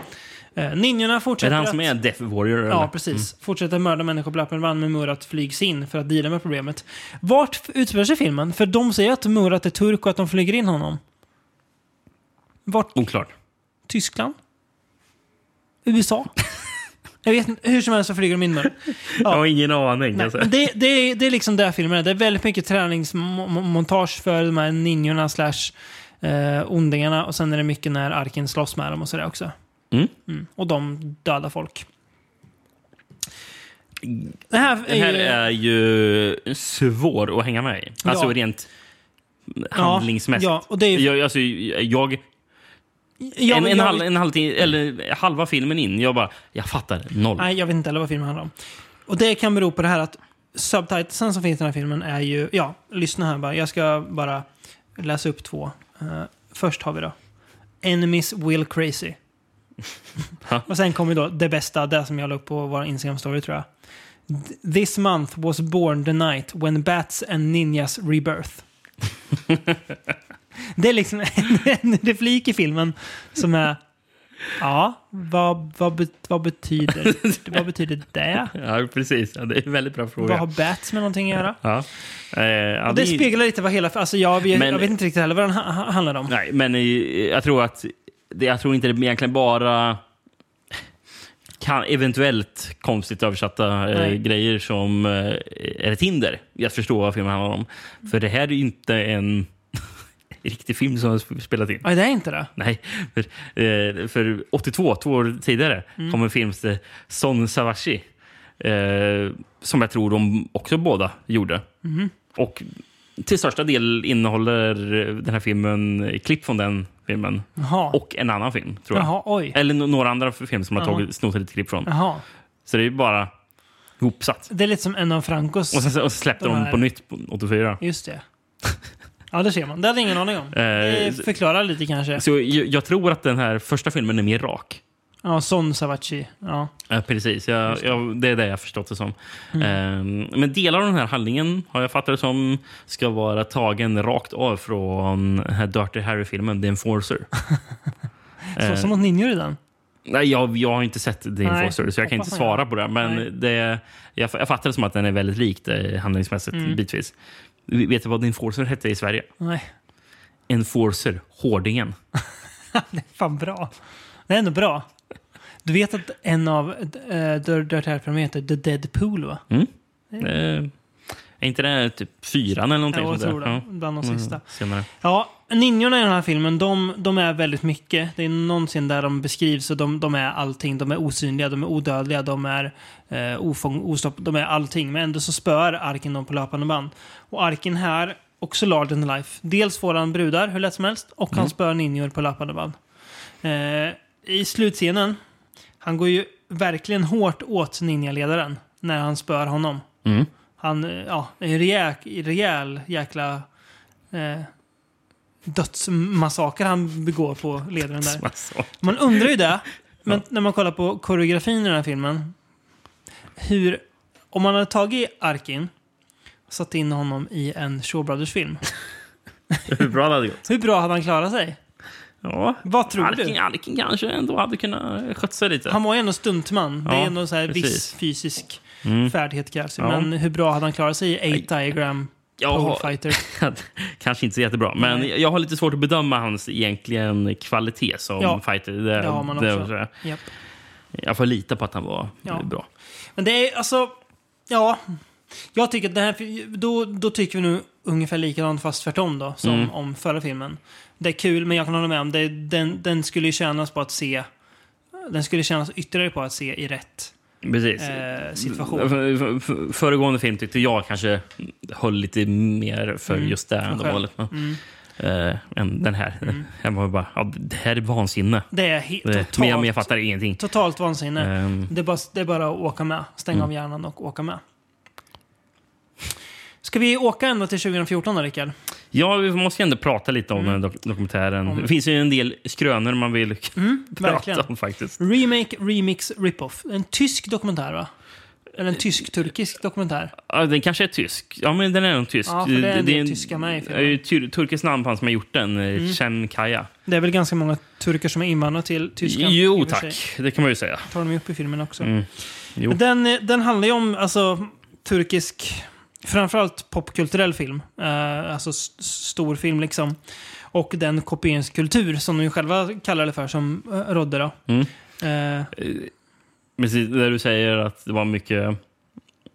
Speaker 1: Eh, Ninjorna
Speaker 2: Är
Speaker 1: fortsätter
Speaker 2: det han
Speaker 1: att-
Speaker 2: som är Death Warrior?
Speaker 1: Ja,
Speaker 2: eller?
Speaker 1: precis. Fortsätter mörda människor på löpande band med Murat flygs in för att deala med problemet. Vart f- utspelar sig filmen? För de säger att Murat är turk och att de flyger in honom. Vart?
Speaker 2: Oklart.
Speaker 1: Tyskland? USA? Jag vet inte. Hur som helst så flyger de in Murat. Ja.
Speaker 2: Jag har ingen aning.
Speaker 1: Nej,
Speaker 2: alltså.
Speaker 1: men det, det, är- det är liksom där filmen är. Det är väldigt mycket träningsmontage för de här ninjorna slash eh, ondingarna och sen är det mycket när Arken slåss med dem och sådär också.
Speaker 2: Mm.
Speaker 1: Och de dödar folk. Det här
Speaker 2: Det här
Speaker 1: ju-
Speaker 2: är ju svår att hänga med i. Alltså
Speaker 1: Ja.
Speaker 2: rent handlingsmässigt.
Speaker 1: Ja, och det är ju
Speaker 2: Jag, alltså, jag
Speaker 1: Jag,
Speaker 2: en, en,
Speaker 1: jag,
Speaker 2: halv, en halvtimme, eller halva filmen in. Jag bara, jag fattar noll.
Speaker 1: Nej, jag vet inte heller vad filmen handlar om. Och det kan bero på det här att subtitelsen som finns i den här filmen är ju... Ja, lyssna här bara. Jag ska bara läsa upp två. Eh, först har vi då Enemies Will Crazy.
Speaker 2: Ja.
Speaker 1: Och sen kommer då det bästa, det som jag la upp på vår Instagram-story tror jag. D- This month was born the night when bats and ninjas rebirth. det är liksom en replik i filmen som är... Ja, vad, vad, bet- vad, betyder, vad betyder
Speaker 2: [laughs]
Speaker 1: det?
Speaker 2: Ja, precis. Oh, Ja, det är en väldigt bra
Speaker 1: Vad har
Speaker 2: fråga.
Speaker 1: bats med någonting att göra?
Speaker 2: Ja. Eh, ja,
Speaker 1: Och det
Speaker 2: det-
Speaker 1: speglar lite vad hela... Alltså jag, jag,
Speaker 2: Men-
Speaker 1: jag vet inte riktigt heller vad den ha, ha- handlar om.
Speaker 2: Nej, men eh, jag tror att det, jag tror inte det egentligen bara kan eventuellt konstigt översatta eh,
Speaker 1: Nej.
Speaker 2: grejer som eh, är ett hinder i att förstå vad filmen handlar om. För det här är ju inte en [laughs] riktig film som har sp- spelat in.
Speaker 1: Nej, det är inte det.
Speaker 2: Nej, för, eh, för 82, två år tidigare,
Speaker 1: Mm.
Speaker 2: kom en film som heter Son Savashi. Eh, som jag tror de också båda gjorde.
Speaker 1: Mhm.
Speaker 2: Och till största del innehåller eh, den här filmen eh, klipp från den filmen.
Speaker 1: Jaha.
Speaker 2: Och en annan film, tror jag.
Speaker 1: Jaha, oj.
Speaker 2: Eller no- några andra filmer som har
Speaker 1: Jaha.
Speaker 2: tagit, snott lite klipp från.
Speaker 1: Jaha.
Speaker 2: Så det är bara ihopsatt.
Speaker 1: Det är lite som en av Francos...
Speaker 2: Och sen och så släppte
Speaker 1: De
Speaker 2: de
Speaker 1: här-
Speaker 2: på nytt på 84.
Speaker 1: Just det. Ja, det ser man. Det hade jag ingen aning om.
Speaker 2: Eh,
Speaker 1: Eh, Förklara lite kanske.
Speaker 2: Så jag, jag tror att den här första filmen är mer rak.
Speaker 1: Ja, Son Savachi. Ja.
Speaker 2: Ja, precis. Jag, jag, det är det jag har förstått det som.
Speaker 1: Mm.
Speaker 2: Ehm, men delar av den här handlingen, har jag fattat det som, ska vara tagen rakt av från den här Dirty Harry-filmen The Enforcer.
Speaker 1: [laughs] Så,
Speaker 2: Eh,
Speaker 1: som mot ninjor i den.
Speaker 2: Nej, jag, jag har inte sett The
Speaker 1: Nej,
Speaker 2: Enforcer, så jag kan inte
Speaker 1: hoppas jag.
Speaker 2: svara på det.
Speaker 1: Nej.
Speaker 2: Men det, jag, jag fattar det som att den är väldigt lik det, handlingsmässigt,
Speaker 1: Mm.
Speaker 2: bitvis. Vet du vad The Enforcer hette i Sverige?
Speaker 1: Nej, [laughs]
Speaker 2: Enforcer, Hårdingen.
Speaker 1: fan bra. Det är ändå bra. Du vet att en av eh, Dir- Dirty Harry-filmerna heter The Deadpool, va?
Speaker 2: Eh, är inte det typ fyran eller någonting?
Speaker 1: Mm. Jag
Speaker 2: sånt där?
Speaker 1: tror det. Bland de
Speaker 2: Ja. Mm.
Speaker 1: sista.
Speaker 2: Senare.
Speaker 1: Ja, ninjorna i den här filmen, de, de är väldigt mycket. Det är någonsin där de beskrivs och de, de är allting. De är osynliga, de är odödliga, de är eh, ofång, ostopp, de är allting. Men ändå så spöar Arken dem på löpande band. Och Arken här, också large in life. Dels får han brudar hur lätt som helst och han spöar ninjor på löpande band. Eh, I slutscenen, han går ju verkligen hårt åt ninjaledaren när han spöar honom.
Speaker 2: Mm.
Speaker 1: Han, eh, ja, en rejäl, rejäl jäkla eh, dödsmassaker han begår på ledaren
Speaker 2: [laughs]
Speaker 1: där.
Speaker 2: Alltså.
Speaker 1: Man undrar
Speaker 2: [laughs]
Speaker 1: ju det, men när man kollar på koreografin i den här filmen. Hur, om man hade tagit Arkin och satt in honom i en Shaw
Speaker 2: [laughs]
Speaker 1: Brothers-film.
Speaker 2: Hur bra det hade gått.
Speaker 1: Hur bra hade han klarat sig?
Speaker 2: Ja.
Speaker 1: Vad tror
Speaker 2: Alking,
Speaker 1: du?
Speaker 2: Alking kanske ändå hade kunnat sköta sig lite.
Speaker 1: Han var ju ändå stuntman. Det
Speaker 2: Ja,
Speaker 1: är ändå så här viss
Speaker 2: precis.
Speaker 1: fysisk
Speaker 2: Mm.
Speaker 1: färdighet krävs ju.
Speaker 2: Ja.
Speaker 1: Men hur bra hade han klarat sig i 8 diagram
Speaker 2: Jag
Speaker 1: pole
Speaker 2: har, [laughs]
Speaker 1: fighter?
Speaker 2: kanske inte så jättebra, men
Speaker 1: Nej.
Speaker 2: jag har lite svårt att bedöma hans egentligen kvalitet som
Speaker 1: Ja,
Speaker 2: fighter. Det,
Speaker 1: det har man
Speaker 2: det-
Speaker 1: också.
Speaker 2: så
Speaker 1: Japp.
Speaker 2: Jag får lita på att han var
Speaker 1: Ja.
Speaker 2: eh, bra.
Speaker 1: Men det är alltså, ja. Jag tycker att den här, då, då tycker vi nu ungefär likadant fast tvärtom då, som
Speaker 2: Mm.
Speaker 1: om förra filmen. Det är kul, men jag kan hålla med om det, den, den skulle ju tjänas på att se, den skulle tjänas ytterligare på att se i rätt
Speaker 2: Precis.
Speaker 1: eh,
Speaker 2: F-
Speaker 1: situation.
Speaker 2: f- f- Föregående film tyckte jag kanske höll lite mer för
Speaker 1: Mm,
Speaker 2: just det
Speaker 1: själv.
Speaker 2: ändamålet. Ja.
Speaker 1: Mm.
Speaker 2: Eh, än den här.
Speaker 1: Mm.
Speaker 2: Här var [laughs] jag bara, ja, det här är vansinne.
Speaker 1: Det är he-
Speaker 2: Det-
Speaker 1: totalt,
Speaker 2: Men jag, men jag fattar ingenting.
Speaker 1: totalt vansinne.
Speaker 2: Ehm,
Speaker 1: Det är, bara, det är bara att åka med.
Speaker 2: Mm.
Speaker 1: Stänga av hjärnan och åka med. Ska vi åka ända till 2014 då, Rickard?
Speaker 2: Ja, vi måste ju ändå prata lite om den här dok- dokumentären.
Speaker 1: Mm. Om- Mm,
Speaker 2: Det finns ju en del skrönor man vill [laughs] prata
Speaker 1: verkligen.
Speaker 2: om faktiskt.
Speaker 1: Remake, remix, rip-off. En tysk dokumentär, va? Eller en
Speaker 2: Eh,
Speaker 1: tysk-turkisk dokumentär.
Speaker 2: Ja, den kanske är tysk. Ja, men den är nog tysk.
Speaker 1: Ja, för det är en del
Speaker 2: en-
Speaker 1: tyskar med i
Speaker 2: det
Speaker 1: filmen.
Speaker 2: är ju tur- turkiskt namn på han som har gjort den, mm. Cem Kaya.
Speaker 1: Det är väl ganska många turkar som är invandrade till Tyskland? i
Speaker 2: Jo,
Speaker 1: och för sig.
Speaker 2: tack. Det kan man ju säga.
Speaker 1: Tar de ju upp i filmen också.
Speaker 2: Mm. Jo.
Speaker 1: Men Den, eh, den handlar ju om alltså, turkisk, framförallt popkulturell film. Eh, alltså s- stor film liksom. Och den kopieringskultur som de ju själva kallar det för, som eh, rådde då.
Speaker 2: Mm.
Speaker 1: Eh,
Speaker 2: Precis, där du säger att det var mycket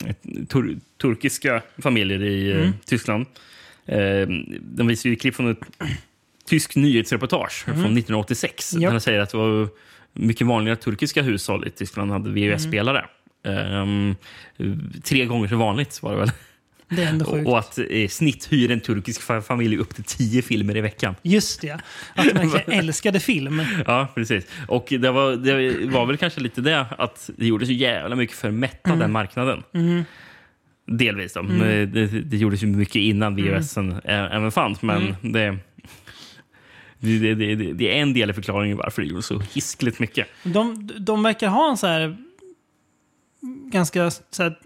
Speaker 2: eh, tur turkiska familjer i eh,
Speaker 1: Mm.
Speaker 2: Tyskland. Eh, de visar ju klipp från ett tyskt nyhetsreportage
Speaker 1: Mhm.
Speaker 2: från 1986.
Speaker 1: Japp.
Speaker 2: Där de säger att det var mycket vanligare att turkiska hushåll i
Speaker 1: Mm.
Speaker 2: Tyskland hade VHS-spelare. Ehm, tre gånger så vanligt var det väl.
Speaker 1: Det är ändå
Speaker 2: Och,
Speaker 1: sjukt.
Speaker 2: och att i snitt hyr en turkisk fa- familj upp till tio filmer i veckan.
Speaker 1: Just det. Att man
Speaker 2: [laughs]
Speaker 1: verkligen älskade film.
Speaker 2: Ja, precis. Och det var, det var väl kanske lite det att det gjordes så jävla mycket för att mätta
Speaker 1: Mm.
Speaker 2: den marknaden.
Speaker 1: Mm-hmm.
Speaker 2: Delvis. Då. Det, det gjordes ju mycket innan
Speaker 1: Mm.
Speaker 2: VHS även fanns, men det, det, det, det, det är en del i förklaringen varför det gjordes så hiskligt mycket.
Speaker 1: De, de verkar ha en så här ganska så här,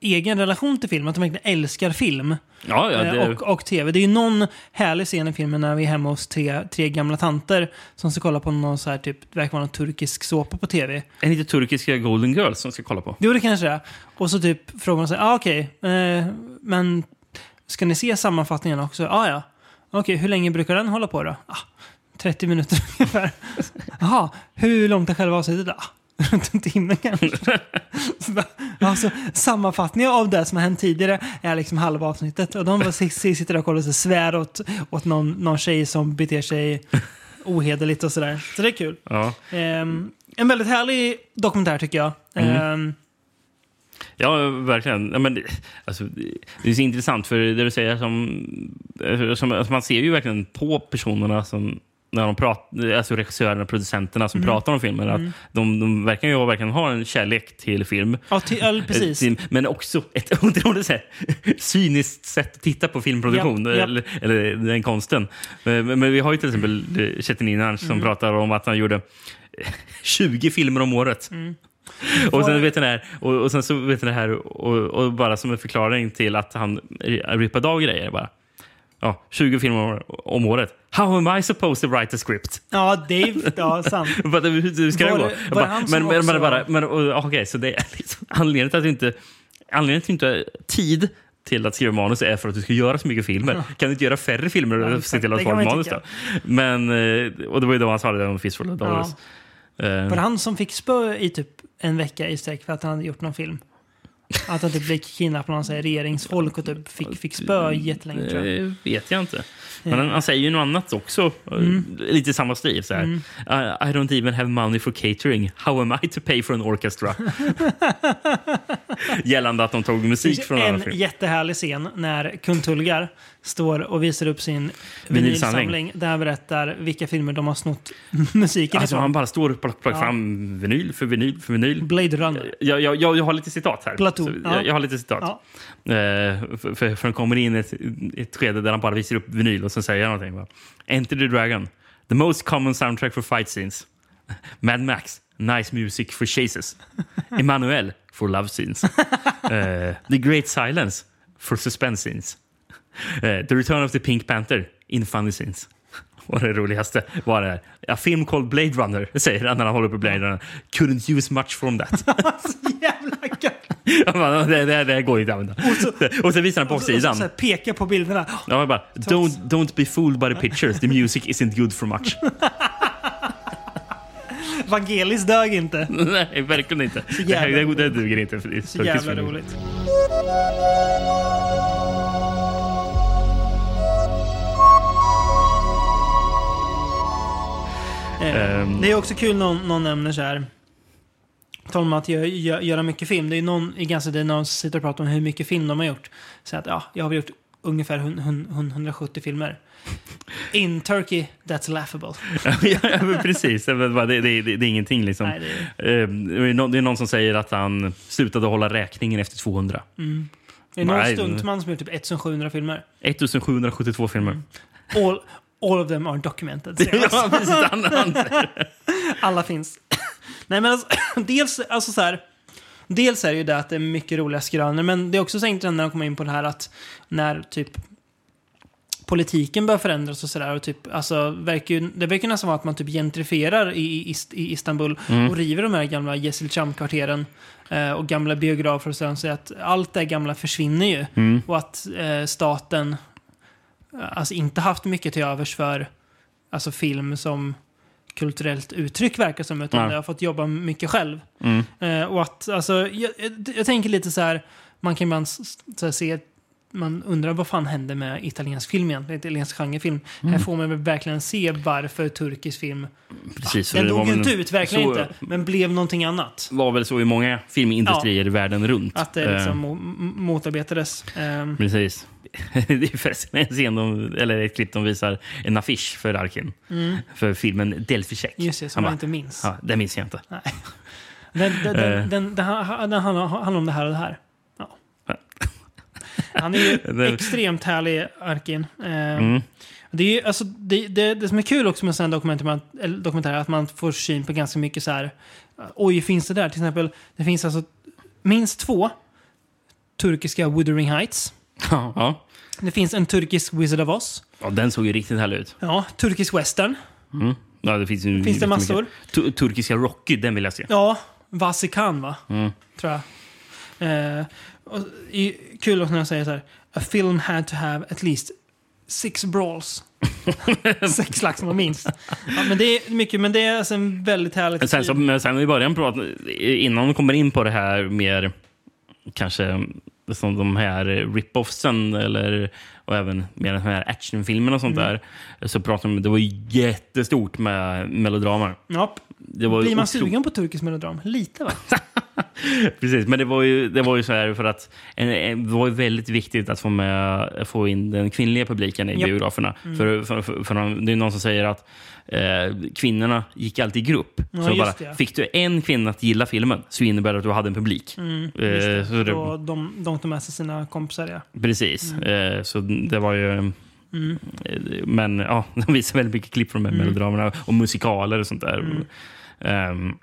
Speaker 1: egen relation till film. Att de verkligen älskar film
Speaker 2: Ja, ja, det,
Speaker 1: eh, och, och tv. Det är ju någon härlig scen i filmen när vi är hemma hos tre, tre gamla tanter som ska kolla på någon så här typ, det verkar vara någon turkisk såpa på tv.
Speaker 2: är det inte turkiska Golden Girls som ska kolla på?
Speaker 1: Jo, det kanske det är. Och så typ frågar man sig, ah, okej, eh, men ska ni se sammanfattningen också? Ah, ja, okej, hur länge brukar den hålla på då? Ah, 30 minuter [laughs] ungefär. Jaha, hur långt är själva avsnittet då? Ah, Runt en timme kanske. Så bara, alltså, sammanfattningen av det som har hänt tidigare är liksom halva avsnittet. Och de bara si- si- sitter där och kollar och så svär åt, åt någon, någon tjej som beter sig ohederligt och sådär. Så det är kul.
Speaker 2: Ja.
Speaker 1: Ehm, en väldigt härlig dokumentär tycker jag. Ehm,
Speaker 2: Ja, verkligen. Ja, men, det- alltså, det är så intressant, för det du säger som, som alltså, Man ser ju verkligen på personerna som när de pratar, alltså regissörerna och producenterna som pratar om filmen, att de, de verkar ju ha- verkligen ha en kärlek till film.
Speaker 1: Ja, ty- ja
Speaker 2: Eh,
Speaker 1: precis.
Speaker 2: Ett- Men också ett [laughs] otroligt så här, cyniskt sätt att titta på filmproduktion,
Speaker 1: Japp, japp.
Speaker 2: Eller, eller den konsten. Eh, Men, men vi har ju till exempel eh, Chetan Inanç som
Speaker 1: Mm.
Speaker 2: pratar om att han gjorde [laughs] 20 filmer om året.
Speaker 1: Mm.
Speaker 2: Och sen, vet den här, och, och sen så vet den här, och, och bara som en förklaring till att han rippade av grejer. Bara. Ja, 20 filmer om, om året. How am I supposed to write a script?
Speaker 1: Ja, Dave. Ja,
Speaker 2: [laughs]
Speaker 1: sant.
Speaker 2: Vad- Hur hur ska
Speaker 1: Var
Speaker 2: det gå?
Speaker 1: det-
Speaker 2: Jag
Speaker 1: var det
Speaker 2: bara,
Speaker 1: han som
Speaker 2: men, men,
Speaker 1: också-
Speaker 2: men, bara, men, och, ja, okej, så det är liksom, anledningen till att du inte anledningen till att du inte har tid till att skriva manus är för att du ska göra så mycket filmer. Kan du inte göra färre filmer
Speaker 1: Ja,
Speaker 2: och se
Speaker 1: exakt.
Speaker 2: till att
Speaker 1: Det
Speaker 2: få
Speaker 1: kan man ju
Speaker 2: manus? Då? Men, eh, och det var ju då han sa det där om Fistful of Dollars. Eh,
Speaker 1: Var det han som fick spö i typ en vecka i sträck för att han hade gjort någon film? Att han typ blev kidnappad av någon så här regeringsfolk och typ fick, fick spö jättelänge tror jag.
Speaker 2: Det eh, vet jag inte. Men han, han säger ju något annat också.
Speaker 1: Mm.
Speaker 2: Eh, Lite i samma stil. Så här. I, I don't even have money for catering. How am I to pay for
Speaker 1: [laughs]
Speaker 2: an orchestra? Gällande att de tog musik från en annan
Speaker 1: En
Speaker 2: film.
Speaker 1: jättehärlig scen när Kuntulgar står och visar upp sin
Speaker 2: Vinylsamling.
Speaker 1: vinylsamling där han berättar vilka filmer de har snott musiken
Speaker 2: Alltså,
Speaker 1: ifrån.
Speaker 2: han bara står och plock- plockar
Speaker 1: Ja.
Speaker 2: fram vinyl för vinyl för vinyl.
Speaker 1: Blade Runner.
Speaker 2: Jag, jag, jag, jag har lite citat här.
Speaker 1: Platon,
Speaker 2: Så
Speaker 1: ja.
Speaker 2: Jag, jag har lite citat.
Speaker 1: Ja.
Speaker 2: Eh, för, för, för han kommer in i ett, ett skede där han bara visar upp vinyl och sen säger han någonting. Va? Enter the Dragon. The most common soundtrack for fight scenes. [laughs] Mad Max. Nice music
Speaker 1: [laughs]
Speaker 2: for chases. Emanuel. For love scenes. Eh, the Great Silence. For suspense scenes. Eh, the Return of the Pink Panther. In funny scenes. [laughs] Och det roligaste var det här. A film called Blade Runner, [laughs] säger han när han håller på Blade Runner. Couldn't use much from that.
Speaker 1: Jävla gött!
Speaker 2: [laughs] Jag bara, det, det, det går inte att använda. Och så, visar han
Speaker 1: Och så- och så
Speaker 2: baksidan.
Speaker 1: så här Pekar på bilderna.
Speaker 2: Ja, jag bara, don't, don't be fooled by the pictures. The music isn't good
Speaker 1: [laughs]
Speaker 2: for much.
Speaker 1: Vangelis dög inte.
Speaker 2: Nej, verkligen inte. Det,
Speaker 1: jävla
Speaker 2: här- det, det duger inte. För det är
Speaker 1: Så jävla
Speaker 2: turkisk film.
Speaker 1: roligt. Eh,
Speaker 2: Ehm.
Speaker 1: Det är också kul någon, någon nämner så här. på Tal om att gö- gö- göra mycket film. Det är någon i ganska det är någon som sitter och pratar om hur mycket film de har gjort. Så att ja, jag har väl gjort ungefär hun- hun- hun- 170 filmer. In Turkey, that's laughable.
Speaker 2: [laughs] ja, ja, men precis. Det, var- det, det, det, det är ingenting. Liksom.
Speaker 1: Nej, det är-
Speaker 2: Ehm, det, är någon, det är någon som säger att han slutade hålla räkningen efter 200.
Speaker 1: Det är någon
Speaker 2: Nej.
Speaker 1: stuntman som har gjort typ 1700 filmer.
Speaker 2: 1772 filmer.
Speaker 1: Mm. All, all of them are documented. säger han.
Speaker 2: [laughs] Ja, precis. Han, han,
Speaker 1: Alla finns. [coughs] Nej men alltså, [coughs] dels, alltså så här, dels är det ju det att det är mycket roliga skrönor, men det är också så intressant när de kommer in på det här att när typ politiken börjar förändras och sådär. och Typ, alltså, verkar ju- det verkar nästan vara att man typ gentrifierar i, i, Ist- i Istanbul och river de här gamla Yesilcham-kvarteren eh, och gamla biografer och sådär. Så att allt det gamla försvinner ju.
Speaker 2: Mm.
Speaker 1: Och att eh, staten eh, alltså, inte haft mycket till övers för alltså, film som kulturellt uttryck verkar som, utan
Speaker 2: Nej. Mm.
Speaker 1: jag har fått jobba mycket själv. Eh, och att, alltså, jag, jag, jag tänker lite så här, man kan ibland s- s- så här, se man undrar vad fan hände med italiensk film egentligen? Italiensk genrefilm.
Speaker 2: Mm.
Speaker 1: Här får man väl verkligen se varför turkisk film...
Speaker 2: Precis, så
Speaker 1: Den
Speaker 2: det var
Speaker 1: dog ju
Speaker 2: väl-
Speaker 1: inte ut, verkligen
Speaker 2: så-
Speaker 1: inte. Men blev någonting annat.
Speaker 2: var väl så i många filmindustrier världen runt.
Speaker 1: Att det
Speaker 2: Eh,
Speaker 1: liksom mo- m- motarbetades. Ehm,
Speaker 2: Precis. [laughs] Det är förresten en scen de, eller ett klipp de visar en affisch för Arkin. För filmen Delphi Check.
Speaker 1: Mm. Just det, som
Speaker 2: Han
Speaker 1: man
Speaker 2: bara,
Speaker 1: inte minns.
Speaker 2: Ja, det minns
Speaker 1: [laughs]
Speaker 2: jag inte.
Speaker 1: Den, den,
Speaker 2: Eh.
Speaker 1: den, den, den, han- den handlar handlar om det här och det här. Ja. [laughs] Han är
Speaker 2: [laughs]
Speaker 1: ju
Speaker 2: Den-
Speaker 1: extremt härlig, Arkin. Ehm,
Speaker 2: Mm.
Speaker 1: Det, är ju, alltså, det, det, det som är kul också med sådana dokumentärer eller dokumentärer är att man får syn på ganska mycket så här. "Ah, Oj, finns det där? Till exempel, det finns alltså minst två turkiska Wuthering Heights.
Speaker 2: Ja, ja.
Speaker 1: Det finns en turkisk Wizard of Oz.
Speaker 2: ja, den såg ju riktigt härlig ut.
Speaker 1: Ja, turkisk western.
Speaker 2: Mm. Ja, det finns, ju
Speaker 1: Finns det
Speaker 2: jättemycket.
Speaker 1: massor?
Speaker 2: Tu- turkiska Rocky, den vill jag se.
Speaker 1: Ja, Vasikan va?
Speaker 2: Mm.
Speaker 1: Tror jag. Eh, och, i, kul också när jag säger så här. A film had to have at least six
Speaker 2: [laughs]
Speaker 1: brawls. sex slagsmål minst. Ja, men det är mycket, men det är alltså en väldigt härligt...
Speaker 2: Men Sen, så, men sen i början, prat, innan vi kommer in på det här mer kanske som de här rip-offsen eller, och även mer de här actionfilmerna och sånt
Speaker 1: Mm.
Speaker 2: där. Så pratade de, det var ju jättestort med melodramer.
Speaker 1: Japp.
Speaker 2: Det var ju
Speaker 1: Blir man
Speaker 2: otro-
Speaker 1: sugen på turkisk melodram? Lite va?
Speaker 2: Precis, men det var ju, det var ju så här för att en, en, det var ju väldigt viktigt att få, med, få in den kvinnliga publiken i
Speaker 1: Japp. Mm.
Speaker 2: biograferna. För, för, för, för de, det är någon som säger att eh, kvinnorna gick alltid i grupp.
Speaker 1: Ja,
Speaker 2: så bara,
Speaker 1: just det.
Speaker 2: Fick du en kvinna att gilla filmen så innebär det att du hade en publik.
Speaker 1: Mm,
Speaker 2: Eh,
Speaker 1: just
Speaker 2: så det-
Speaker 1: det. Och de, de tar med sig sina kompisar ja.
Speaker 2: Precis, eh, så det var ju...
Speaker 1: Mm.
Speaker 2: eh, Men ja, [laughs] de visar väldigt mycket klipp från de här melodramerna och musikaler och sånt där.
Speaker 1: Mm.
Speaker 2: Ehm,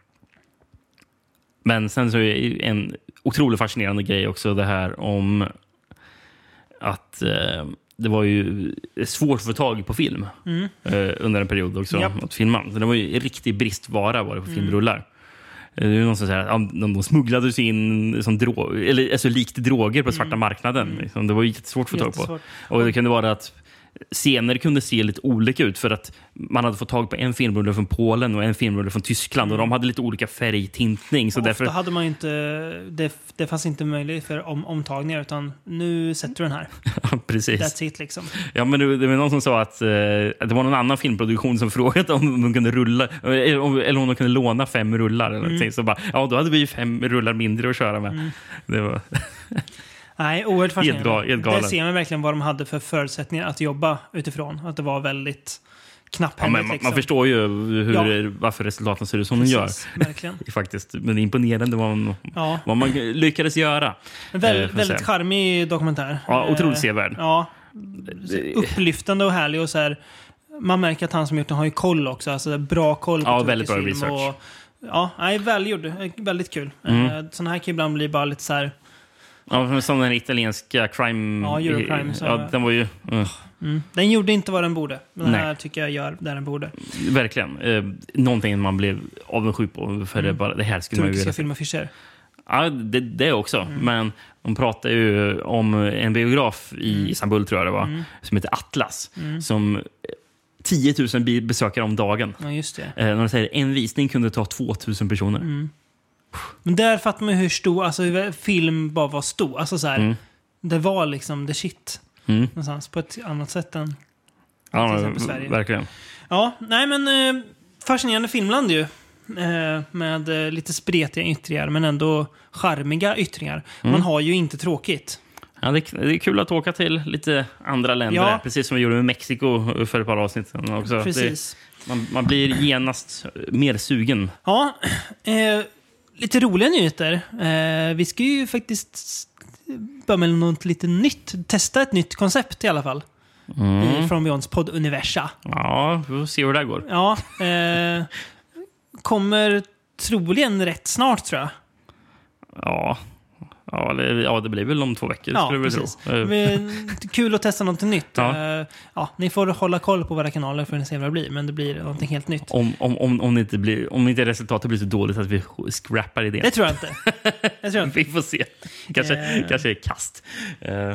Speaker 2: men sen så är ju en otroligt fascinerande grej också det här om att eh, det var ju svårt att få tag på film
Speaker 1: Mm.
Speaker 2: eh, under en period också.
Speaker 1: Japp. Mm.
Speaker 2: Att filma. Så det var ju en riktig bristvara var det på filmrullar. Eh, Det är ju någon som säger att ja, de, de smugglades in som dro- eller, alltså, likt droger på svarta
Speaker 1: Mm.
Speaker 2: marknaden. Liksom. Det var ju jättesvårt att få tag på.
Speaker 1: Jättesvårt.
Speaker 2: Och det kunde vara att scener kunde se lite olika ut för att man hade fått tag på en filmrulle från Polen och en filmrulle från Tyskland och de hade lite olika färgtintning. Så
Speaker 1: Ofta
Speaker 2: därför,
Speaker 1: hade man ju inte, det, det fanns inte möjlighet för om, omtagningar utan nu sätter du den här.
Speaker 2: [laughs] precis.
Speaker 1: That's it liksom.
Speaker 2: Ja, men det, det var någon som sa att, eh, att det var någon annan filmproduktion som [laughs] frågade om de kunde rulla eller om, eller om de kunde låna fem rullar. Eller
Speaker 1: Mm.
Speaker 2: någonting. Så bara, ja, då hade vi ju fem rullar mindre att köra med. Det var,
Speaker 1: Nej, oerhört
Speaker 2: Helt ga-
Speaker 1: fascinerande.
Speaker 2: helt galen.
Speaker 1: Där ser man verkligen vad de hade för förutsättningar att jobba utifrån. Att det var väldigt
Speaker 2: ja, men
Speaker 1: knapphändigt.
Speaker 2: man,
Speaker 1: liksom.
Speaker 2: man förstår ju hur,
Speaker 1: Ja.
Speaker 2: varför resultaten ser ut som de gör.
Speaker 1: Precis, Verkligen.
Speaker 2: Faktiskt. Men det är imponerande vad man,
Speaker 1: Ja.
Speaker 2: vad man lyckades göra.
Speaker 1: En
Speaker 2: Eh,
Speaker 1: Väl,
Speaker 2: får
Speaker 1: väldigt
Speaker 2: se.
Speaker 1: charmig dokumentär.
Speaker 2: Ja, otroligt
Speaker 1: Eh,
Speaker 2: sevärd.
Speaker 1: Ja. Upplyftande och härlig och så här. Man märker att han som gjort den har ju koll också. Alltså bra koll på
Speaker 2: Ja,
Speaker 1: turkisk
Speaker 2: väldigt bra
Speaker 1: film
Speaker 2: research.
Speaker 1: Och, ja, nej, välgjord. Eh, Väldigt kul. Mm. Sådana här kan ibland bli bara lite så här.
Speaker 2: Ja, men som den italienska crime...
Speaker 1: Ja, Eurocrime, så-
Speaker 2: ja, den var ju... ugh,
Speaker 1: Mm. Den gjorde inte vad den borde. Men den
Speaker 2: Nej.
Speaker 1: här tycker jag gör där den borde.
Speaker 2: verkligen. Eh, någonting man blev avundsjuk på. För
Speaker 1: Mm.
Speaker 2: det, bara, det här skulle man ju
Speaker 1: Turkiska
Speaker 2: vilja se.
Speaker 1: filmaffischer.
Speaker 2: Ja, det, det också.
Speaker 1: Mm.
Speaker 2: Men de pratar ju om en biograf i
Speaker 1: Mm.
Speaker 2: Istanbul, tror jag det var, som heter Atlas. Som eh, 10 000 bi- besökare om dagen.
Speaker 1: Ja, just det.
Speaker 2: Eh, när de säger en visning kunde ta 2 000 personer.
Speaker 1: Mm. Men där fattar man ju hur stor, alltså hur film bara var stor. Alltså så här,
Speaker 2: Mm.
Speaker 1: det var liksom the shit.
Speaker 2: Mm.
Speaker 1: Någonstans på ett annat sätt än...
Speaker 2: Ja,
Speaker 1: Till exempel Sverige.
Speaker 2: verkligen.
Speaker 1: Ja, nej men eh, fascinerande filmland ju. Eh, med eh, lite spretiga yttringar men ändå charmiga yttringar.
Speaker 2: Mm.
Speaker 1: Man har ju inte tråkigt.
Speaker 2: Ja, det, är, det är kul att åka till lite andra länder.
Speaker 1: Ja.
Speaker 2: där, Precis som vi gjorde med Mexiko för ett par avsnitt sedan. Också. Det-
Speaker 1: Precis.
Speaker 2: Man, man blir genast mer sugen.
Speaker 1: Ja, [clears throat] eh, lite roliga nyheter. Eh, vi ska ju faktiskt s- börja med något lite nytt. Testa ett nytt koncept i alla fall.
Speaker 2: Mm.
Speaker 1: I From Beyonds podd-universa.
Speaker 2: Ja, vi får se hur det här går.
Speaker 1: Ja, eh, kommer troligen rätt snart tror jag.
Speaker 2: Ja, ja, det, ja det blir väl om två veckor skulle jag väl
Speaker 1: precis.
Speaker 2: tro. Eh,
Speaker 1: Men, kul att testa något nytt.
Speaker 2: Ja.
Speaker 1: Eh, ja, ni får hålla koll på våra kanaler för att se vad det blir, men det blir någonting helt nytt.
Speaker 2: Om, om, om, om, det inte blir, om inte resultatet blir så dåligt att vi scrappar idén.
Speaker 1: Det tror jag inte. Det tror jag inte.
Speaker 2: [laughs] Vi får se. Kanske,
Speaker 1: Eh.
Speaker 2: kanske är kast. Eh,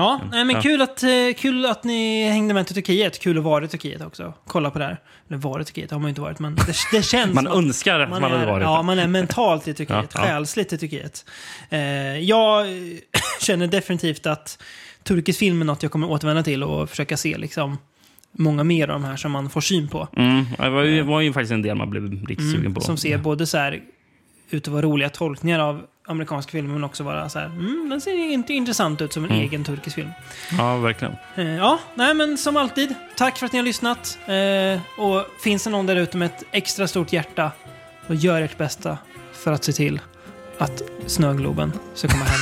Speaker 1: Ja, nej, men
Speaker 2: Ja.
Speaker 1: kul att, eh, kul att ni hängde med till Turkiet. Kul att vara i Turkiet också. Kolla på det här. Eller vara i Turkiet har man ju inte varit, men det, det känns
Speaker 2: man
Speaker 1: som att-
Speaker 2: önskar att Alltså, man, hade
Speaker 1: är,
Speaker 2: varit
Speaker 1: Ja,
Speaker 2: där.
Speaker 1: man är mentalt i Turkiet.
Speaker 2: Ja, ja.
Speaker 1: Själsligt i Turkiet. Eh, jag [laughs] känner definitivt att turkisk film är något jag kommer återvända till och försöka se liksom många mer av de här som man får syn på. Mm.
Speaker 2: Mm. Det var, ju, det var ju faktiskt en del man blev riktigt sugen på.
Speaker 1: Som ser både så här ut att vara roliga tolkningar av amerikansk film men också vara så här, mm, den ser inte intressant ut som en
Speaker 2: Mm.
Speaker 1: egen turkisk film.
Speaker 2: Ja, verkligen.
Speaker 1: Eh, ja, nej men som alltid, tack för att ni har lyssnat. Eh, och finns det någon där ute med ett extra stort hjärta, då gör ert bästa för att se till att Snögloben ska komma hem.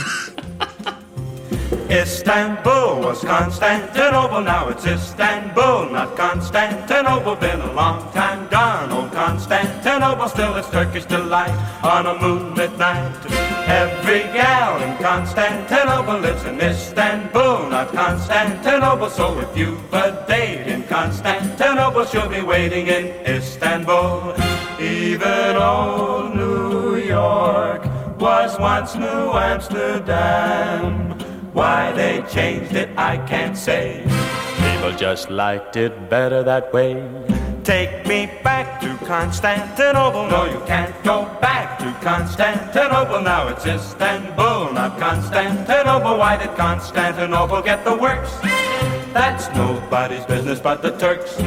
Speaker 4: Istanbul was Constantinople, now it's Istanbul, not Constantinople. Been a long time gone, old Constantinople, still it's Turkish delight on a moonlit night. Every gal in Constantinople lives in Istanbul, not Constantinople. So if you've a date in Constantinople, she'll be waiting in Istanbul. Even old New York was once New Amsterdam. Why they changed it, I can't say. People just liked it better that way. Take me back to Constantinople. No, you can't go back to Constantinople. Now it's Istanbul, not Constantinople. Why did Constantinople get the works? That's nobody's business but the Turks.